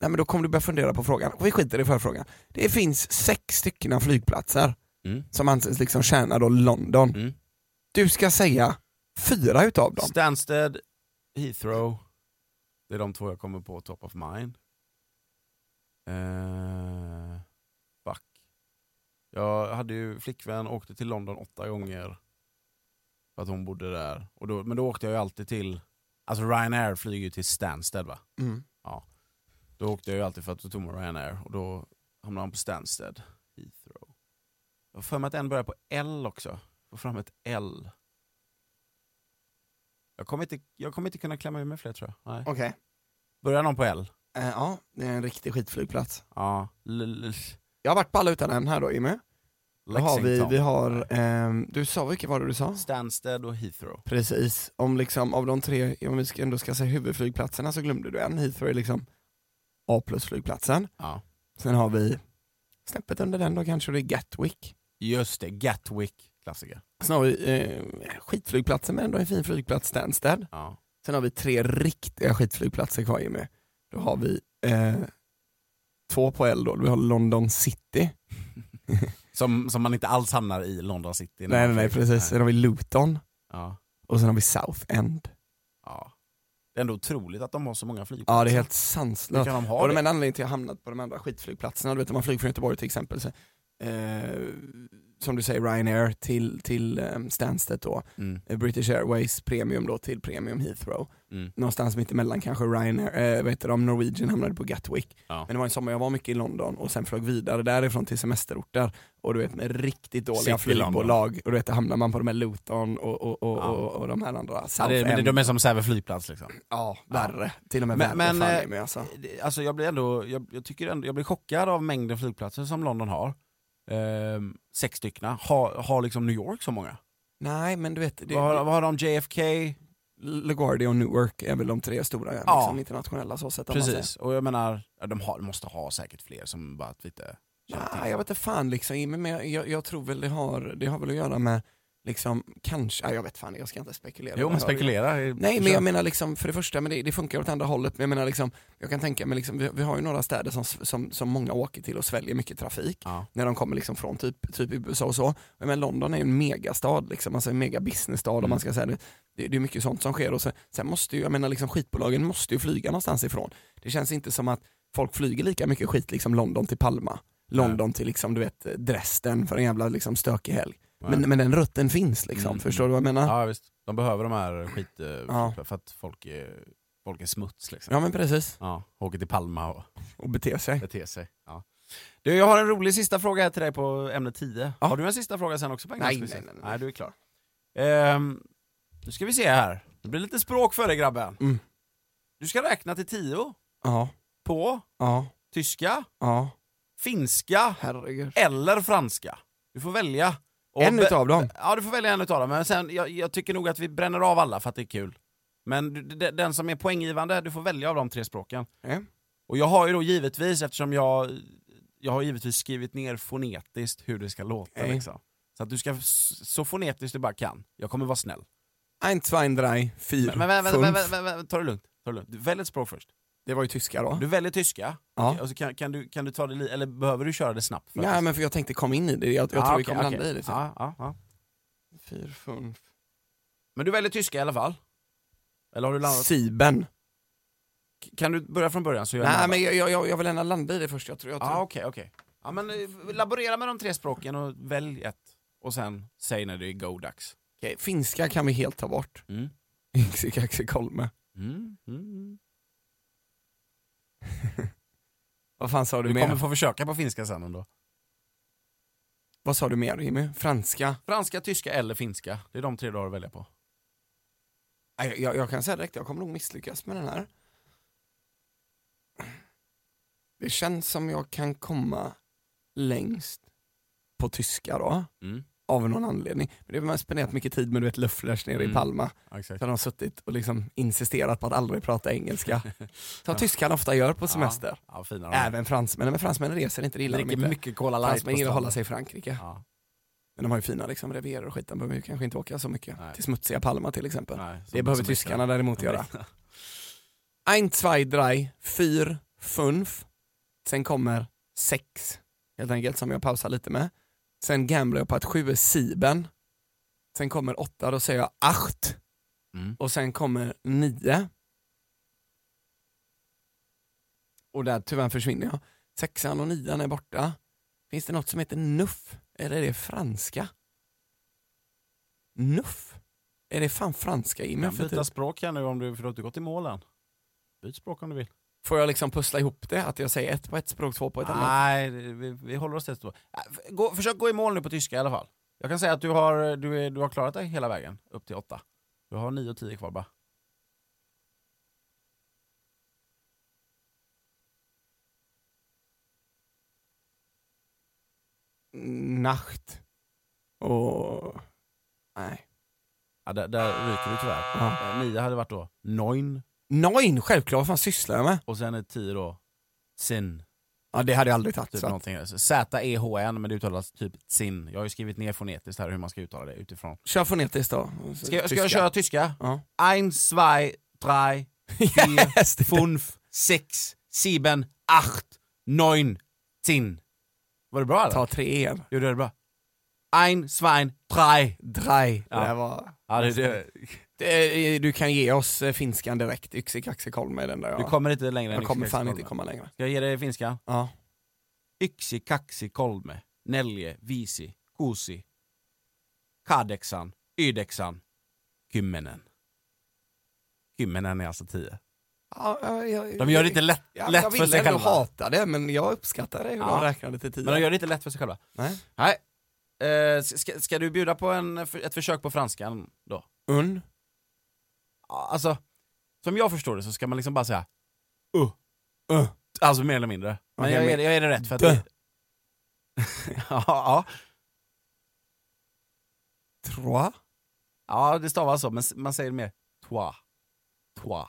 Speaker 2: Nej men då kommer du börja fundera på frågan. Och vi skiter i förfrågan. Det finns sex stycken av flygplatser
Speaker 3: Mm.
Speaker 2: som anses liksom tjäna då London.
Speaker 3: Mm.
Speaker 2: Du ska säga fyra utav dem.
Speaker 3: Stansted, Heathrow. Det är de två jag kommer på top of mind. Eh, fuck. Jag hade ju flickvän, åkte till London åtta gånger. För att hon bodde där. Och då, men då åkte jag ju alltid till... Alltså Ryanair flyger ju till Stansted va?
Speaker 2: Mm.
Speaker 3: Då åkte jag ju alltid för att då tog man Ryanair och då hamnade han på Stansted, Heathrow. Jag har för mig att en börjar på L också. Få fram ett L. Jag kommer, inte, jag kommer inte kunna klämma ur mig fler tror jag. Nej.
Speaker 2: Okej.
Speaker 3: Börjar någon på L?
Speaker 2: Eh, ja, det är en riktig skitflygplats.
Speaker 3: Ja. L- L- L-
Speaker 2: Jag har varit på alla utan en här då Jimmy. Då har vi,
Speaker 3: Lexington.
Speaker 2: vi har, ehm, du sa, vilka var det du sa?
Speaker 3: Stansted och Heathrow.
Speaker 2: Precis, om liksom av de tre, om vi ska, ändå ska säga huvudflygplatserna så glömde du en, Heathrow är liksom A plus flygplatsen.
Speaker 3: Ja.
Speaker 2: Sen har vi snäppet under den då kanske det är Gatwick.
Speaker 3: Just det, Gatwick. Klassiker.
Speaker 2: Sen har vi eh, skitflygplatsen men ändå en fin flygplats, Stansted.
Speaker 3: Ja.
Speaker 2: Sen har vi tre riktiga skitflygplatser kvar Jimmy. Då har vi eh, två på L då, vi har London City.
Speaker 3: Som, som man inte alls hamnar i London City. när
Speaker 2: Nej nej
Speaker 3: man
Speaker 2: nej
Speaker 3: flyger.
Speaker 2: precis, sen har vi Luton
Speaker 3: Ja.
Speaker 2: och sen har vi South End.
Speaker 3: Ja. Det är ändå otroligt att de har så många flygplatser.
Speaker 2: Ja det är helt
Speaker 3: Hur
Speaker 2: sanslöst.
Speaker 3: kan de ha
Speaker 2: Och
Speaker 3: det?
Speaker 2: de enda anledningen till att jag hamnat på de andra skitflygplatserna, du vet om man flyger från Göteborg till exempel, så, eh, som du säger Ryanair till, till eh, Stansted då,
Speaker 3: Mm.
Speaker 2: eh, British Airways Premium då till Premium Heathrow.
Speaker 3: Mm.
Speaker 2: Någonstans mitt emellan kanske Ryanair, eh, vad heter de, Norwegian hamnade på Gatwick.
Speaker 3: Ja.
Speaker 2: Men det var en sommar jag var mycket i London och sen flög vidare därifrån till semesterorter och du vet med riktigt dåliga
Speaker 3: City London.
Speaker 2: flygbolag och du vet då hamnar man på de här Luton och, och, och,
Speaker 3: Ja.
Speaker 2: och, och de här andra,
Speaker 3: Ja,
Speaker 2: South
Speaker 3: det, men det,
Speaker 2: End.
Speaker 3: de är som Säve flygplats liksom.
Speaker 2: Ja, värre. Till och med
Speaker 3: Men-
Speaker 2: värre
Speaker 3: men,
Speaker 2: fan,
Speaker 3: eh,
Speaker 2: Jimmy, alltså.
Speaker 3: Det- Alltså jag blir ändå, jag, jag tycker ändå, jag blir chockad av mängden flygplatser som London har. Ehm, sex stycken. Har har liksom New York så många?
Speaker 2: Nej men du vet, det,
Speaker 3: vad, har, vad har de? JFK?
Speaker 2: LaGuardia och Newark är väl de tre stora
Speaker 3: Ja.
Speaker 2: liksom, internationella så sett. om man säger.
Speaker 3: Precis. Och jag menar, ja, de, har, de måste ha säkert fler som bara att vi inte känner
Speaker 2: Nej, jag vet inte fan liksom, Jimmy, men jag, jag, jag tror väl det har, det har väl att göra med, liksom, kanske, nej, jag vet fan, jag ska inte spekulera.
Speaker 3: Jo,
Speaker 2: Jag-
Speaker 3: man spekulerar.
Speaker 2: Nej men jag menar liksom, för det första, men det, det funkar åt andra hållet, men jag menar liksom, jag kan tänka mig liksom, vi, vi har ju några städer som, som, som många åker till och sväljer mycket trafik.
Speaker 3: Ja.
Speaker 2: när de kommer liksom från typ, typ USA och så. Men London är ju en megastad, liksom, alltså en megabusinessstad om man ska säga det. Det, det är mycket sånt som sker och sen, sen måste ju, jag menar liksom skitbolagen måste ju flyga någonstans ifrån. Det känns inte som att folk flyger lika mycket skit liksom London till Palma, London till liksom du vet Dresden för en jävla liksom stökig helg.
Speaker 3: Nej.
Speaker 2: Men, men den rutten finns liksom,
Speaker 3: Mm.
Speaker 2: förstår du vad jag menar? Ja,
Speaker 3: Ja visst. De behöver de här skit... eh,
Speaker 2: Ja.
Speaker 3: För att folk är, folk är smuts liksom.
Speaker 2: men precis,
Speaker 3: Ja, åker till Palma och
Speaker 2: och bete sig.
Speaker 3: bete sig. Ja. Du, jag har en rolig sista fråga här till dig på ämne 10.
Speaker 2: Ja.
Speaker 3: Har du en sista fråga sen också? På en
Speaker 2: Nej,
Speaker 3: gång, ska vi se?
Speaker 2: nej, nej, nej.
Speaker 3: nej, du är klar. Ehm, nu ska vi se här. Det blir lite språk för dig grabben.
Speaker 2: Mm.
Speaker 3: Du ska räkna till 10
Speaker 2: Ja,
Speaker 3: på
Speaker 2: ja,
Speaker 3: tyska,
Speaker 2: ja.
Speaker 3: finska
Speaker 2: Herregud.
Speaker 3: eller franska. Du får välja. Och
Speaker 2: En
Speaker 3: be-
Speaker 2: utav dem.
Speaker 3: Ja, du får välja en utav dem. Men sen, jag, jag tycker nog att vi bränner av alla för att det är kul. Men du, de- den som är poänggivande, du får välja av de tre språken.
Speaker 2: Ja.
Speaker 3: Och jag har ju då givetvis, eftersom jag, jag har givetvis skrivit ner fonetiskt hur det ska låta.
Speaker 2: Nej.
Speaker 3: Liksom. Så att du ska s- så fonetiskt du bara kan. Jag kommer vara snäll.
Speaker 2: Ein, zwei, drei, fyr,
Speaker 3: Men, men, vänta, vänta,
Speaker 2: fünf.
Speaker 3: vänta, vänta, vänta, ta det lugnt. Ta det lugnt. Du, välj ett språk först.
Speaker 2: Det var ju tyska då.
Speaker 3: Du väljer tyska,
Speaker 2: Ja.
Speaker 3: Okej, och så kan, kan, du, kan du ta det li- eller behöver du köra det snabbt? för
Speaker 2: Nej
Speaker 3: att-
Speaker 2: men för jag tänkte kom in i det, jag, jag
Speaker 3: Ah,
Speaker 2: tror vi
Speaker 3: okej,
Speaker 2: kommer
Speaker 3: okej. Ah,
Speaker 2: landa i det.
Speaker 3: Ja, ja, ja.
Speaker 2: Fyr, fünf.
Speaker 3: Men du väljer tyska i alla fall? Eller har du landat?
Speaker 2: Siben.
Speaker 3: Kan du börja från början? Så gör jag
Speaker 2: Nej
Speaker 3: med.
Speaker 2: men jag, jag- jag, jag vill gärna landa i det först, jag tror, jag tror.
Speaker 3: Ja, okej, okej. Ja, men eh, laborera med de tre språken och välj ett. Och sen säg när det är go-dags.
Speaker 2: Okej, Finska kan vi helt ta bort.
Speaker 3: Mm.
Speaker 2: Yxikaxikolme.
Speaker 3: Mm. Mm.
Speaker 2: Vad fan sa du,
Speaker 3: Du
Speaker 2: mer?
Speaker 3: kommer få försöka på finska sen ändå.
Speaker 2: Vad sa du mer Jimmy? Franska?
Speaker 3: Franska, tyska eller finska. Det är de tre du har att välja på.
Speaker 2: Nej, Jag, jag, jag kan säga direkt, jag kommer nog misslyckas med den här. Det känns som jag kan komma längst på tyska då.
Speaker 3: Mm.
Speaker 2: av någon anledning. Men det har man spenderat mycket tid med du vet Löfflers nere
Speaker 3: Mm.
Speaker 2: i Palma.
Speaker 3: Ja, exakt.
Speaker 2: Så de har suttit och liksom insisterat på att aldrig prata engelska. Som tyskarna ofta gör på semester.
Speaker 3: Ja, fina de är.
Speaker 2: Även fransmännen, men fransmännen reser inte, det gillar de
Speaker 3: Dricker
Speaker 2: inte.
Speaker 3: mycket Cola Light
Speaker 2: Fransmän
Speaker 3: på
Speaker 2: gillar att hålla
Speaker 3: stranden.
Speaker 2: sig i Frankrike.
Speaker 3: Ja,
Speaker 2: Men de har ju fina liksom, revierer och skit, de behöver ju kanske inte åka så mycket.
Speaker 3: Nej.
Speaker 2: Till smutsiga Palma till exempel.
Speaker 3: nej,
Speaker 2: det
Speaker 3: som-
Speaker 2: behöver
Speaker 3: som
Speaker 2: tyskarna
Speaker 3: extra.
Speaker 2: däremot göra. Ein, zwei, drei, fyr, funf. Sen kommer sex, helt enkelt, som jag pausar lite med. Sen gamblar jag på att sju är sieben. Sen kommer åtta, då säger jag acht.
Speaker 3: Mm.
Speaker 2: Och sen kommer nio. Och där tyvärr försvinner jag. Sexan och nian är borta. Finns det något som heter nuff? Eller är det franska? Nuff? Är det fan franska i mig
Speaker 3: Men
Speaker 2: för typ,
Speaker 3: byta
Speaker 2: tiden?
Speaker 3: språk här nu om du, för du har inte gått i mål än. Byt språk om du vill.
Speaker 2: Får jag liksom pussla ihop det? Att jag säger ett på ett språk, två på ett annat?
Speaker 3: Nej, det- vi, vi håller oss till ett språk. Äh, f- Gå, försök gå i mål nu på tyska i alla fall. Jag kan säga att du har, du, är, du har klarat dig hela vägen upp till åtta. Du har nio och tio kvar bara.
Speaker 2: Nacht. Och... Nej.
Speaker 3: Ja, där, där ryker du tyvärr.
Speaker 2: Ja.
Speaker 3: Eh, Nio hade varit då neun
Speaker 2: Neun, självklart. Vad fan sysslar jag med?
Speaker 3: och sen är tio då zin.
Speaker 2: Ja, det hade jag aldrig tagit.
Speaker 3: Typ
Speaker 2: Så att,
Speaker 3: någonting. Så Z-E-H-N men det uttalas typ zin. Jag har ju skrivit ner fonetiskt här hur man ska uttala det utifrån.
Speaker 2: kör fonetiskt då. Och så
Speaker 3: Ska, jag- ska
Speaker 2: tyska.
Speaker 3: jag köra tyska?
Speaker 2: Ja.
Speaker 3: Ein, zwei, drei, vier,
Speaker 2: Yes, det-
Speaker 3: fünf, sex, sieben, acht, neun, zehn. Var det bra eller?
Speaker 2: Ta tre igen.
Speaker 3: Gjorde jag det bra? Ein, zwei, drei.
Speaker 2: Drei.
Speaker 3: Ja.
Speaker 2: Det här var...
Speaker 3: Ja, det, det,
Speaker 2: Det är- Du kan ge oss eh, finskan direkt, yxekaxekolm med den där.
Speaker 3: du
Speaker 2: Jag,
Speaker 3: kommer inte längre än
Speaker 2: jag kommer fan
Speaker 3: yxikaxikolme.
Speaker 2: inte komma längre.
Speaker 3: Ska jag ge dig finska?
Speaker 2: Ja.
Speaker 3: Yksi, kaksi, kolme, nelje, viisi, kuusi, kahdeksan, yhdeksän, kymmenen. Kymmenen är alltså tio.
Speaker 2: Ja, jag, jag,
Speaker 3: De gör det inte lätt,
Speaker 2: ja,
Speaker 3: lätt
Speaker 2: jag
Speaker 3: för sig
Speaker 2: Jag ville
Speaker 3: själva.
Speaker 2: ändå hata det, men jag uppskattar det hur
Speaker 3: Ja.
Speaker 2: de räknade till tio.
Speaker 3: Men de gör det inte lätt för sig själva.
Speaker 2: Nej.
Speaker 3: Nej. Eh, ska, ska du bjuda på en, ett försök på franskan då?
Speaker 2: Un.
Speaker 3: Ja, Alltså, som jag förstår det så ska man liksom bara säga uh, uh, alltså mer eller mindre. Men
Speaker 2: Okej,
Speaker 3: jag,
Speaker 2: men-
Speaker 3: jag, jag är det rätt för att...
Speaker 2: Dö.
Speaker 3: ja, ja,
Speaker 2: Trois.
Speaker 3: ja, det stavas så, men s- man säger mer toi. Toi.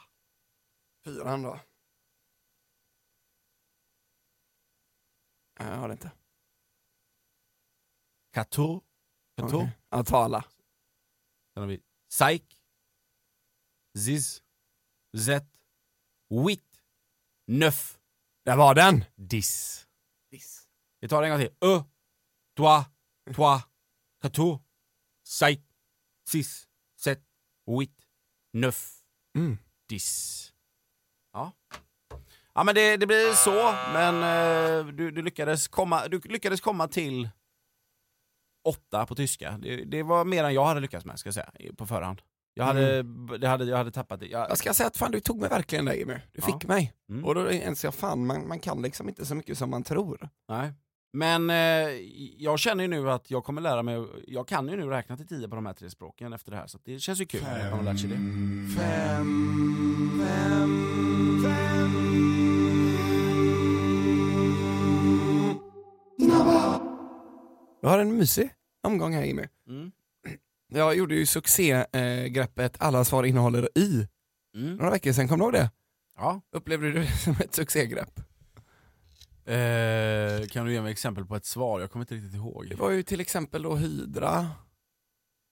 Speaker 2: Fyran då. Nej, Jag har det inte.
Speaker 3: Kato. Kato.
Speaker 2: Okej. Ja, ta alla.
Speaker 3: Sen har vi Psyk. Ziz. Zet. Wit. Neuf.
Speaker 2: Där var den!
Speaker 3: Dis. Vi tar det en gång till. Ö, toi, toi, kato, sait, sis, set, huit, neuf,
Speaker 2: Mm.
Speaker 3: dis. Ja. Ja men det, det blir så, men eh, du, du, lyckades komma, du lyckades komma till åtta på tyska. Det, det var mer än jag hade lyckats med ska jag säga, i- på förhand. Jag hade, det hade, jag hade tappat det. Jag,
Speaker 2: Jag ska säga att fan du tog mig verkligen där Jimmy. Du
Speaker 3: Ja.
Speaker 2: fick mig.
Speaker 3: Mm.
Speaker 2: Och då ens jag fan, man, man kan liksom inte så mycket som man tror.
Speaker 3: Nej. Men eh, jag känner ju nu att jag kommer lära mig, jag kan ju nu räkna till tio på de här tre språken efter det här, så att det känns ju kul när jag har lärt sig det.
Speaker 2: Fem, fem, fem. Du har en mysig omgång här Jimmy.
Speaker 3: Mm.
Speaker 2: Jag gjorde ju succégreppet Alla svar innehåller i
Speaker 3: Mm.
Speaker 2: några veckor sedan, kommer du ihåg det?
Speaker 3: Ja.
Speaker 2: Upplevde du det som ett succégrepp?
Speaker 3: Eh, kan du ge mig exempel på ett svar? Jag kommer inte riktigt ihåg.
Speaker 2: Det var ju till exempel då Hydra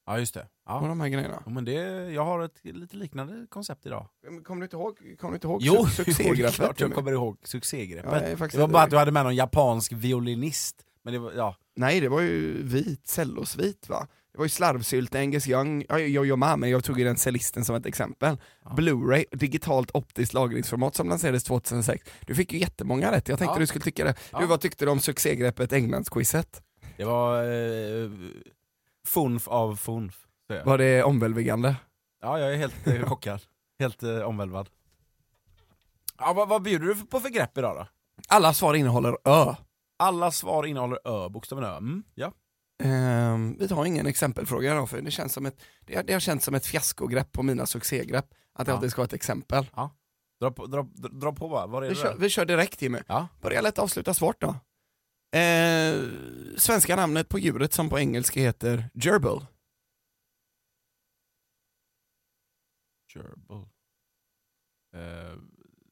Speaker 3: Ja, just det.
Speaker 2: och
Speaker 3: Ja.
Speaker 2: de här grejerna.
Speaker 3: Ja, men det, jag har ett lite liknande koncept idag.
Speaker 2: Kommer du inte ihåg, kommer du inte ihåg
Speaker 3: Jo,
Speaker 2: suc-
Speaker 3: jo, det är
Speaker 2: succégreppet?
Speaker 3: klart jag
Speaker 2: Jimmy?
Speaker 3: kommer ihåg succégreppet.
Speaker 2: Ja, jag är faktiskt
Speaker 3: det var
Speaker 2: inte-
Speaker 3: bara att du hade med någon japansk violinist. Men det var, ja.
Speaker 2: Nej, det var ju vit, cellosvit va? Det var ju slarvsylta, Angus Young, ja, jag, jag med, men jag tog ju den cellisten som ett exempel. Blu-ray, digitalt optiskt lagringsformat som lanserades 2006. Du fick ju jättemånga rätt, jag tänkte
Speaker 3: Ja.
Speaker 2: du skulle tycka det.
Speaker 3: Ja.
Speaker 2: Du, vad tyckte du om succégreppet Englandsquizet?
Speaker 3: Det var eh, funf av funf. säger jag.
Speaker 2: Var det omvälvigande?
Speaker 3: Ja, jag är helt eh, chockad. Helt eh, omvälvad. Ja, vad, vad bjuder du för- på för grepp idag då?
Speaker 2: Alla svar innehåller ö.
Speaker 3: Alla svar innehåller ö, bokstaven ö. Mm, ja.
Speaker 2: Ehm, vi tar ingen exempelfråga då, för det, känns som ett, det, har- det har känts som ett fiaskogrepp på mina succégrepp, att jag
Speaker 3: Ja.
Speaker 2: alltid ska ha ett exempel.
Speaker 3: Dra på, dra, dra dra på bara, var är
Speaker 2: Vi
Speaker 3: det?
Speaker 2: kör, vi kör direkt Jimmy.
Speaker 3: Ja.
Speaker 2: Börja lätt avsluta svårt då. Eh, svenska namnet på djuret som på engelska heter gerbil.
Speaker 3: Gerbil. Eh,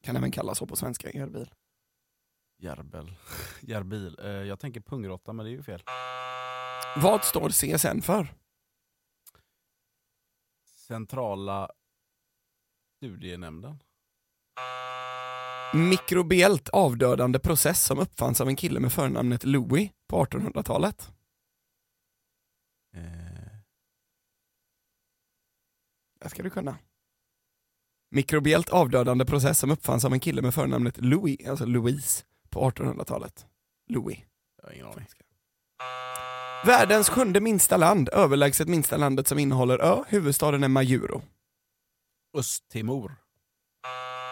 Speaker 2: Kan även kallas så på svenska, gerbil.
Speaker 3: Järbel. Järbil. Eh, jag tänker pungråtta men det är ju fel.
Speaker 2: Vad står CSN för?
Speaker 3: Centrala studienämnden.
Speaker 2: Mikrobiellt avdödande process som uppfanns av en kille med förnamnet Louis på 1800-talet.
Speaker 3: Eh,
Speaker 2: Det ska du kunna. Mikrobiellt avdödande process som uppfanns av en kille med förnamnet Louis, alltså Louise, på 1800-talet. Louis.
Speaker 3: jag har ingen aning.
Speaker 2: Världens sjunde minsta land, överlägset minsta landet som innehåller ö, huvudstaden är Majuro.
Speaker 3: Östtimor.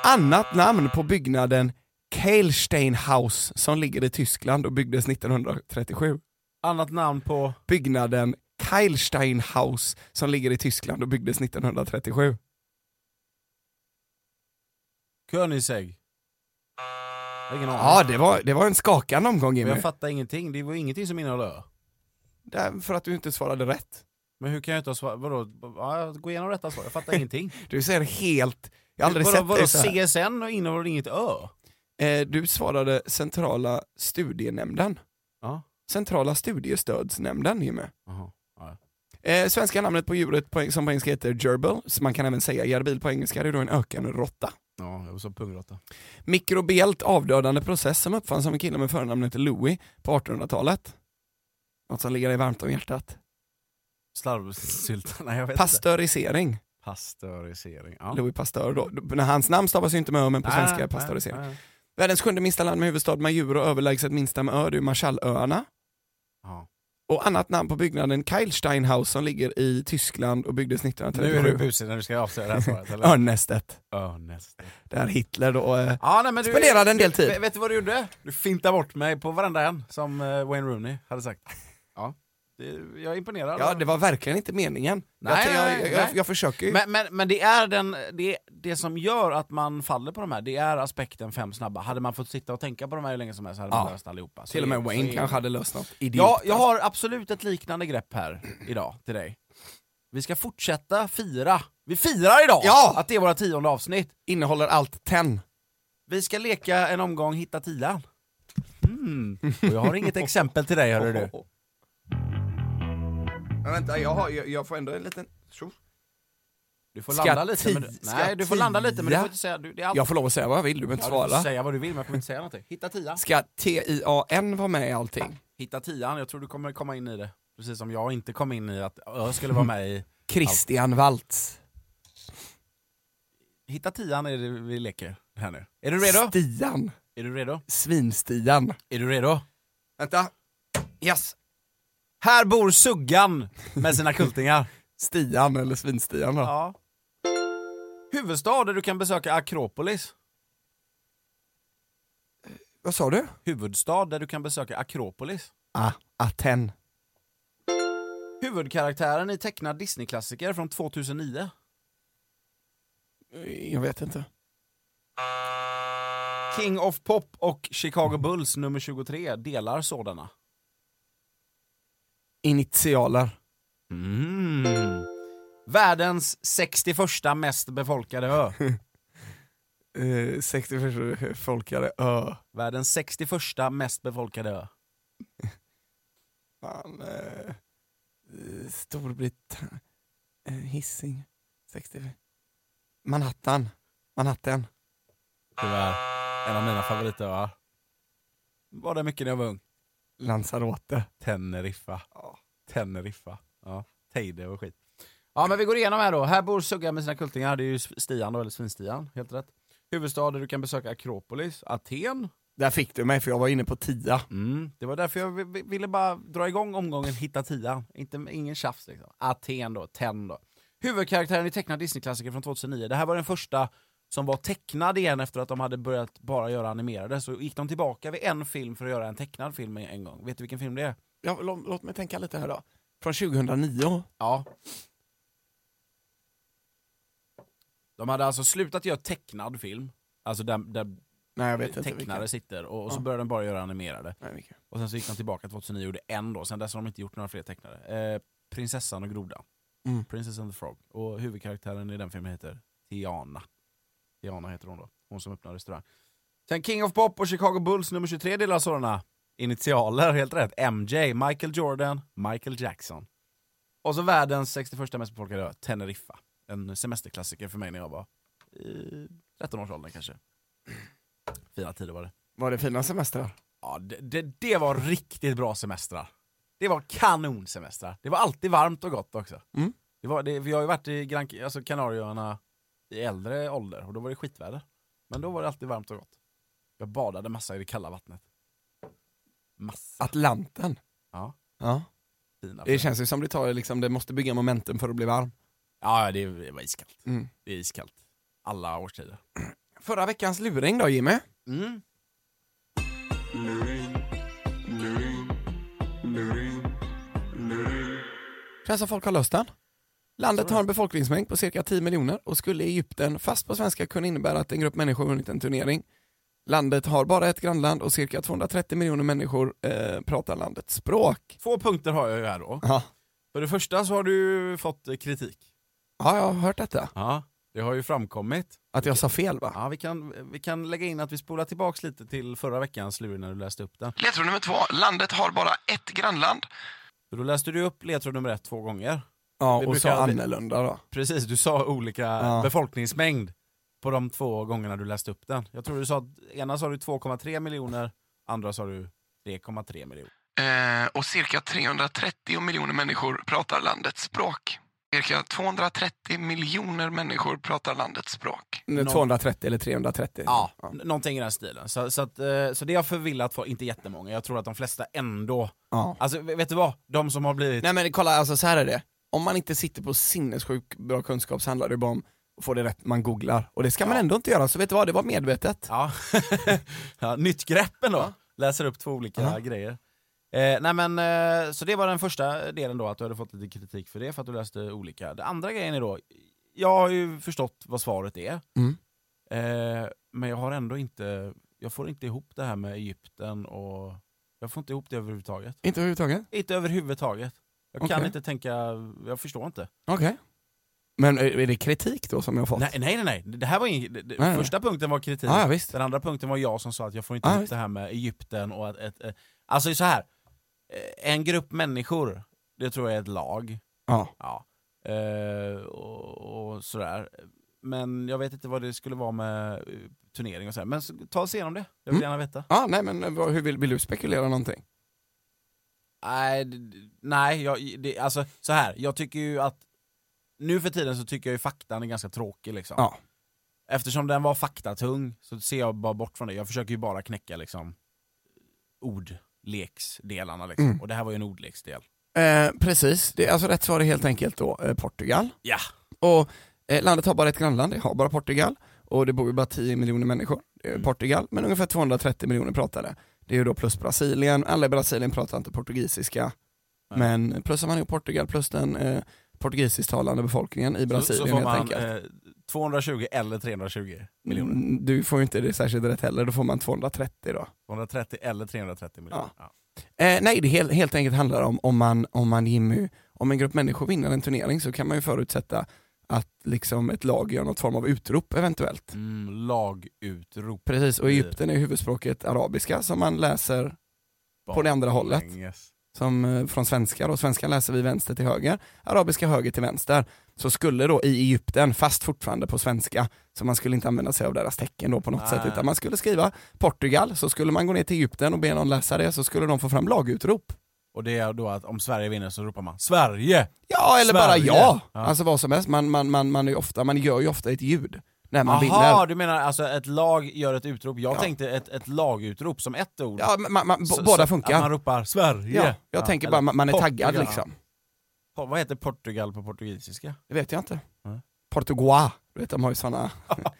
Speaker 2: Annat namn på byggnaden Kehlsteinhaus som ligger i Tyskland och byggdes 1937.
Speaker 3: Annat namn på...
Speaker 2: Byggnaden Kehlsteinhaus som ligger i Tyskland och byggdes 1937.
Speaker 3: Königsegg. Jag har ingen aning.
Speaker 2: Ja, det var, det var en skakande omgång
Speaker 3: men
Speaker 2: Jimmy.
Speaker 3: jag fattar ingenting. Det var ju ingenting som innehöll ö.
Speaker 2: Där- För att du inte svarade rätt.
Speaker 3: Men hur kan jag inte ha svarat? Vadå? Ja, gå igenom rätta svar. Jag fattar ingenting.
Speaker 2: Du säger helt... Jag har aldrig
Speaker 3: vadå,
Speaker 2: sett dig så här.
Speaker 3: vadå, CSN och innehåller inget ö?
Speaker 2: Eh, Du svarade centrala studienämnden.
Speaker 3: Ja.
Speaker 2: Centrala studiestödsnämnden Jimmy.
Speaker 3: Aha. Ja.
Speaker 2: Eh, svenska namnet på djuret på, som på engelska heter gerbil, så man kan även säga gerbil på engelska, det är då en ökenråtta.
Speaker 3: ja, jag sa pungråtta.
Speaker 2: Mikrobiellt avdödande process som uppfanns av en kille med förnamnet Louis på 1800-talet. Något som ligger dig varmt om hjärtat.
Speaker 3: Slarvsylta? Nej, jag vet inte.
Speaker 2: Pastörisering,
Speaker 3: Pastörisering. Ja.
Speaker 2: Louis Pasteur då. Då- när Hans namn stavas ju inte med ö, men på
Speaker 3: Nej,
Speaker 2: svenska
Speaker 3: nej,
Speaker 2: är pastörisering.
Speaker 3: nej, nej.
Speaker 2: Världens sjunde minsta land med huvudstad med djur och överlägset minsta med ö, det är ju Marshallöarna.
Speaker 3: Ja.
Speaker 2: Och annat namn på byggnaden Keilsteinhaus som ligger i Tyskland och byggdes
Speaker 3: Nu är du
Speaker 2: 1937.
Speaker 3: busig när du ska avslöja det här svaret, eller?
Speaker 2: Örnnästet,
Speaker 3: Örnnäst.
Speaker 2: där Hitler då eh,
Speaker 3: Ja, nej, men du,
Speaker 2: spenderade en del tid.
Speaker 3: vet, vet du vad du gjorde? Du fintade bort mig på varenda en, som eh, Wayne Rooney hade sagt. Ja. Det, jag är imponerad.
Speaker 2: Ja, det var verkligen inte meningen.
Speaker 3: Nej,
Speaker 2: jag, jag,
Speaker 3: nej,
Speaker 2: jag,
Speaker 3: nej.
Speaker 2: jag försöker ju.
Speaker 3: Men, men, men det är den, det, det som gör att man faller på de här, det är aspekten fem snabba. Hade man fått sitta och tänka på de här hur länge som helst hade man
Speaker 2: Ja.
Speaker 3: löst allihopa. Så
Speaker 2: Till och
Speaker 3: det-
Speaker 2: med
Speaker 3: så
Speaker 2: Wayne
Speaker 3: det-
Speaker 2: kanske hade löst något. Idiot.
Speaker 3: Alltså, Ja, jag har absolut ett liknande grepp här idag till dig. Vi ska fortsätta fira. Vi firar idag
Speaker 2: Ja!
Speaker 3: att det är våra tionde avsnitt.
Speaker 2: Innehåller allt 10.
Speaker 3: Vi ska leka en omgång hitta tian. Mm. Och jag har inget exempel till dig hörru du.
Speaker 2: Men vänta, jag, har, jag, jag får ändå en liten...
Speaker 3: Du får
Speaker 2: Ska
Speaker 3: landa lite.
Speaker 2: ti-
Speaker 3: Men du,
Speaker 2: ska
Speaker 3: nej, du får landa lite men du
Speaker 2: tia?
Speaker 3: får inte säga... Du, det är allt.
Speaker 2: Jag får lov att säga vad jag vill, du behöver inte
Speaker 3: ja, du får
Speaker 2: svara.
Speaker 3: säga vad du vill men jag kommer inte säga någonting. Hitta tia.
Speaker 2: Ska T-I-A-N vara med i allting?
Speaker 3: Hitta tian, jag tror du kommer komma in i det. Precis som jag inte kom in i att jag skulle vara med i...
Speaker 2: Christian Waltz.
Speaker 3: Hitta tian är det vi leker här nu. Är du redo?
Speaker 2: Stian.
Speaker 3: Är du redo?
Speaker 2: Svinstian.
Speaker 3: Är du redo?
Speaker 2: Vänta. Yes.
Speaker 3: Här bor Suggan med sina kultingar.
Speaker 2: Stian eller Svinstian då.
Speaker 3: ja. Huvudstad där du kan besöka Akropolis.
Speaker 2: Vad sa du?
Speaker 3: Huvudstad där du kan besöka Akropolis.
Speaker 2: Ah, Aten.
Speaker 3: Huvudkaraktären i tecknad Disney-klassiker från 2009.
Speaker 2: Jag vet inte.
Speaker 3: King of Pop och Chicago Bulls nummer 23 delar sådana.
Speaker 2: Initialer.
Speaker 3: Mm. Världens 61 mest befolkade ö.
Speaker 2: Eh, 61 folkare. Ö.
Speaker 3: Världens 61 mest befolkade ö.
Speaker 2: Fan, eh, eh, Storbritannien, eh, Hising, 60. Manhattan, Manhattan.
Speaker 3: Tyvärr. En av mina favoritöar. Var det mycket när jag var ung?
Speaker 2: Lanzarote.
Speaker 3: Teneriffa.
Speaker 2: Ja.
Speaker 3: Teneriffa. Ja. Teide och skit. Ja men vi går igenom här då. Här bor Sugga med sina kultingar. Det är ju Stian då, eller Svinstian. Helt rätt. Huvudstad där du kan besöka Akropolis. Aten.
Speaker 2: Där fick du mig för jag var inne på tia.
Speaker 3: Mm. Det var därför jag vi- vi- ville bara dra igång omgången hitta tian. Inte, ingen tjafs liksom. Aten då, Ten då. Huvudkaraktären i tecknad Disney-klassiker från 2009. Det här var den första som var tecknad igen efter att de hade börjat bara göra animerade. Så gick de tillbaka vid en film för att göra en tecknad film en gång. Vet du vilken film det är?
Speaker 2: Ja, låt, låt mig tänka lite här då. Från 2009.
Speaker 3: Ja. De hade alltså slutat göra tecknad film, alltså där, där
Speaker 2: Nej jag vet inte
Speaker 3: tecknare
Speaker 2: vilken.
Speaker 3: sitter och, och så
Speaker 2: Ja.
Speaker 3: började de bara göra animerade.
Speaker 2: Nej, vilken.
Speaker 3: Och sen så gick de tillbaka 2009 och gjorde en då, sen dess har de inte gjort några fler tecknare. Eh, Prinsessan och grodan.
Speaker 2: Mm.
Speaker 3: Princess and the Frog. Och huvudkaraktären i den filmen heter Tiana. Tiana heter hon då, hon som öppnar restaurang. Sen King of Pop och Chicago Bulls nummer 23 delar sådana initialer, helt rätt. MJ, Michael Jordan, Michael Jackson. Och så världens 61 mest befolkade ö, Teneriffa. En semesterklassiker för mig när jag var i 13-årsåldern kanske. Fina tider var det.
Speaker 2: Var det fina semestrar?
Speaker 3: Ja, det, det, det var riktigt bra semestrar. Det var kanonsemestrar. Det var alltid varmt och gott också.
Speaker 2: Mm.
Speaker 3: Det var, det, vi har ju varit i Gran, alltså Kanarieöarna i äldre ålder och då var det skitväder. Men då var det alltid varmt och gott. Jag badade massa i det kalla vattnet. Massa
Speaker 2: Atlanten?
Speaker 3: Ja.
Speaker 2: ja.
Speaker 3: fina
Speaker 2: Det känns ju som det tar liksom, det måste bygga momentum för att bli varm.
Speaker 3: Ja, det det var iskallt.
Speaker 2: Mm.
Speaker 3: Det är iskallt. Alla årstider.
Speaker 2: Förra veckans luring då Jimmy?
Speaker 3: Mm.
Speaker 2: Känns som folk har löst den. Landet har en befolkningsmängd på cirka 10 miljoner och skulle Egypten, fast på svenska, kunna innebära att en grupp människor vunnit en turnering. Landet har bara ett grannland och cirka 230 miljoner människor eh, pratar landets språk.
Speaker 3: Två punkter har jag ju här då.
Speaker 2: Ja.
Speaker 3: För det första så har du fått eh, kritik.
Speaker 2: ja, jag har hört detta.
Speaker 3: Ja. Det har ju framkommit.
Speaker 2: Att jag sa fel va?
Speaker 3: Ja, vi kan, vi kan lägga in att vi spolar tillbaks lite till förra veckans luring när du läste upp den.
Speaker 2: Ledtråd nummer två, landet har bara ett grannland.
Speaker 3: För då läste du upp ledtråd nummer ett två gånger.
Speaker 2: Ja,
Speaker 3: Vi
Speaker 2: och
Speaker 3: brukar
Speaker 2: sa
Speaker 3: aldrig-
Speaker 2: annorlunda då.
Speaker 3: Precis, du sa olika
Speaker 2: Ja.
Speaker 3: befolkningsmängd på de två gångerna du läste upp den. Jag tror du sa att ena sa du 2,3 miljoner, andra sa du 3,3 miljoner.
Speaker 2: Eh, och cirka 330 miljoner människor pratar landets språk. Cirka 230 miljoner människor pratar landets språk. 230 eller 330?
Speaker 3: Ja, n- någonting i den stilen. Så, så, att, eh, så det har förvillat folk, inte jättemånga, jag tror att de flesta ändå...
Speaker 2: Ja.
Speaker 3: Alltså v- vet du vad? De som har blivit...
Speaker 2: Nej men kolla, alltså så här är det. Om man inte sitter på sinnessjuk bra kunskap så handlar det bara om att få det rätt, man googlar. Och det ska man
Speaker 3: Ja.
Speaker 2: ändå inte göra, så vet du vad, det var medvetet.
Speaker 3: Ja. ja, nytt grepp ändå. Läser upp två olika
Speaker 2: Ja.
Speaker 3: grejer. Eh, nej men, eh, så det var den första delen då, att du hade fått lite kritik för det, för att du läste olika. Den andra grejen är då, jag har ju förstått vad svaret är,
Speaker 2: Mm.
Speaker 3: eh, men jag har ändå inte, jag får inte ihop det här med Egypten och, jag får inte ihop det överhuvudtaget.
Speaker 2: Inte överhuvudtaget?
Speaker 3: Inte överhuvudtaget. Jag kan
Speaker 2: Okej.
Speaker 3: inte tänka, jag förstår inte.
Speaker 2: Okej. Men är är det kritik då som jag har fått?
Speaker 3: Nej, nej, nej, nej. Det här var ingen, det, det,
Speaker 2: Nej, nej.
Speaker 3: första punkten var kritik.
Speaker 2: Ja, ja, visst.
Speaker 3: Den andra punkten var jag som sa att jag får inte
Speaker 2: Ja,
Speaker 3: ihop
Speaker 2: visst.
Speaker 3: det här med Egypten och att, ett, eh, Alltså det är så här. Eh, en grupp människor, det tror jag är ett lag.
Speaker 2: Ja.
Speaker 3: Ja. Eh, och, och sådär. Men jag vet inte vad det skulle vara med eh, turnering och sådär. Men så, ta oss igenom det, jag vill
Speaker 2: Mm.
Speaker 3: gärna veta.
Speaker 2: Ja, nej men eh, vad- hur vill, vill du spekulera någonting?
Speaker 3: Nej, d- d- nej jag, det, alltså så här. jag tycker ju att nu för tiden så tycker jag ju faktan är ganska tråkig liksom.
Speaker 2: Ja.
Speaker 3: Eftersom den var faktatung så ser jag bara bort från det. Jag försöker ju bara knäcka liksom ordleksdelarna liksom.
Speaker 2: Mm.
Speaker 3: Och det här var ju en ordleksdel.
Speaker 2: Eh, precis, det, alltså rätt svar är helt enkelt då eh, Portugal.
Speaker 3: Ja.
Speaker 2: Och eh, landet har bara ett grannland, det har bara Portugal. Och det bor ju bara 10 miljoner människor i
Speaker 3: Mm.
Speaker 2: Portugal, men ungefär 230 miljoner pratar det. Det är ju då plus Brasilien, alla i Brasilien pratar inte portugisiska.
Speaker 3: Nej.
Speaker 2: Men plussar man ihop Portugal plus den eh, portugisisktalande befolkningen i Brasilien
Speaker 3: så, så får
Speaker 2: helt
Speaker 3: man
Speaker 2: enkelt.
Speaker 3: eh, 220 eller 320 miljoner.
Speaker 2: Mm, Du får ju inte det särskilt rätt heller, då får man 230 då.
Speaker 3: 230 eller 330 miljoner. Ja.
Speaker 2: Eh, nej, det helt, helt enkelt handlar om om man, om man Jimmy, om en grupp människor vinner en turnering så kan man ju förutsätta att liksom ett lag gör något form av utrop eventuellt.
Speaker 3: Mm, lagutrop.
Speaker 2: Precis, och i
Speaker 3: Mm.
Speaker 2: Egypten är huvudspråket arabiska som man läser På det andra hållet.
Speaker 3: Baklänges.
Speaker 2: som eh, från svenska då, svenska läser vi vänster till höger, arabiska höger till vänster. Så skulle då i Egypten, fast fortfarande på svenska, så man skulle inte använda sig av deras tecken då på något
Speaker 3: Nej.
Speaker 2: sätt, utan man skulle skriva Portugal, så skulle man gå ner till Egypten och be någon läsa det, så skulle de få fram lagutrop.
Speaker 3: Och det är då att om Sverige vinner så ropar man Sverige!
Speaker 2: Ja, eller bara
Speaker 3: Sverige.
Speaker 2: ja.
Speaker 3: Ja.
Speaker 2: Alltså vad som helst, man, man, man, man, är ju ofta, man gör ju ofta ett ljud när man
Speaker 3: Jaha,
Speaker 2: vinner.
Speaker 3: du menar alltså ett lag gör ett utrop? Jag
Speaker 2: Ja.
Speaker 3: tänkte ett, ett lagutrop som ett ord.
Speaker 2: Ja, man, man, b-
Speaker 3: Så-
Speaker 2: båda
Speaker 3: så
Speaker 2: funkar.
Speaker 3: Att man ropar Sverige!
Speaker 2: ja, jag tänker bara, man, man är taggad
Speaker 3: Portugal.
Speaker 2: liksom.
Speaker 3: Po- Vad heter Portugal på portugisiska?
Speaker 2: Det vet jag inte.
Speaker 3: Nej.
Speaker 2: Portugal, du vet de har ju sådana,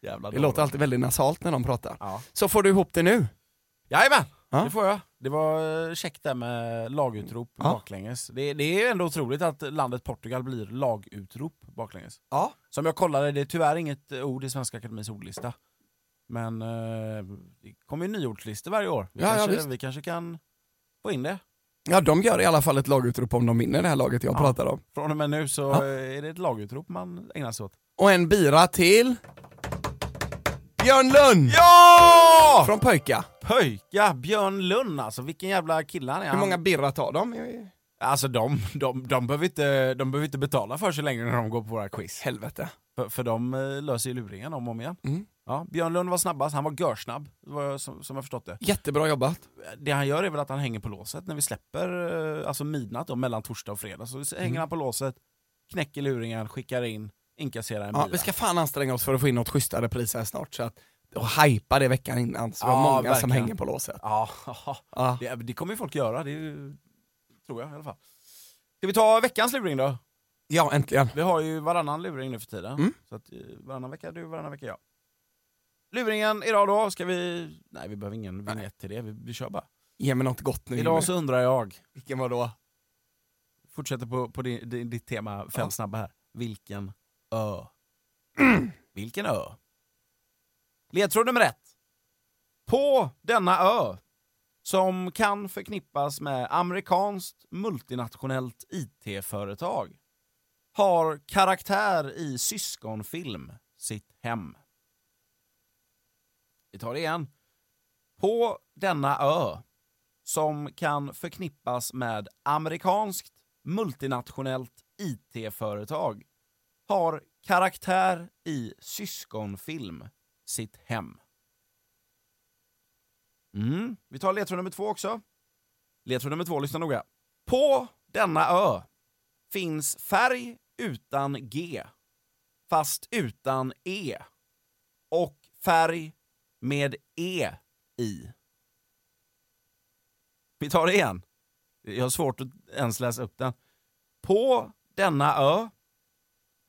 Speaker 3: Jävla
Speaker 2: det
Speaker 3: dåligt.
Speaker 2: låter alltid väldigt nasalt när de pratar.
Speaker 3: Ja.
Speaker 2: Så får du ihop det nu.
Speaker 3: Jajamän,
Speaker 2: Ja.
Speaker 3: det får jag. Det var eh, käckt där med lagutrop
Speaker 2: Ja.
Speaker 3: baklänges. Det, det är ju ändå otroligt att landet Portugal blir lagutrop baklänges.
Speaker 2: Ja.
Speaker 3: Som jag kollade, det är tyvärr inget eh, ord i Svenska Akademiens ordlista. Men eh, det kommer ju nyordslistor varje år. Vi,
Speaker 2: Ja, ja,
Speaker 3: kanske,
Speaker 2: visst.
Speaker 3: vi kanske kan få in det.
Speaker 2: Ja de gör i alla fall ett lagutrop om de vinner det här laget jag
Speaker 3: Ja.
Speaker 2: pratar om.
Speaker 3: Från och med nu så
Speaker 2: Ja.
Speaker 3: eh, är det ett lagutrop man ägnar sig åt.
Speaker 2: Och en bira till Björn Lund!
Speaker 3: Ja!
Speaker 2: Från Pöjka.
Speaker 3: Pöjka, Björn Lund alltså, vilken jävla kille han är.
Speaker 2: Hur många
Speaker 3: Han-
Speaker 2: birra tar de?
Speaker 3: Alltså de, de, de, behöver inte, de behöver inte betala för sig längre när de går på våra quiz.
Speaker 2: Helvete.
Speaker 3: För, för de eh, löser ju luringen om och om igen.
Speaker 2: Mm.
Speaker 3: Ja, Björn Lund var snabbast, han var görsnabb var jag, som, som jag förstått det.
Speaker 2: Jättebra jobbat.
Speaker 3: Det han gör är väl att han hänger på låset när vi släpper, eh, alltså midnatt då, mellan torsdag och fredag, så hänger
Speaker 2: Mm.
Speaker 3: han på låset, knäcker luringen, skickar in, inkasserar en
Speaker 2: Ja,
Speaker 3: bira.
Speaker 2: vi ska fan anstränga oss för att få in något schysstare pris här snart så att, och hajpa det veckan innan så det var
Speaker 3: Ja,
Speaker 2: många som
Speaker 3: verkligen.
Speaker 2: hänger på låset.
Speaker 3: Ja,
Speaker 2: Ja.
Speaker 3: det, det kommer ju folk göra, det är ju, tror jag i alla fall. Ska vi ta veckans luring då?
Speaker 2: Ja, äntligen.
Speaker 3: Vi har ju varannan luring nu för tiden.
Speaker 2: Mm.
Speaker 3: Så att eh, varannan vecka du, varannan vecka jag. Luringen idag då, ska vi... Nej vi behöver ingen vignett till det, vi, vi kör bara.
Speaker 2: Ge mig något gott nu. Jimmy.
Speaker 3: Idag så undrar jag,
Speaker 2: Vilken var då?
Speaker 3: fortsätter på, på din, din, ditt tema fem
Speaker 2: Ja.
Speaker 3: snabba här. Vilken ö? Vilken ö? Ledtråd nummer ett. På denna ö, som kan förknippas med amerikanskt multinationellt IT-företag, har karaktär i syskonfilm sitt hem. Vi tar det igen. På denna ö, som kan förknippas med amerikanskt multinationellt IT-företag har karaktär i syskonfilm sitt hem. Mm. Vi tar ledtråd nummer två också. Ledtråd nummer två, lyssna noga. På denna ö finns färg utan G, fast utan E, och färg med E i. Vi tar det igen. Jag har svårt att ens läsa upp den. På denna ö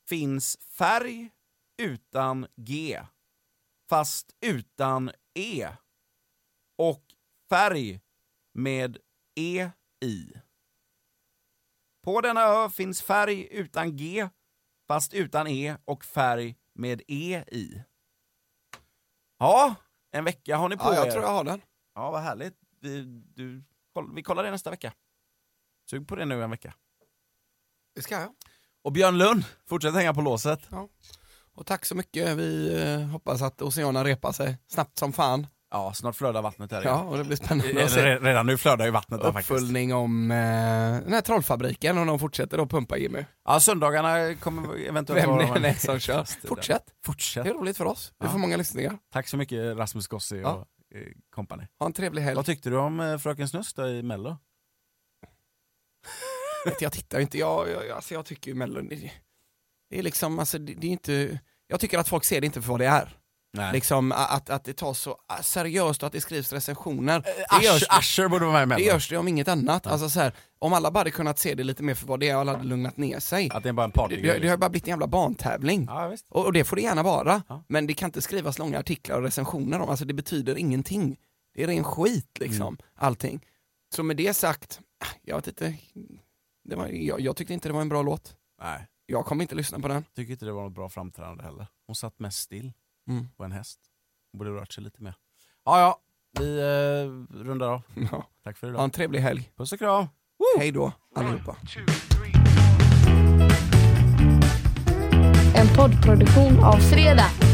Speaker 3: finns färg utan G, fast utan E och färg med E i. På denna ö finns färg utan G, fast utan E och färg med E i. Ja, en vecka har ni på
Speaker 2: Ja, jag
Speaker 3: er.
Speaker 2: tror jag har den.
Speaker 3: Ja, vad härligt. Vi, du, koll, vi kollar det nästa vecka. Sug på det nu en vecka.
Speaker 2: Det ska jag.
Speaker 3: Och Björn Lund, fortsätt hänga på låset.
Speaker 2: Och tack så mycket. Vi eh, hoppas att Oceana repar sig snabbt som fan.
Speaker 3: Ja, snart flödar vattnet här
Speaker 2: Ja,
Speaker 3: igen.
Speaker 2: och det blir spännande att
Speaker 3: Eller
Speaker 2: se.
Speaker 3: re- Redan nu flödar ju vattnet där faktiskt.
Speaker 2: Uppföljning om eh, den här trollfabriken om de fortsätter att pumpa Jimmy.
Speaker 3: Ja, söndagarna kommer eventuellt
Speaker 2: Vem
Speaker 3: vara...
Speaker 2: det än är som kör.
Speaker 3: Fortsätt.
Speaker 2: Fortsätt. Det är roligt för oss. Vi
Speaker 3: Ja.
Speaker 2: får många lyssningar.
Speaker 3: Tack så mycket Rasmus Gossi och
Speaker 2: Ja.
Speaker 3: eh, company.
Speaker 2: Ha en trevlig helg.
Speaker 3: Vad tyckte du om eh, Fröken Snusk då i Mello?
Speaker 2: Vet, jag tittar ju inte, jag, jag, jag- alltså jag tycker ju Mello, det, det är liksom, alltså det, det är inte, jag tycker att folk ser det inte för vad det är.
Speaker 3: Nej.
Speaker 2: Liksom a- att, att det tas så ah, seriöst och att det skrivs recensioner. Det görs,
Speaker 3: Ascher, Ascher borde vara med i
Speaker 2: det
Speaker 3: Mello.
Speaker 2: görs det om inget annat. Alltså så här, om alla bara hade kunnat se det lite mer för vad det är och alla hade lugnat ner sig.
Speaker 3: Att det är bara en
Speaker 2: Det,
Speaker 3: partygrej.
Speaker 2: det, det har
Speaker 3: liksom.
Speaker 2: bara blivit en jävla barntävling.
Speaker 3: Ja, visst.
Speaker 2: Och, och det får det gärna vara,
Speaker 3: Ja.
Speaker 2: men det kan inte skrivas långa artiklar och recensioner om, alltså det betyder ingenting. Det är ren skit liksom,
Speaker 3: Mm.
Speaker 2: allting. Så med det sagt, ah, jag vet inte, det var, jag, jag tyckte inte det var en bra låt.
Speaker 3: Nej,
Speaker 2: Jag kommer inte lyssna på den.
Speaker 3: tycker inte det var något bra framträdande heller. Hon satt mest still. på en häst. Hon borde rört sig lite mer. Ja, ja. Vi eh, rundar av.
Speaker 2: Ja.
Speaker 3: Tack för
Speaker 2: Ha
Speaker 3: idag.
Speaker 2: en trevlig helg.
Speaker 3: Puss och kram!
Speaker 2: Hej då allihopa.
Speaker 4: En poddproduktion av Fredag.